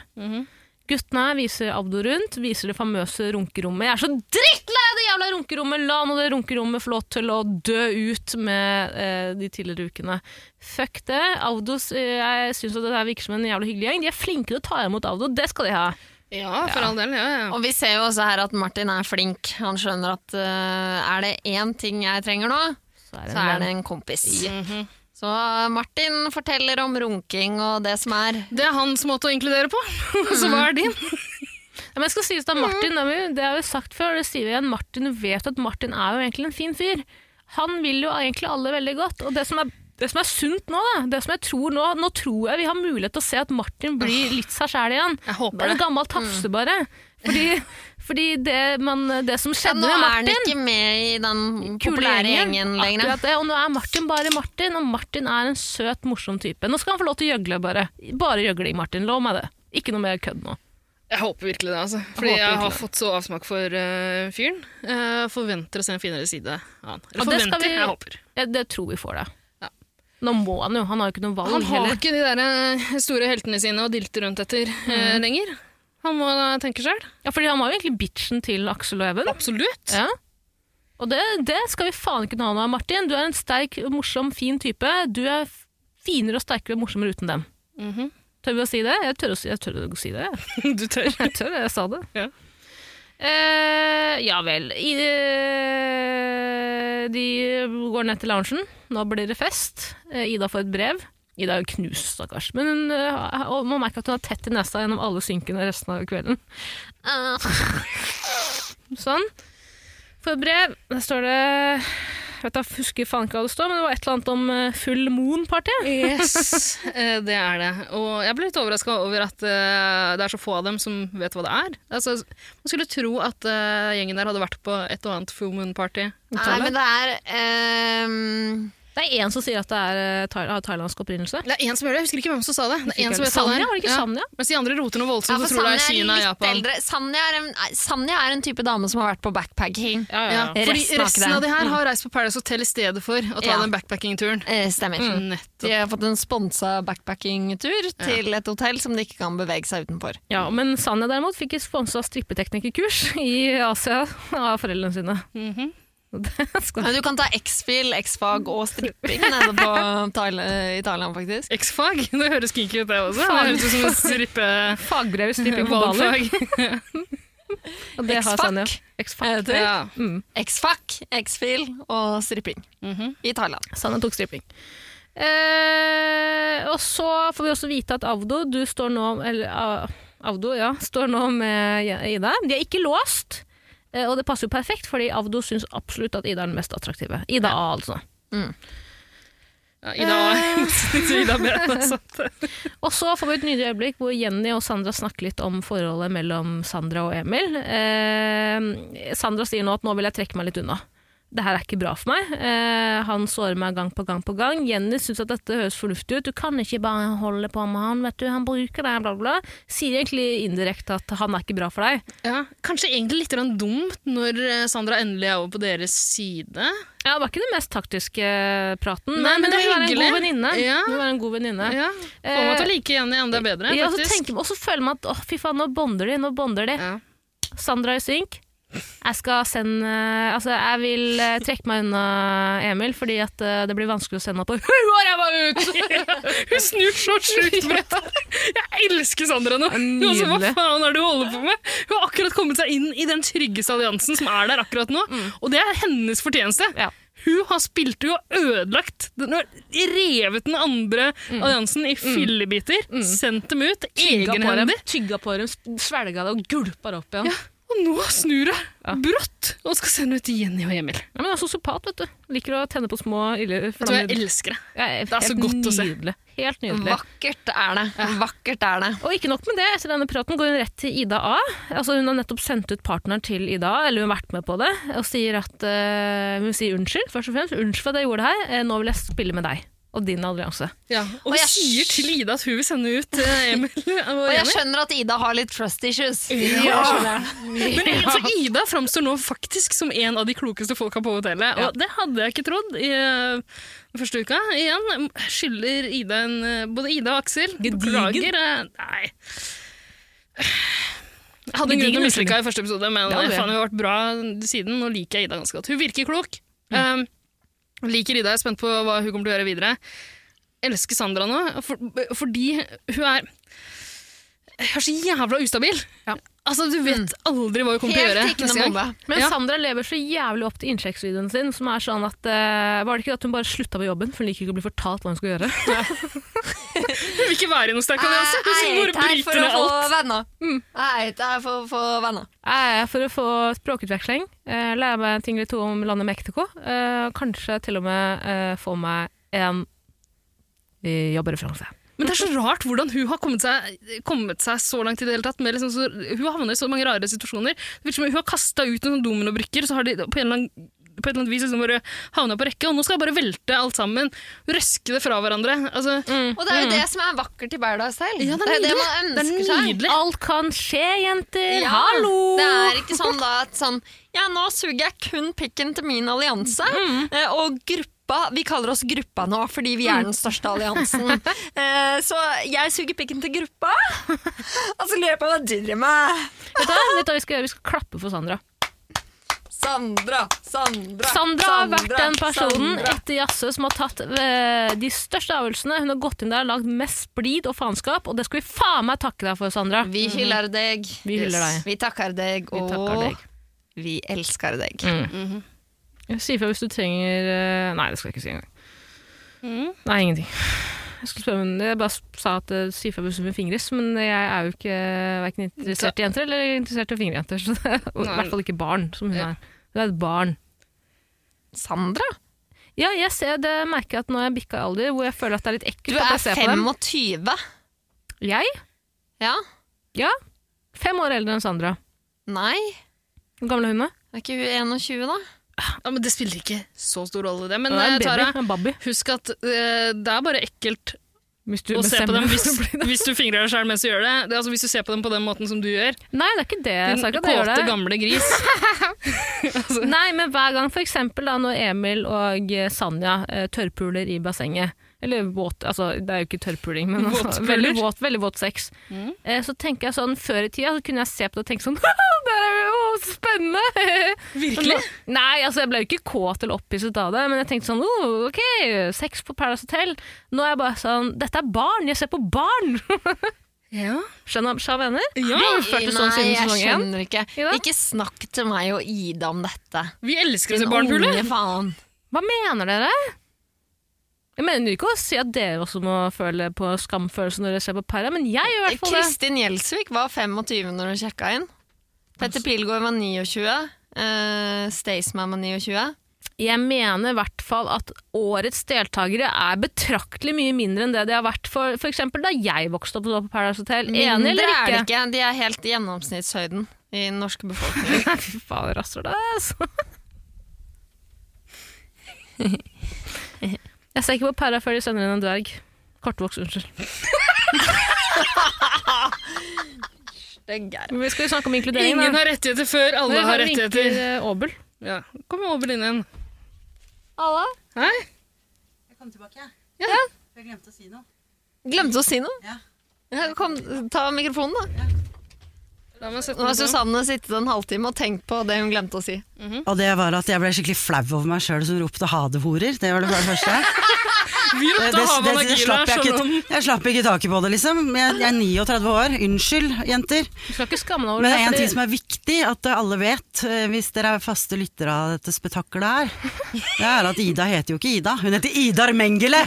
Guttene viser Abdo rundt, viser det famøse runkerommet. Jeg er så drittlei av det jævla runkerommet! La nå det runkerommet få lov til å dø ut med eh, de tidligere ukene. Fuck det. Avdos, eh, jeg syns at det her virker som en jævla hyggelig gjeng. De er flinke til å ta imot Avdo, det skal de ha. Ja, for all del. Ja, ja. Og vi ser jo også her at Martin er flink. Han skjønner at eh, er det én ting jeg trenger nå, Så er det, så en er det venn. en kompis. Så Martin forteller om runking og det som er. Det er hans måte å inkludere på. Så hva er din? Ja, men jeg skal sies da, Mm. Martin, det har vi- det har vi sagt før, det sier vi igjen, Martin du vet at Martin er jo egentlig en fin fyr. Han vil jo egentlig alle veldig godt, og det som er det som er sunt nå, da, det som jeg tror nå, nå tror jeg vi har mulighet til å se at Martin blir Ah. litt seg sjæl igjen. Jeg håper En det. gammel tafse, Mm. bare. Fordi, fordi det, man, det som Ja, skjedde nå med er han Martin ikke med i den populære gjengen lenger. Akkurat det, og nå er Martin bare Martin, og Martin er en søt, morsom type. Nå skal han få lov til å gjøgle, bare. Bare gjøgling, Martin. Lov meg det. Ikke noe mer kødd nå. Jeg håper virkelig det, altså. Fordi håper jeg har virkelig det. fått så avsmak for eh, fyren. Eh, forventer å se en finere side av han. Eller Og det skal forventer, vi- jeg håper. Jeg, det tror vi får det. Ja. Nå må han jo, han har jo ikke noe valg Han har heller. ikke de der eh, store heltene sine å dilte rundt etter eh, lenger. Han må da tenke sjøl. Ja, fordi han var jo egentlig bitchen til Aksel og Even. Absolutt. Ja. Og det, det skal vi faen ikke ha nå, Martin. Du er en sterk, morsom, fin type. Du er f- finere og sterkere og morsommere uten dem. Mhm. Tør vi å si det? Jeg tør å si, jeg tør å si det. jeg. Du tør. Jeg tør, jeg sa det. Ja. Eh, ja vel. I, eh, de går ned til loungen. Nå blir det fest. Eh, Ida får et brev. Ida er jo knust, stakkars. Men hun, eh, og man merker at hun er tett i nesa gjennom alle synkene resten av kvelden. Ah. sånn. Får et brev. Der står det jeg vet da, husker faen ikke hva det står, men det var et eller annet om eh, full moon-party. Yes, eh, det er det. Og jeg ble litt overraska over at eh, det er så få av dem som vet hva det er. Altså, man skulle tro at eh, gjengen der hadde vært på et og annet Full Moon Party. Nei, men det er ehm, Det er én som sier at det er, eh, thail- har thailandsk opprinnelse. Det er én som gjør det, jeg husker ikke hvem som sa det. det er en som vet hva det Sanja, er. var det ikke Ja. Sanja? Mens de andre roter noe ja, voldsomt for og tror det er Sanja Kina og litt Japan. eldre. Sanja er, en, nei, Sanja er en type dame som har vært på backpacking. Ja, Ja, fordi Resten har ikke resten det. av de her har reist på Paradise Hotel i stedet for å ta Ja. den backpacking-turen. Eh, Stemmer. Nettopp. De har fått en sponsa backpacking-tur til et hotell som de ikke kan bevege seg utenfor. Ja, men Sanja derimot fikk sponsa strippeteknikerkurs i Asia av foreldrene sine. Det skal Men Du kan ta X-fil, X-fag og stripping nede på Thail- i Thailand, faktisk. X-fag? Det høres kinky ut, det også. Det høres ut som en strippe... Fagbrev i stripping på Bali. Valgfag. og det har X-Fac. Sanja. Er X-Fac. det det? Ja. X-fag, X-fil og stripping Mhm. i Thailand. Sanja tok stripping. Eh, og så får vi også vite at Avdo, du står nå Eller ah, Avdo, ja. Står nå med Ida. De er ikke låst. eh, Og det passer jo perfekt, fordi Avdo syns absolutt at Ida er den mest attraktive. Ida A, altså. Ja, Ida A. Ida B. altså. Og så får vi et nydelig øyeblikk hvor Jenny og Sandra snakker litt om forholdet mellom Sandra og Emil. Eh, Sandra sier nå at nå vil jeg trekke meg litt unna. Det her er ikke bra for meg. Eh, han sårer meg gang på gang på gang. Jenny syns at dette høres fornuftig ut. Du kan ikke bare holde på med han, vet du. Han bruker deg, bla, bla. bla. Sier egentlig indirekte at han er ikke bra for deg. Ja, kanskje egentlig litt grann dumt når eh, Sandra endelig er over på deres side. Ja, det var ikke den mest taktiske eh, praten, Nei, men det hun er vil være en hyggelig. god venninne. Ja. Hun vil være en god venninne. Ja, Får meg til å like Jenny enda bedre, Eh, Ja, og så faktisk. tenker- og så føler man at å, fy faen, nå bonder de, nå bonder de. Ja. Sandra i synk. Jeg skal sende Altså, jeg vil eh, trekke meg unna Emil, fordi at eh, det blir vanskelig å sende henne på huet og ræva ut! Hun snur så sjukt bredt. Jeg elsker Sandra nå. Nydelig. Altså, hva faen er det du holder på med? Hun har akkurat kommet seg inn i den tryggeste alliansen som er der akkurat nå, og det er hennes fortjeneste. Mm. Ja. Hun har spilt hun har ødelagt den, har revet den andre alliansen i fillebiter, sendt dem ut Mm. Tygga på dem, egenhendig, tygga på dem, svelga det og gulpa det opp igjen. Ja. og nå snur hun brått og skal sende ut Jenny og Emil. men jeg er sosiopat, vet du. Liker å tenne på små ille Vet du hva, flammer. jeg elsker det. Jeg Det er så helt godt å se. Nydelig. Helt nydelig. Vakkert er det. Vakkert er det. Og ikke nok med det, etter denne praten går hun rett til Ida A. Altså Hun har nettopp sendt ut partneren til Ida A, eller hun har vært med på det, og sier at eh, Hun sier unnskyld, først og fremst. Unnskyld for at jeg gjorde det her, eh, nå vil jeg spille med deg og din allianse. Ja, og Og hun jeg- sier til Ida at hun vil sende ut eh, Emil og Og jeg Jenny. skjønner at Ida har litt trust issues. Men altså, Ida framstår nå faktisk som en av de klokeste folka på hotellet. Og det hadde jeg ikke trodd i eh, første uka. Igjen skylder Ida en eh, Både Ida og Aksel beklager. eh, Nei. Jeg hadde en grunn til å mislike i første episode, men Det hadde eh, jeg. faen, hun har vært bra siden. Nå liker jeg Ida ganske godt. Hun virker klok. Um, liker Ida. Jeg er spent på hva hun kommer til å gjøre videre. Elsker Sandra nå, for, fordi hun er Hun er så jævla ustabil. Altså, Du vet aldri hva hun kommer til å gjøre. Mm. Helt ikke neste gang. noe. Men Ja. Sandra lever så jævlig opp til innsjekksvideoen sin, som er sånn at eh, Var det ikke at hun bare slutta på jobben, for hun liker ikke å bli fortalt hva hun skal gjøre? Hun vil ikke være i noen sterk allianse. Jeg Hun er bare ikke her bryter for å ned få alt. Mm. venner. Jeg er ikke her for å få venner. Jeg er for å få språkutveksling, eh, lære meg en ting eller to om landet Mexico. eh, kanskje til og med eh, få meg en eh, jobbereferanse. Men det er så rart hvordan hun har kommet seg, kommet seg så langt i det hele tatt. Med liksom så, hun havner i så mange rare situasjoner. Det virker som Hun har kasta ut noen sånne dominobrikker, så har de på en eller annen på et eller annet vis liksom bare havna på rekke, og nå skal jeg bare velte alt sammen. Røske det fra hverandre. Altså, Og det er jo det som er vakkert i Paradise Hotel. Ja, det det, er er det nydelig. man Det er ønsker seg. nydelig. Alt kan skje, jenter! Ja, Hallo! Det er ikke sånn da at sånn Ja, nå suger jeg kun pikken til min allianse. Mm. eh, Og gruppa Vi kaller oss gruppa nå fordi vi Mm. er den største alliansen. Eh, Så jeg suger pikken til gruppa, og så lurer jeg på hva du driver med. Vet du hva- vet du hva vi skal gjøre? Vi skal klappe for Sandra. Sandra, Sandra, Sandra har vært den personen Sandra. etter Jasse som har tatt eh, de største avgjørelsene. Hun har gått inn der og lagd mest splid og faenskap, og det skal vi faen meg takke deg for, Sandra. Vi hyller deg. Mm. Vi hyller deg. Vi takker deg, Vi og takker deg. Mm. vi elsker deg. Si ifra hvis du trenger eh, Nei, det skal jeg ikke si engang. Mm. Nei, ingenting. Jeg skulle spørre, men jeg bare sa at eh, si ifra hvis du vil fingres, men jeg er jo ikke eh, hverken interessert i jenter eller interessert i fingerjenter. Så det, og I Nei. hvert fall ikke barn, som hun Ja. er. Hun er et barn. Sandra? Ja, jeg ser det merker jeg at når jeg bikker alder, hvor jeg føler at det er litt Du ekkelt at er jeg ser på dem. 25. Jeg? Ja? Fem år eldre enn Sandra. Nei? Den gamle hunden. Er ikke hun 21, da? ja, men det spiller ikke så stor rolle, det. Men Hun er eh, en baby. Tara, En baby. husk at eh, det er bare ekkelt Hvis du å se på bestemmer dem deg hvis, for å bli det. hvis du fingrer deg sjøl mens du gjør det. det er altså, hvis du ser på dem på den måten som du gjør. Nei, det er ikke det. Jeg Din sa ikke at jeg gjør kåte, det. gamle gris. Nei, men hver gang for eksempel da, når Emil og eh, Sanja eh, tørrpuler i bassenget, eller våt, altså det er jo ikke tørrpuling, men altså, Våtpuler. Mm. veldig, våt, veldig våt sex, eh, så tenker jeg sånn, før i tida så kunne jeg se på det og tenke sånn, der er vi, å, spennende! Virkelig? Nei, altså jeg ble jo ikke kåt eller opphisset av det, men jeg tenkte sånn oh, ok, sex på Paradise Hotel. Nå er jeg bare sånn Dette er barn! Jeg ser på barn! Ja. Skjønner du hva jeg mener? ja. Vi har følt det sånn Nei, siden jeg sesong én. skjønner ikke. Ida? Ikke snakk til meg og Ida om dette. Vi elsker å Din se barnepule. unge faen. Hva mener dere? Jeg mener ikke å si at dere også må føle på skamfølelse når dere ser på Para, men jeg gjør i hvert fall det. Kristin Gjelsvik var 25 når hun sjekka inn. Petter Pilgaard var 29. Uh, Staysman var 29. Jeg mener i hvert fall at årets deltakere er betraktelig mye mindre enn det de har vært for f.eks. da jeg vokste opp og var på Paradise Hotel. Enig er eller det ikke? ikke. De er helt gjennomsnittshøyden i den norske befolkningen. Nei, Fy faen, rasser det, altså. Jeg ser ikke på Para før de sender inn en dverg. Kortvokst, unnskyld. Vi skal jo snakke om inkludering. Ingen har rettigheter før alle har rettigheter. Åbel. Ja. Kom over inn igjen. Alla? Hei. Jeg kom tilbake, jeg. Ja. Jeg glemte å si noe. Glemte å si noe? Ja. Ja, Kom, ta mikrofonen, da. La meg sette Nå har meg sånn. Susanne sittet en halvtime og tenkt på det hun glemte å si. Og det var at jeg ble skikkelig flau over meg sjøl som ropte 'ha det-horer'. Det var det bare første. Vi Det, ropte det, Haman det, og det Gila slapp jeg, som om ikke, jeg slapp ikke taket på det, liksom. Jeg, jeg er 39 år. Unnskyld, jenter. Du skal ikke skamme deg over Men det er for en ting som er viktig at alle vet, eh, hvis dere er faste lyttere av dette spetakkelet her, det er at Ida heter jo ikke Ida. Hun heter Idar Mengele!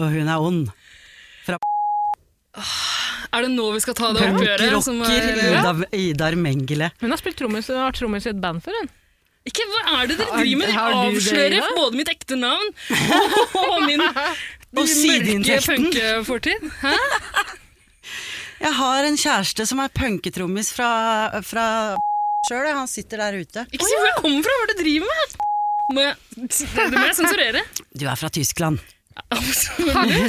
Og hun er ond. Er det nå vi skal ta det oppgjøret? som eh, Rocker er- Ida, Idar Mengele. Hun har spilt trommis og har trommis i et band før, hun. Ikke hva er det dere driver med? Dere har du det, avslører Ida? både mitt ekte navn og min Og mørke sideinntekten. punkefortid. Hæ? Jeg har en kjæreste som er punketrommis fra, fra sjøl, han sitter der ute. Ikke si hvor jeg kommer fra, hva er det dere driver med? Må jeg, det må jeg sensurere. Du er fra Tyskland. Eller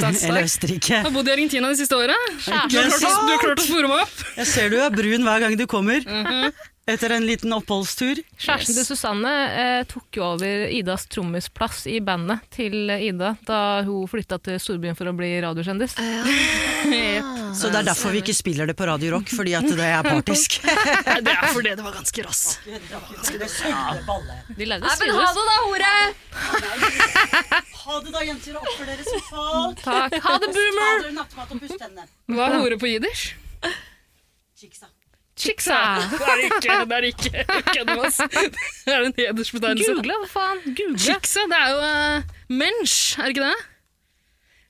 Absolutt. Østerrike. Jeg har bodd i Argentina de siste åra. Du har klart å- du har klart å Mhm. spore meg opp. Jeg ser du er brun hver gang du kommer. Etter en liten oppholdstur. Kjæresten til Susanne eh, tok jo over Idas trommisplass i bandet til Ida da hun flytta til storbyen for å bli radiokjendis. Eh, Så det er derfor vi ikke spiller det på Radio Rock, fordi at det er partisk. Nei, Det er fordi det var ganske rass. De lærde sides. det, da, hore! Ha det da, jenter. Oppfør dere som folk. Takk. Ha det, boomer! dere nattmat og pust tennene. Hva er hore på jiddish? Chiksa. Chicksa! Det er ikke, det er ikke kødd med oss. Det er en hedersbetegnelse. Google, hva faen? Google. Chiksa, det er jo eh, mensch, er det ikke det?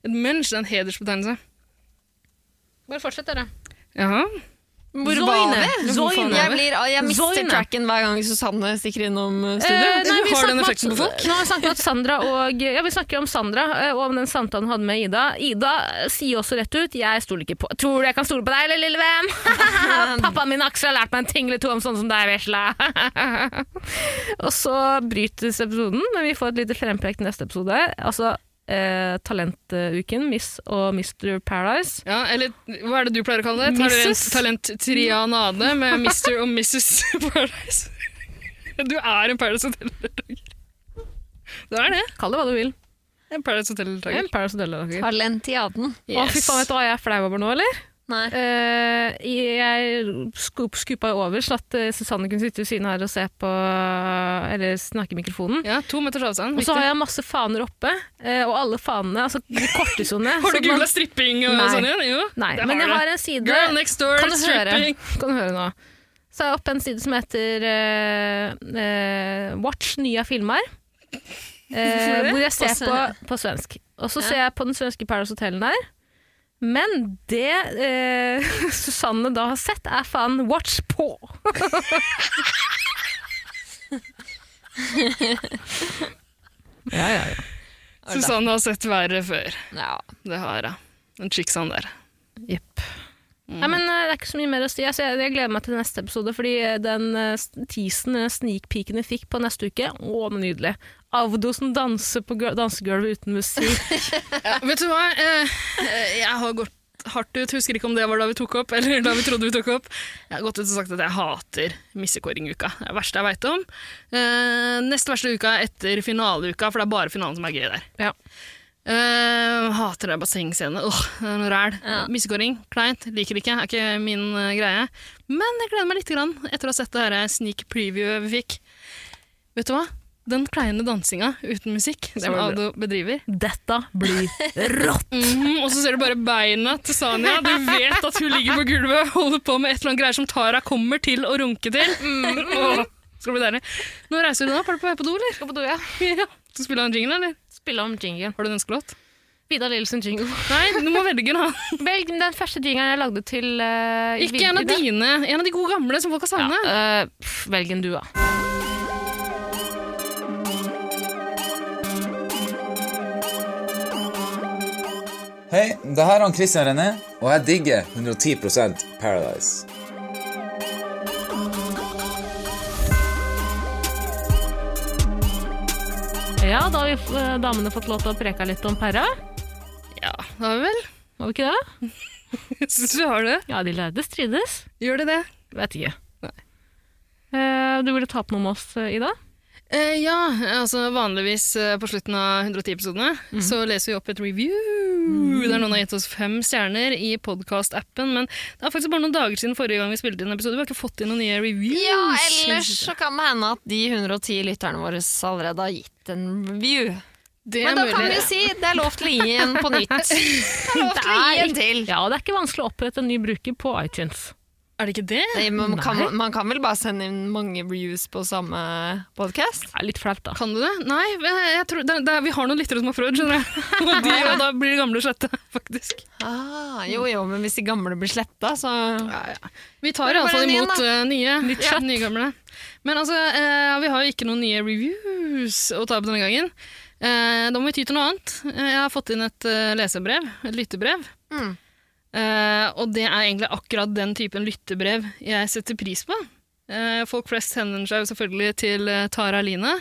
Et mensch det er en hedersbetegnelse. Bare fortsett, dere. Jaha. Hvor Zoine. var vi? Zoine. Jeg, blir, jeg mister Zoine. tracken hver gang Susanne stikker innom eh, studio. Eh, nei, vi Har snakker den om effekten at- på folk? Nå har vi snakket om at Sandra og Ja, vi snakker om Sandra eh, og om den samtalen hun hadde med Ida. Ida eh, sier også rett ut 'jeg stoler ikke på Tror du jeg kan stole på deg, eller lille venn? Pappaen min Aksel har lært meg en ting eller to om sånn som deg, vesla. og så brytes episoden, men vi får et lite frempek til neste episode. Altså eh, Talentuken, Miss og Mr. Paradise. Ja, eller hva er det du pleier å kalle det? Tar du en Mrs. talent trianade med Mr. og Mrs. Paradise? Du er en Paradise Hotel-deltaker. Du er det. Kall det hva du vil. En Paradise Jeg er Hotel-deltaker. en Paradise Hotel-deltaker. Valentiaden. Å, fy faen, vet du hva jeg er flau over nå, eller? Nei. Eh, jeg skup, skupa jo over, så at eh, Susanne kunne sitte ved siden her og se på eh, Eller snakke i mikrofonen. Ja, to meters avstand. Og så har Viktig. jeg masse faner oppe, eh, og alle fanene altså de kortesone Har så du man- googla stripping og Nei. sånn igjen? Jo. Nei, det men jeg du. har en side Girl next door, Kan du høre? stripping. Kan du høre nå? Så har jeg oppe en side som heter eh, eh, Watch nye filmer. Eh, hvor jeg ser på, på svensk. Og så ser jeg på den svenske Paradise Hotel der. Men det eh, Susanne da har sett, er faen Watch på! ja, ja, ja. Susanne har sett verre før. Ja. Det har hun. Den chicksaen sånn der. Jepp. Nei, men eh, Det er ikke så mye mer å si. Altså, jeg, jeg gleder meg til neste episode, fordi eh, den eh, teasen, den sneakpeaken vi fikk på neste uke, å, den er nydelig. Avdosen danser på gul- dansegulvet uten musikk. Vet du hva? Eh, eh, Jeg har gått hardt ut. Husker ikke om det var da vi tok opp, eller da vi trodde vi tok opp. Jeg har gått ut og sagt at jeg hater missekåringuka. Det er det verste jeg veit om. Eh, Nest verste uka etter finaleuka, for det er bare finalen som er gøy der. Ja. Eh, hater det bassengscenen. Åh, det er noe ræl. Missekåring. Kleint. Liker ikke. Er ikke min eh, greie. Men jeg gleder meg litt grann etter å ha sett det her sneak preview vi fikk. Vet du hva? Den kleine dansinga uten musikk som Ado bedriver. Dette blir rått! Mhm, og så ser du bare beina til Sanja. Du vet at hun ligger på gulvet holder på med et eller annet greier som Tara kommer til å runke til. Åh, skal det bli deilig. Nå reiser du nå. Er du på vei på do, eller? Skal på do, ja. Ja. Skal du spille en jingle, eller? Spille om jingen. Har du en ønskelåt? Vidar Lillesen jingle. Nei, du må velge en annen. Velg den første jingeren jeg lagde til uh, Ikke en av dine. En av de gode gamle som folk har savnet. Eh, velg en du, da. Hei, det her er han Christian René, og jeg digger 110 Paradise. Ja, da har vi, eh, damene fått lov til å preke litt om pæra. Ja, da har vi vel. Var vi ikke det? Syns du har det? Ja, de lærde strides. Gjør de det? Vet ikke. Eh, du ville ta opp noe med oss, eh, Ida? Eh, ja, altså vanligvis eh, på slutten av 110-episodene Mhm. så leser vi opp et review. Der noen har gitt oss fem stjerner i podkast-appen. Men det er faktisk bare noen dager siden forrige gang vi spilte inn en episode. Vi har ikke fått inn noen nye reviews. Ja, ellers så kan det hende at de 110 lytterne våre allerede har gitt en view. Det er Men da kan vi mulig. jo si det er lov til å gi en på nytt. Det er lov til å gi en til. Ja, og det er ikke vanskelig å opprette en ny bruker på iTunes. Er det ikke det? Nei, men man, Nei. kan, man kan vel bare sende inn mange reviews på samme podcast? Det er litt flaut, da. Kan du det? Nei, jeg jeg tror, det, det, vi har noen lyttere som har prøvd, skjønner jeg. Og de, og da blir de gamle slette, faktisk. Ah, jo jo, men hvis de gamle blir sletta, så Vi tar Bare iallfall en igjen, imot eh, nye. Ja. nye gamle. Men altså, eh, vi har jo ikke noen nye reviews å ta opp denne gangen. Eh, da må vi ty til noe annet. Eh, jeg har fått inn et eh, lesebrev, et lyttebrev. Mm. Eh, og det er egentlig akkurat den typen lyttebrev jeg setter pris på. Eh, folk flest henvender seg jo selvfølgelig til eh, Tara Line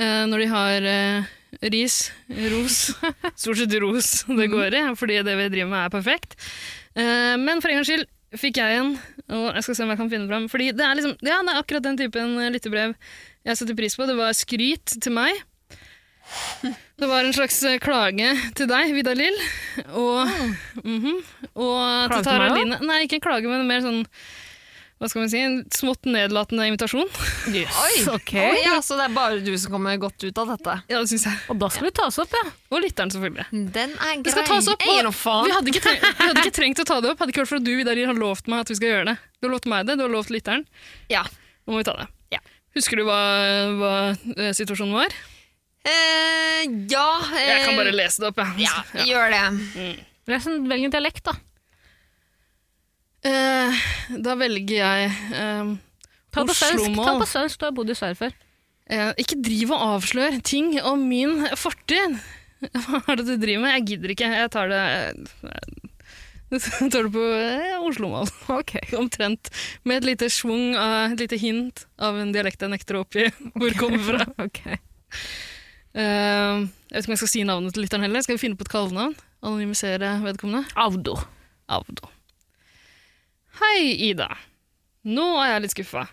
eh, når de har eh, ris, ros Stort sett ros det går i, fordi det vi driver med, er perfekt. Eh, men for en gangs skyld fikk jeg en, og jeg skal se om jeg kan finne fram. Fordi det er, liksom, ja, det er akkurat den typen eh, lyttebrev jeg setter pris på. Det var skryt til meg. Det var en slags eh, klage til deg, Vidar Lill. Og, mhm, og Ah. Klage til til meg Tara også? Line. Nei, ikke en klage, men mer sånn hva skal man si, en smått nedlatende invitasjon. Oi! Ok. Å ja, så det er bare du som kommer godt ut av dette. Ja, det synes jeg. Og da skal vi ta oss opp, ja. Og lytteren, selvfølgelig. Den er grei. Det skal tas opp, og Ei, nå faen. vi hadde, ikke trengt, vi hadde ikke trengt å ta det opp, hadde ikke vært for at du Vidar, Lill, har lovt meg at vi skal gjøre det. Du har lovt meg det, du har lovt lytteren. Ja. Nå må vi ta det. Ja. Husker du hva, hva eh, situasjonen var? Eh, ja eh, Jeg kan bare lese det opp, jeg. Ja, gjør det. Les en- sånn, Velg en dialekt, da. Eh, da velger jeg eh, Ta på svensk. Ta Oslo-mål. på svensk, du har bodd i Sverige før. eh, Ikke driv og avslør ting om min fortid! Hva er det du driver med? Jeg gidder ikke. Jeg tar det Jeg tar det på eh, Oslo-mål, Ok. omtrent. Med et lite schwung, av- et lite hint av en dialekt jeg nekter å oppgi hvor det kommer fra. Ok. Eh, jeg vet ikke om jeg skal si navnet til lytteren heller. Skal vi finne på et kallenavn? Anonymisere vedkommende? Avdo. Avdo. Hei, Ida. Nå er jeg litt skuffa.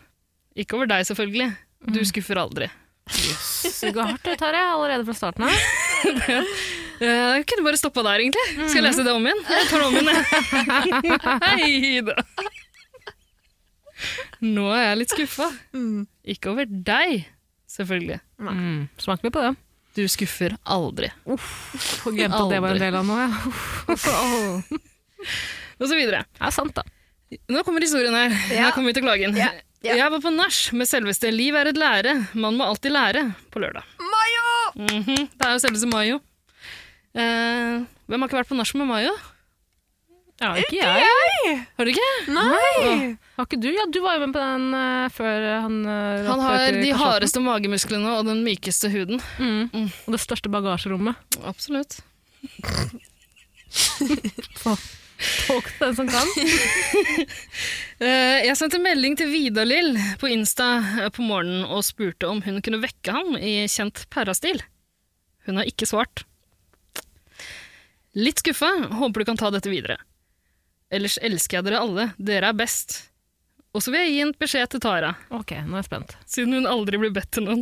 Ikke over deg, selvfølgelig. Mm. Du skuffer aldri. Det går hardt ut her, jeg, allerede fra starten av. Eh, Jeg kunne bare stoppa der, egentlig. Skal Mhm. jeg lese det om igjen? Jeg tar det om igjen, jeg. Hei, Ida. Nå er jeg litt skuffa. Ikke over deg, selvfølgelig. Mm. Smaker vi på det? Du skuffer aldri. Får glemt at det var en del av noe, ja. Og så videre. Det er sant, da. Nå kommer historien her. Her kommer vi til klagen. Jeg var på nach med selveste Liv er et lære, man må alltid lære, på lørdag. Mayo! Det er jo selveste Mayo. Eh, hvem har ikke vært på nach med Mayo? Ja, ikke jeg. Har du ikke? Har ikke du? Ja, du var jo med på den eh, før eh, han eh, Han rappet har etter de kasjotten. hardeste magemusklene og den mykeste huden. Mm. Og det største bagasjerommet. Absolutt. Folk den som kan. Eh, jeg sendte melding til Vidar-Lill på Insta eh, på morgenen og spurte om hun kunne vekke ham i kjent pærastil. Hun har ikke svart. Litt skuffa. Håper du kan ta dette videre. Ellers elsker jeg dere alle. Dere er best. Og så vil jeg gi en beskjed til Tara, Ok, nå er jeg spent. siden hun aldri blir bedt til noen.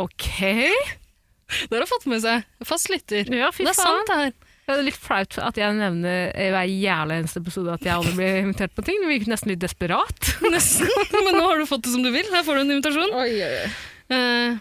Ok. Det har hun fått med seg. Fast lytter. Ja, fy det er faen. sant, det her. Det er litt flaut at jeg nevner i hver jævla eneste episode at jeg aldri blir invitert på ting. Det virker nesten litt desperat. Nesten. Men nå har du fått det som du vil. Her får du en invitasjon. Oi, oi, oi. Eh,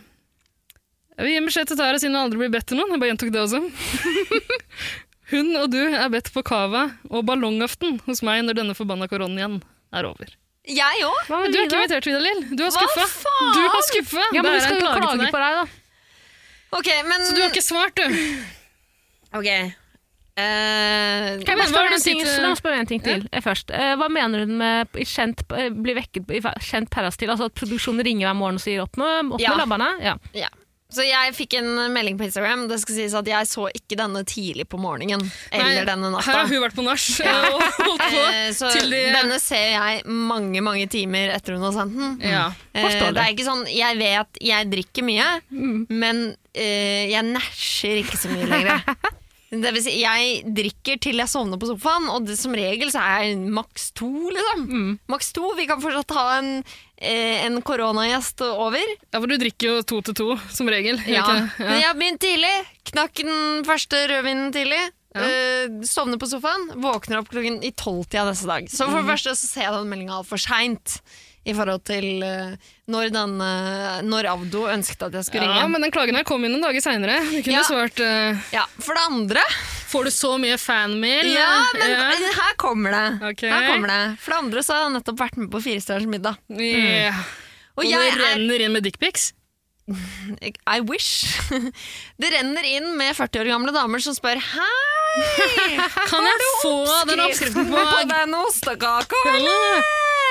jeg vil gi beskjed til Tara siden hun aldri blir bedt til noen. Jeg bare gjentok det også. hun og du er bedt på cava og ballongaften hos meg når denne forbanna koronaen er over. Jeg òg? Hva Men med du er ikke Lina? invitert, Vidar Lill. Du har Hva skuffa. faen? Du har skuffa. Ja, men vi Det er skal en jo klage til klage deg. på deg, da. Ok, men Så du har ikke svart, du. Ok. Eh, Kan jeg men bare hva spørre er det en ting, sitter- la meg spørre en ting til eh, først. Eh, Hva mener hun med i kjent, eh, bli vekket i fe- kjent perastil? Altså at produksjonen ringer hver morgen og sier opp med, opp Ja. med labbene? Ja. ja. Så jeg fikk en melding på Instagram. Det skal sies at Jeg så ikke denne tidlig på morgenen. Eller Nei, denne natta. Her har hun vært på nach og holdt på. Eh, så til de- denne ser jeg mange mange timer etter hun har sendt den. Ja. Eh, forstår det. er ikke sånn, Jeg vet jeg drikker mye, men eh, jeg nasjer ikke så mye lenger. Det vil si, jeg drikker til jeg sovner på sofaen, og det, som regel så er jeg maks to. liksom. Maks to, Vi kan fortsatt ha en, eh, en koronagjest over. ja, for du drikker jo to til to, som regel. gjør Ja. ikke det? Men jeg har begynt tidlig. Knakk den første rødvinen tidlig. Ja. eh, sovner på sofaen, våkner opp klokken i tolvtida neste dag. Så for det Mhm. første så ser jeg den meldinga altfor seint i forhold til eh, når, den, eh, når Avdo ønsket at jeg skulle Ja, ringe. men den klagen her kom inn noen dager seinere. Du kunne Ja. svart eh, Ja, for det andre Får du så mye fanmail? Ja, men eh, Ja. her kommer det. Ok. Her kommer det. For det andre så har jeg nettopp vært med på Firestjerners middag. Ja. Mm. Og Og, det jeg er renner inn med dickpics? I wish. Det renner inn med 40 år gamle damer som spør Hei! Kan jeg få den oppskriften på den ostekaka, eller?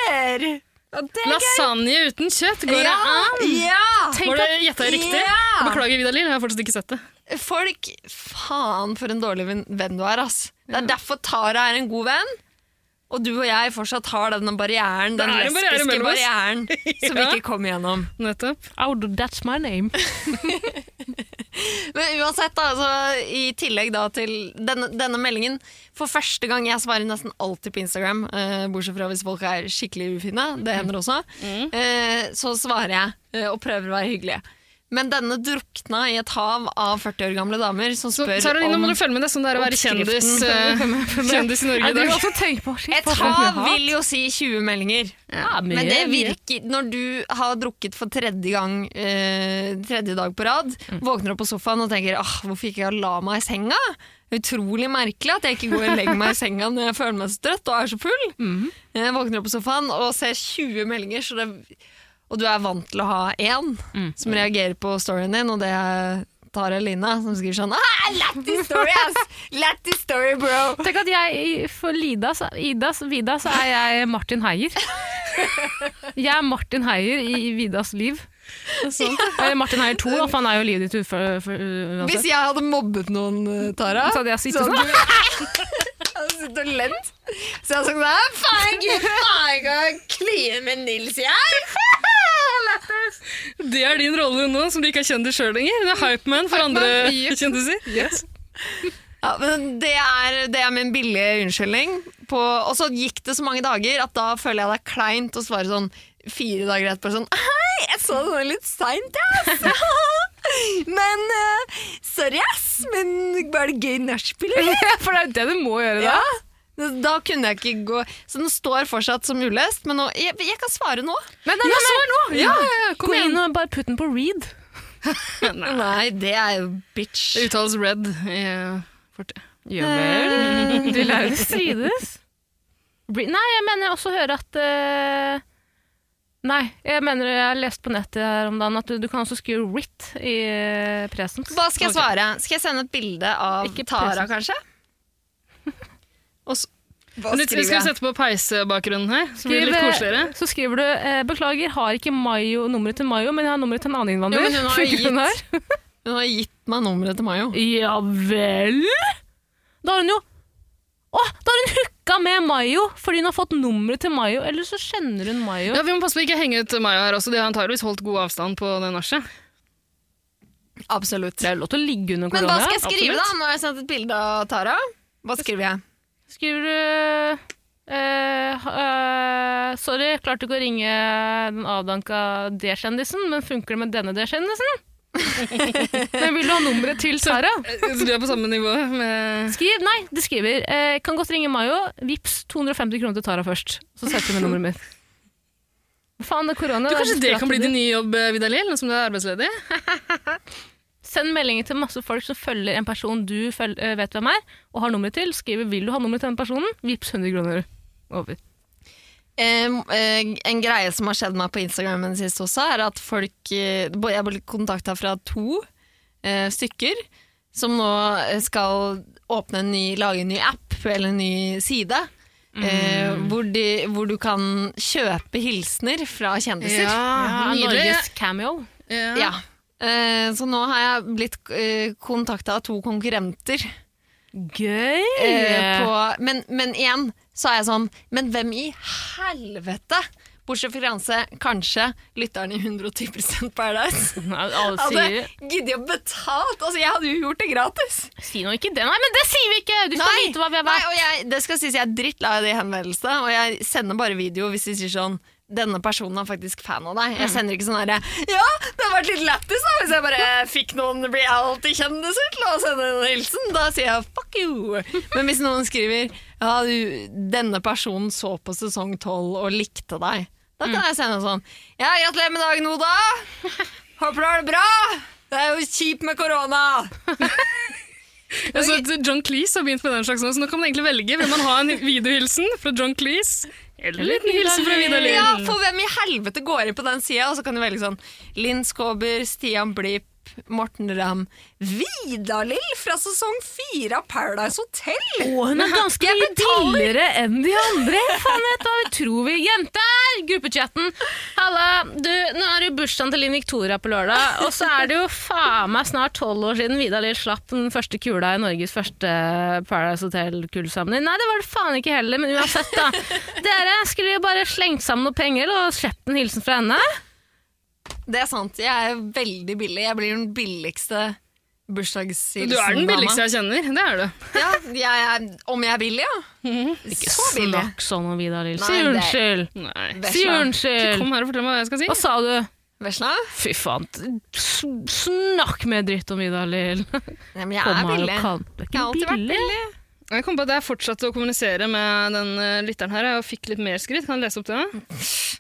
Ja, det er gøy. lasagne uten kjøtt? Går det Ja, an? ja! Var det gjetta jeg riktig? Ja. Beklager, Vidar Lill, jeg har fortsatt ikke sett det. Folk, faen for en dårlig venn- venn du er, ass. Det er derfor Tara er en god venn, og du og jeg fortsatt har denne barrieren, den Det er en barriere lesbiske mellom oss. barrieren, som vi Ja. ikke kom igjennom. Nettopp. Oh, that's my name. Men uansett, da, altså, i tillegg da til denne, denne meldingen For første gang jeg svarer nesten alltid på Instagram, eh, bortsett fra hvis folk er skikkelig ufine, det hender også, eh, så svarer jeg eh, og prøver å være hyggelig. Men denne drukna i et hav av 40 år gamle damer som Så spør Sara Line, om må du følge med. Det er sånn det er å være oppskriften. kjendis, eh, kjendis i Norge Jeg i dag. driver også og tenker på shit, Et folk har hav mye hat. vil jo si 20 meldinger. Ja, mye, Men det mye. virker når du har drukket for tredje gang eh, tredje dag på rad, Mm. våkner opp på sofaen og tenker ah, hvorfor ikke jeg la meg i senga? Utrolig merkelig at jeg ikke går og legger meg i senga når jeg føler meg så trøtt og er så full. Mm-hmm. Jeg våkner opp på sofaen og ser 20 meldinger, så det, og du er vant til å ha én Mm. som reagerer på storyen din, og det er Tara Lina som skriver sånn ah, Lættis story, ass! Lættis story, bro! Tenk at jeg, for Lida, så, Ida, så- Vida, så er jeg Martin Heier. Jeg er Martin Heier i i Vidas liv. Eller Martin Heier 2, da, for han er jo livet ditt ufor, for, Hvis uansett. jeg hadde mobbet noen, eh, Tara Så hadde jeg så sittet sånn. hadde du- hadde sittet og ledd. Så jeg hadde sagt Nei, faen, gud, faen, jeg kan kline med Nils, jeg! Det er din rolle nå, som du ikke er kjendis sjøl lenger. Du er hypeman for andre kjendiser. Ja, men det er, det er min billige unnskyldning. På, og så gikk det så mange dager at da føler jeg det er kleint å svare sånn fire dager etterpå sånn Hei, jeg så det litt seint, ass! Men eh, sorry, ass, men var det gøy nachspiel, eller? For det er jo det du må gjøre da. Ja. Da kunne jeg ikke gå Så den står fortsatt som ulest, men nå, jeg, jeg kan svare nå. Nei, nei, nei, nei. Ja, ja, ja, Gå kom inn igjen. og bare putt den på read. Nei, det er jo bitch. Det uttales red. i- eh, Ja vel. Du lærer strides. Bli- Nei, jeg mener også å høre at eh, Nei, jeg mener jeg har lest på nettet her om dagen at du, du kan også skrive writ i eh, presens. Hva skal jeg svare? Skal jeg sende et bilde av Ikke Tara, present. kanskje? Og så, hva Men litt- skriver Skal vi jeg? sette på peisebakgrunnen her? Så blir det litt Skriv, eh, koseligere. Så skriver du eh, 'Beklager, har ikke Mayo nummeret til Mayo, men jeg har nummeret til en annen innvandrer'. Jo, men hun har Funker den gitt- her? Hun har gitt meg nummeret til Mayo. Ja vel? Da har hun jo Å, da har hun hooka med Mayo fordi hun har fått nummeret til Mayo, eller så kjenner hun Mayo. Ja, Vi må passe på ikke å henge ut Maja her også. De har antageligvis holdt god avstand på det nachet. Absolutt. Det er lov til å ligge under Men korona. hva skal jeg skrive, absolutt. da? Nå har jeg sendt et bilde av Tara. Hva skriver jeg? Skriver du eh, eh, Sorry, klarte ikke å ringe den avdanka D-kjendisen, men funker det med denne D-kjendisen? Men vil du ha nummeret til Sara? Eh, Så du er på samme nivå med Skriv, nei, det skriver. Eh, kan godt ringe Mayo. Vips 250 kroner til Tara først. Så setter vi nummeret mitt. Hva Faen, det er korona. du, det er Kanskje det desperat kan bli tider. din nye jobb, Vidar-Lill, nå som du er arbeidsledig? Send meldinger til masse folk som følger en person du føl eh, vet hvem er, og har nummeret til. Skriver 'vil du ha nummeret til den personen'? Vips 100 kroner over. Em, eh, en greie som har skjedd meg på Instagram den siste også, er at folk eh, bo- Jeg ble kontakta fra to eh, stykker som nå eh, skal åpne en ny, lage en ny app eller en ny side. eh, Mm. hvor, de, hvor du kan kjøpe hilsener fra kjendiser. Ah, Ja, Norge. Norges cameo. Ja. Ja. Eh, så nå har jeg blitt eh, kontakta av to konkurrenter. Gøy! Eh, på, men, men igjen så er jeg sånn Men hvem i helvete? Bortsett fra Granse, kanskje lytteren i 110 Paradise. Nei, alle Hadde sier, giddet å betalt! Altså, jeg hadde jo gjort det gratis. Si nå ikke det. Nei, men det sier vi ikke! Du skal Nei, vite hva vi har nei, vært. og jeg, det skal sies jeg er drittlei av de henvendelsene, og jeg sender bare video hvis de sier sånn denne personen er faktisk fan av deg. Mm. Jeg sender ikke sånn herre Ja, det har vært litt lættis da, hvis jeg bare fikk noen reality-kjendiser til å sende en hilsen. Da sier jeg fuck you. Men hvis noen skriver ja, du, denne personen så på sesong 12 og likte deg, da Mm. kan jeg sende sånn Ja, gratulerer med dagen, Oda. Håper du har det bra. Det er jo kjipt med korona. Jeg så at Altså, John Cleese har begynt med den slags nå, så nå kan man egentlig velge. Vil man ha en videohilsen fra John Cleese? Eller en liten hilsen fra Vidar-Lill? Ja, for hvem i helvete går inn på den sida, og så kan du velge sånn Linn Skåber, Stian Blipp, Morten Ramm Vidar-Lill fra sesong fire av Paradise Hotel! Å, hun er ganske mye billigere enn de andre. Faen, vet du hva vi tror vi Jenter! Gruppechatten. Halla, du, nå er det jo bursdagen til Linn Victoria på lørdag, og så er det jo faen meg snart tolv år siden Vidar Lill slapp den første kula i Norges første Paradise Hotel-kullsamling. Nei, det var det faen ikke heller, men uansett, da. Dere skulle jo bare slengt sammen noen penger og sluppet en hilsen fra henne. Det er sant, jeg er veldig billig. Jeg blir den billigste bursdagshilsen. Du er den billigste jeg kjenner. Det er du. Ja, jeg er, om jeg er billig, ja. Mhm. Så billig. Snakk sånn om Vidar Lill. Si Nei, det- unnskyld! Nei. Si Vesla. Ikke unnskyld! kom her og fortell meg hva jeg skal si. Hva sa du? Vesla? Fy faen, s- snakk mer dritt om Vidar Lill. Nei, men jeg er billig. Du er Jeg har alltid vært ikke billig. billig. Jeg kom på at jeg fortsatte å kommunisere med den eh, lytteren her, og fikk litt mer skritt. Kan jeg lese opp det?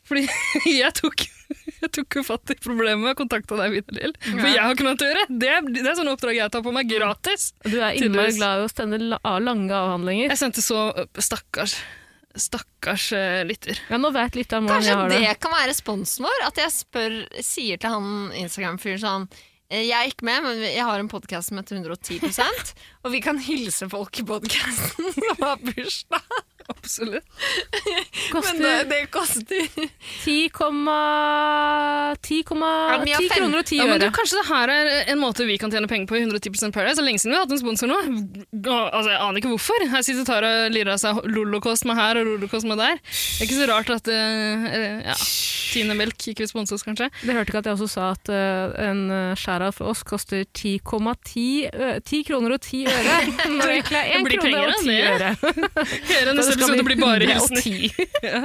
Fordi jeg tok, jeg tok jo fatt i problemet og kontakta deg, Vidar-Lill. For jeg har ikke noe annet å gjøre. Det, er- det er sånne oppdrag jeg tar på meg gratis. Du er innmari Tydeligvis. glad i å sende la- lange avhandlinger. Jeg sendte så Stakkars. Stakkars eh, lytter. Ja, nå vet litt om hvordan Kanskje jeg har det. det. kan være responsen vår, at jeg spør, sier til han Instagram-fyren sånn «Eh, jeg er ikke med, men jeg har en podkast som heter 110 og vi kan hilse folk i podkasten som har bursdag. Absolutt. Men det, Koster det koster 10,10 men vi har fem. kroner og 10 Ja, men du, øre. kanskje det her er en måte vi kan tjene penger på i 110 Paradise. Det er lenge siden vi har hatt en sponsor nå. Altså, Jeg aner ikke hvorfor. Her sitter Tara og lirer av seg Lolokost med her og Lolokost med der. Det er ikke så rart at eh, ja, Tine Melk ikke vil sponse oss, kanskje. Dere hørte ikke at jeg også sa at eh, en eh, skjæra for oss koster 10,10 ø- 10 eh, kroner og 10 øre. Nå gikk jeg Det 1 blir krone penger, og 10 det. øre. Hele neste Så det skal episode bli blir bare 110. hilsener. ja.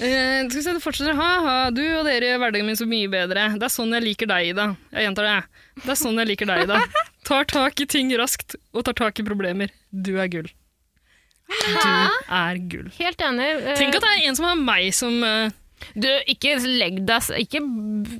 Eh, skal vi se, det fortsetter. Ha, ha, du og dere gjør hverdagen min så mye bedre. Det er sånn jeg liker deg, Ida. Jeg gjentar det. jeg. Det er sånn jeg liker deg, Ida. Tar tak i ting raskt og tar tak i problemer. Du er gull. Du er gull. Helt enig. eh, Tenk at det er en som har meg som eh, Du, ikke legg deg Ikke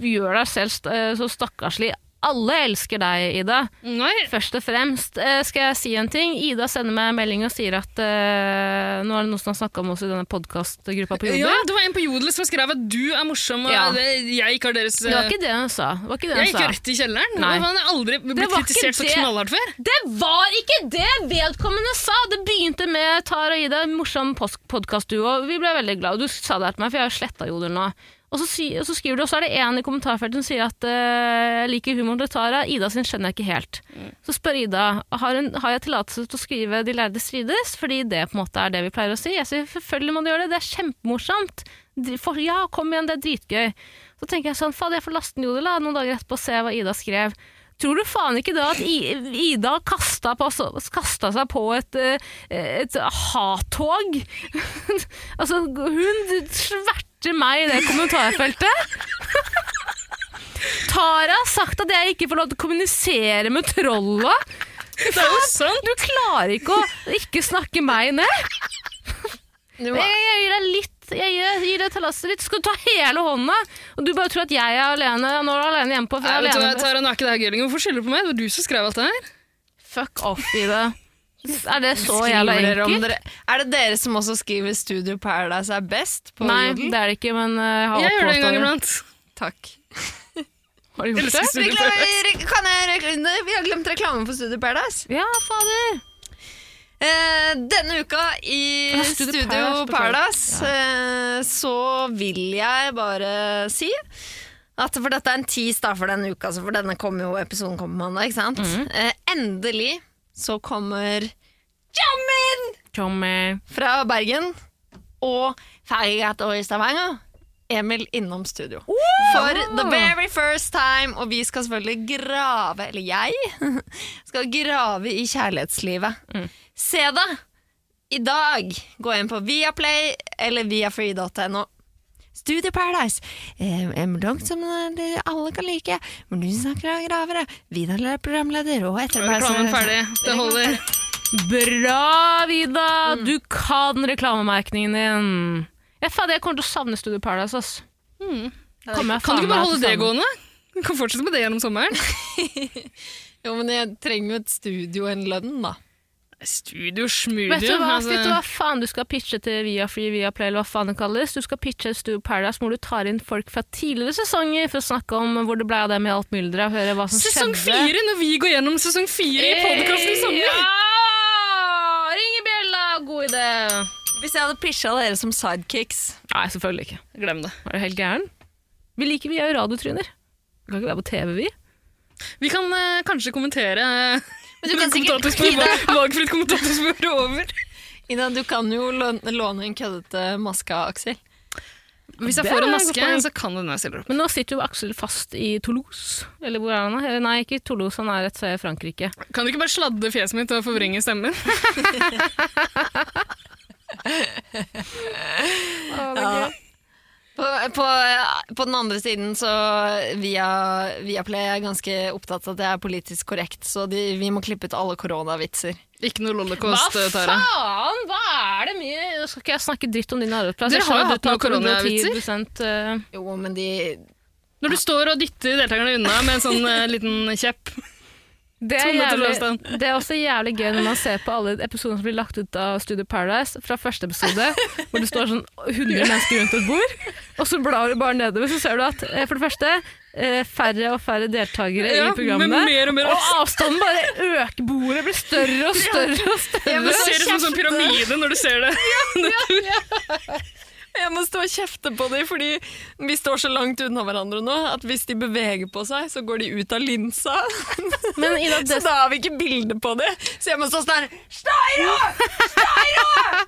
gjør deg selv st- eh, så stakkarslig. Alle elsker deg, Ida. Nei, Først og fremst eh, skal jeg si en ting. Ida sender meg en melding og sier at eh, nå er det noen som har snakka om oss i denne podkastgruppa på ja, Jodel. det var en på Jodel som skrev at du er morsom, og Ja. det- jeg ikke har deres Det var eh, ikke det hun sa. Det var ikke det Jeg hun gikk jo sa. rett i kjelleren. Nei. Han har aldri blitt var ikke kritisert så det. knallhardt før. Det var ikke det vedkommende sa! Det begynte med Tara og Ida, en morsom podkastduo. Vi ble veldig glad. Og Du sa det her til meg, for jeg har sletta Jodel nå. Og så, si, og så skriver du, og så er det en i kommentarfeltet som sier at eh, jeg liker humoren til Tara. Ida sin skjønner jeg ikke helt. Så spør Ida har, hun, har jeg tillatelse til å skrive De lærde strides, fordi det på en måte er det vi pleier å si. Jeg sier selvfølgelig må du gjøre det, det er kjempemorsomt. Dri- For, ja, kom igjen, det er dritgøy. Så tenker jeg sånn, faen jeg får laste ned Jodel da, noen dager etterpå og se hva Ida skrev. Tror du faen ikke da at I, Ida kasta, på, kasta seg på et, eh, et hattog? altså, hun sverter meg i det kommentarfeltet. Ta Tara har sagt at jeg ikke får lov til å kommunisere med trollet. Det er jo sant! Du klarer ikke å ikke snakke meg ned. Du Jeg, må, jeg gir deg litt. Jeg gir, gir deg talasset litt. Skal du ta hele hånda? Og du bare tror at jeg er alene nå er du alene hjemme på for Nei, jeg er vet du hva, alene. Tara, nå er ikke det her gøy lenger. Hvorfor skylder du på meg? Det var du som skrev alt det her. Fuck off i det. Er det så jævla skriver dere om enkelt? dere. Er det dere som også skriver Studio Paradise er best på Nei, Jodel? det er det ikke, men eh, jeg har Jeg gjør det en oppholdt gang iblant. Takk. Har du gjort det? Elsker Studio Paradise. Reklame, re- kan jeg reklame? Vi har glemt reklamen for Studio Paradise. Ja, fader. Eh, denne uka i Ja, Studio Studio Paradise, Paradise, eh, så vil jeg bare si at for dette er en tis da for denne uka, så for denne kommer jo episoden kommer på mandag, ikke sant? Eh, endelig så kommer Jammen Tommy. fra Bergen og Fergat og i Stavanger. Emil innom studio. For the very first time, og vi skal selvfølgelig grave, eller jeg, skal grave i kjærlighetslivet. Mm. Se det! I dag, gå inn på Viaplay eller viafree.no. Studio Paradise. Eh, En blogg som eh, alle kan like. Hvor du snakker og graver. Vidar er programleder, og Reklamen etterpå ferdig. Det holder. Bra, Vida! Mm. Du kan reklamemerkningen din. Jeg, fader, jeg kommer til å savne Studio Paradise. Ass. Kommer jeg Mm. Kan du faen ikke bare meg til holde å det savne. gående? Du kan fortsette med det gjennom sommeren. Jo, men jeg trenger jo et studio og en lønn, da. Studio smudio. Vet du hva, altså. vet du hva faen du skal pitche til Viafree, Viaplay eller hva faen det kalles? Du skal pitche Studio Paradise hvor du tar inn folk fra tidligere sesonger for å snakke om hvor det ble av dem i alt mylderet og høre hva som Sesong skjedde. fire, når vi går gjennom sesong fire i Eh, podkasten i sommer! Ja! Ring i bjella! God idé! Hvis jeg hadde pisja dere som sidekicks Nei, selvfølgelig ikke. Glem det. Er du helt gæren? Vi liker vi er jo radiotryner. Vi kan ikke være på TV, vi. Vi kan eh, kanskje kommentere Men du kan sikkert kommentatorspor- valgfritt kommentatorspor over. Ida, du kan jo låne, låne en køddete maske av Aksel. Hvis jeg Det får er en et maske, godt poeng. så kan det hende jeg stiller opp. Men nå sitter jo Aksel fast i Toulouse. Eller hvor er han? da? Eller Nei, ikke i Toulouse, han er et sted i Frankrike. Kan du ikke bare sladde fjeset mitt og forvrenge stemmen? På, på, på den andre siden så via, Viaplay er jeg ganske opptatt av at jeg er politisk korrekt, så de, vi må klippe ut alle koronavitser. Ikke noe lollekost, eh, Tara. faen? Hva er det mye Nå Skal ikke jeg snakke dritt om din arbeidsplass? Dere Jeg skjønner har jo at du hatt noen har koronavitser. 110%, eh, Jo, men de Når du står og dytter deltakerne unna med en sånn eh, liten kjepp. Det er, Tone til jævlig, Løvstein. det er også jævlig gøy når man ser på alle episoder som blir lagt ut av Studio Paradise, fra første episode, hvor det står sånn 100 mennesker rundt et bord, og så blar du bare nedover, så ser du at eh, for det første eh, færre og færre deltakere Ja, i programmet, men mer og mer avstand. avstanden bare øker, bordet blir større og større og større. Du ser det som en sånn pyramide når du ser det. Jeg må stå og kjefte på dem, fordi vi står så langt unna hverandre nå at hvis de beveger på seg, så går de ut av linsa. Men Ida, Så det, da har vi ikke bilde på det. Så jeg må stå sånn her Steiro! Steiro!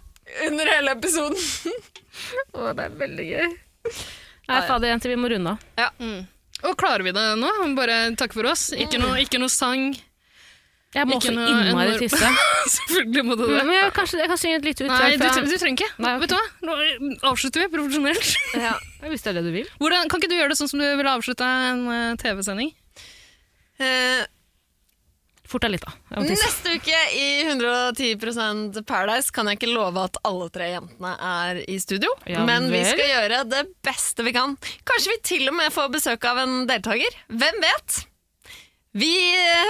Under hele episoden. å, det er veldig gøy. Nei, fader, jenter, vi må runde av. mm. Og klarer vi det nå? Bare takk for oss. Ikke noe, ikke noe sang. Jeg må så Ikke noe innmari enorm- tisse. Mm, Selvfølgelig må du det. Men jeg, kanskje, jeg kan synge et lite Mm. Nei, utdrag du, fra tre- du trenger ikke. Nei, ok. Vet du hva? Nå avslutter vi profesjonelt. Hvis det er det du vil. Hvordan, kan ikke du gjøre det sånn som du ville avslutta en eh, TV-sending? Eh, Fort deg litt, da. Jeg må tisse. Neste uke i 110 Paradise kan jeg ikke love at alle tre jentene er i studio, Ja men vi vel. skal gjøre det beste vi kan. Kanskje vi til og med får besøk av en deltaker. Hvem vet? Vi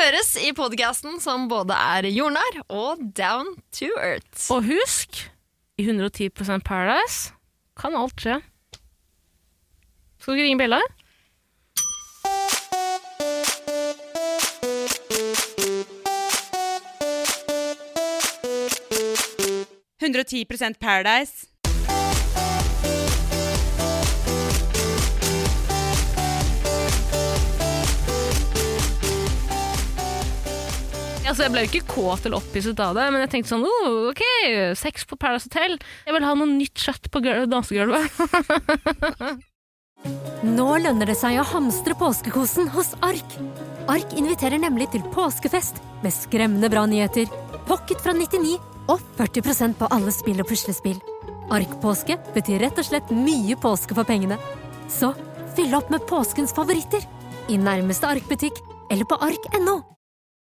høres i podcasten som både er jordnær og down to earth. Og husk, i 110 Paradise kan alt skje. Skal du ringe bjella? Altså, jeg ble jo ikke kåt eller opphisset av det, men jeg tenkte sånn oh, OK, sex på Paradise Hotel. Jeg vil ha noe nytt kjøtt på gul- dansegulvet. Nå lønner det seg å hamstre påskekosen hos Ark. Ark inviterer nemlig til påskefest med skremmende bra nyheter, pocket fra 99 og 40 på alle spill og puslespill. Ark-påske betyr rett og slett mye påske for pengene. Så fyll opp med påskens favoritter i nærmeste arkbutikk eller på ark.no.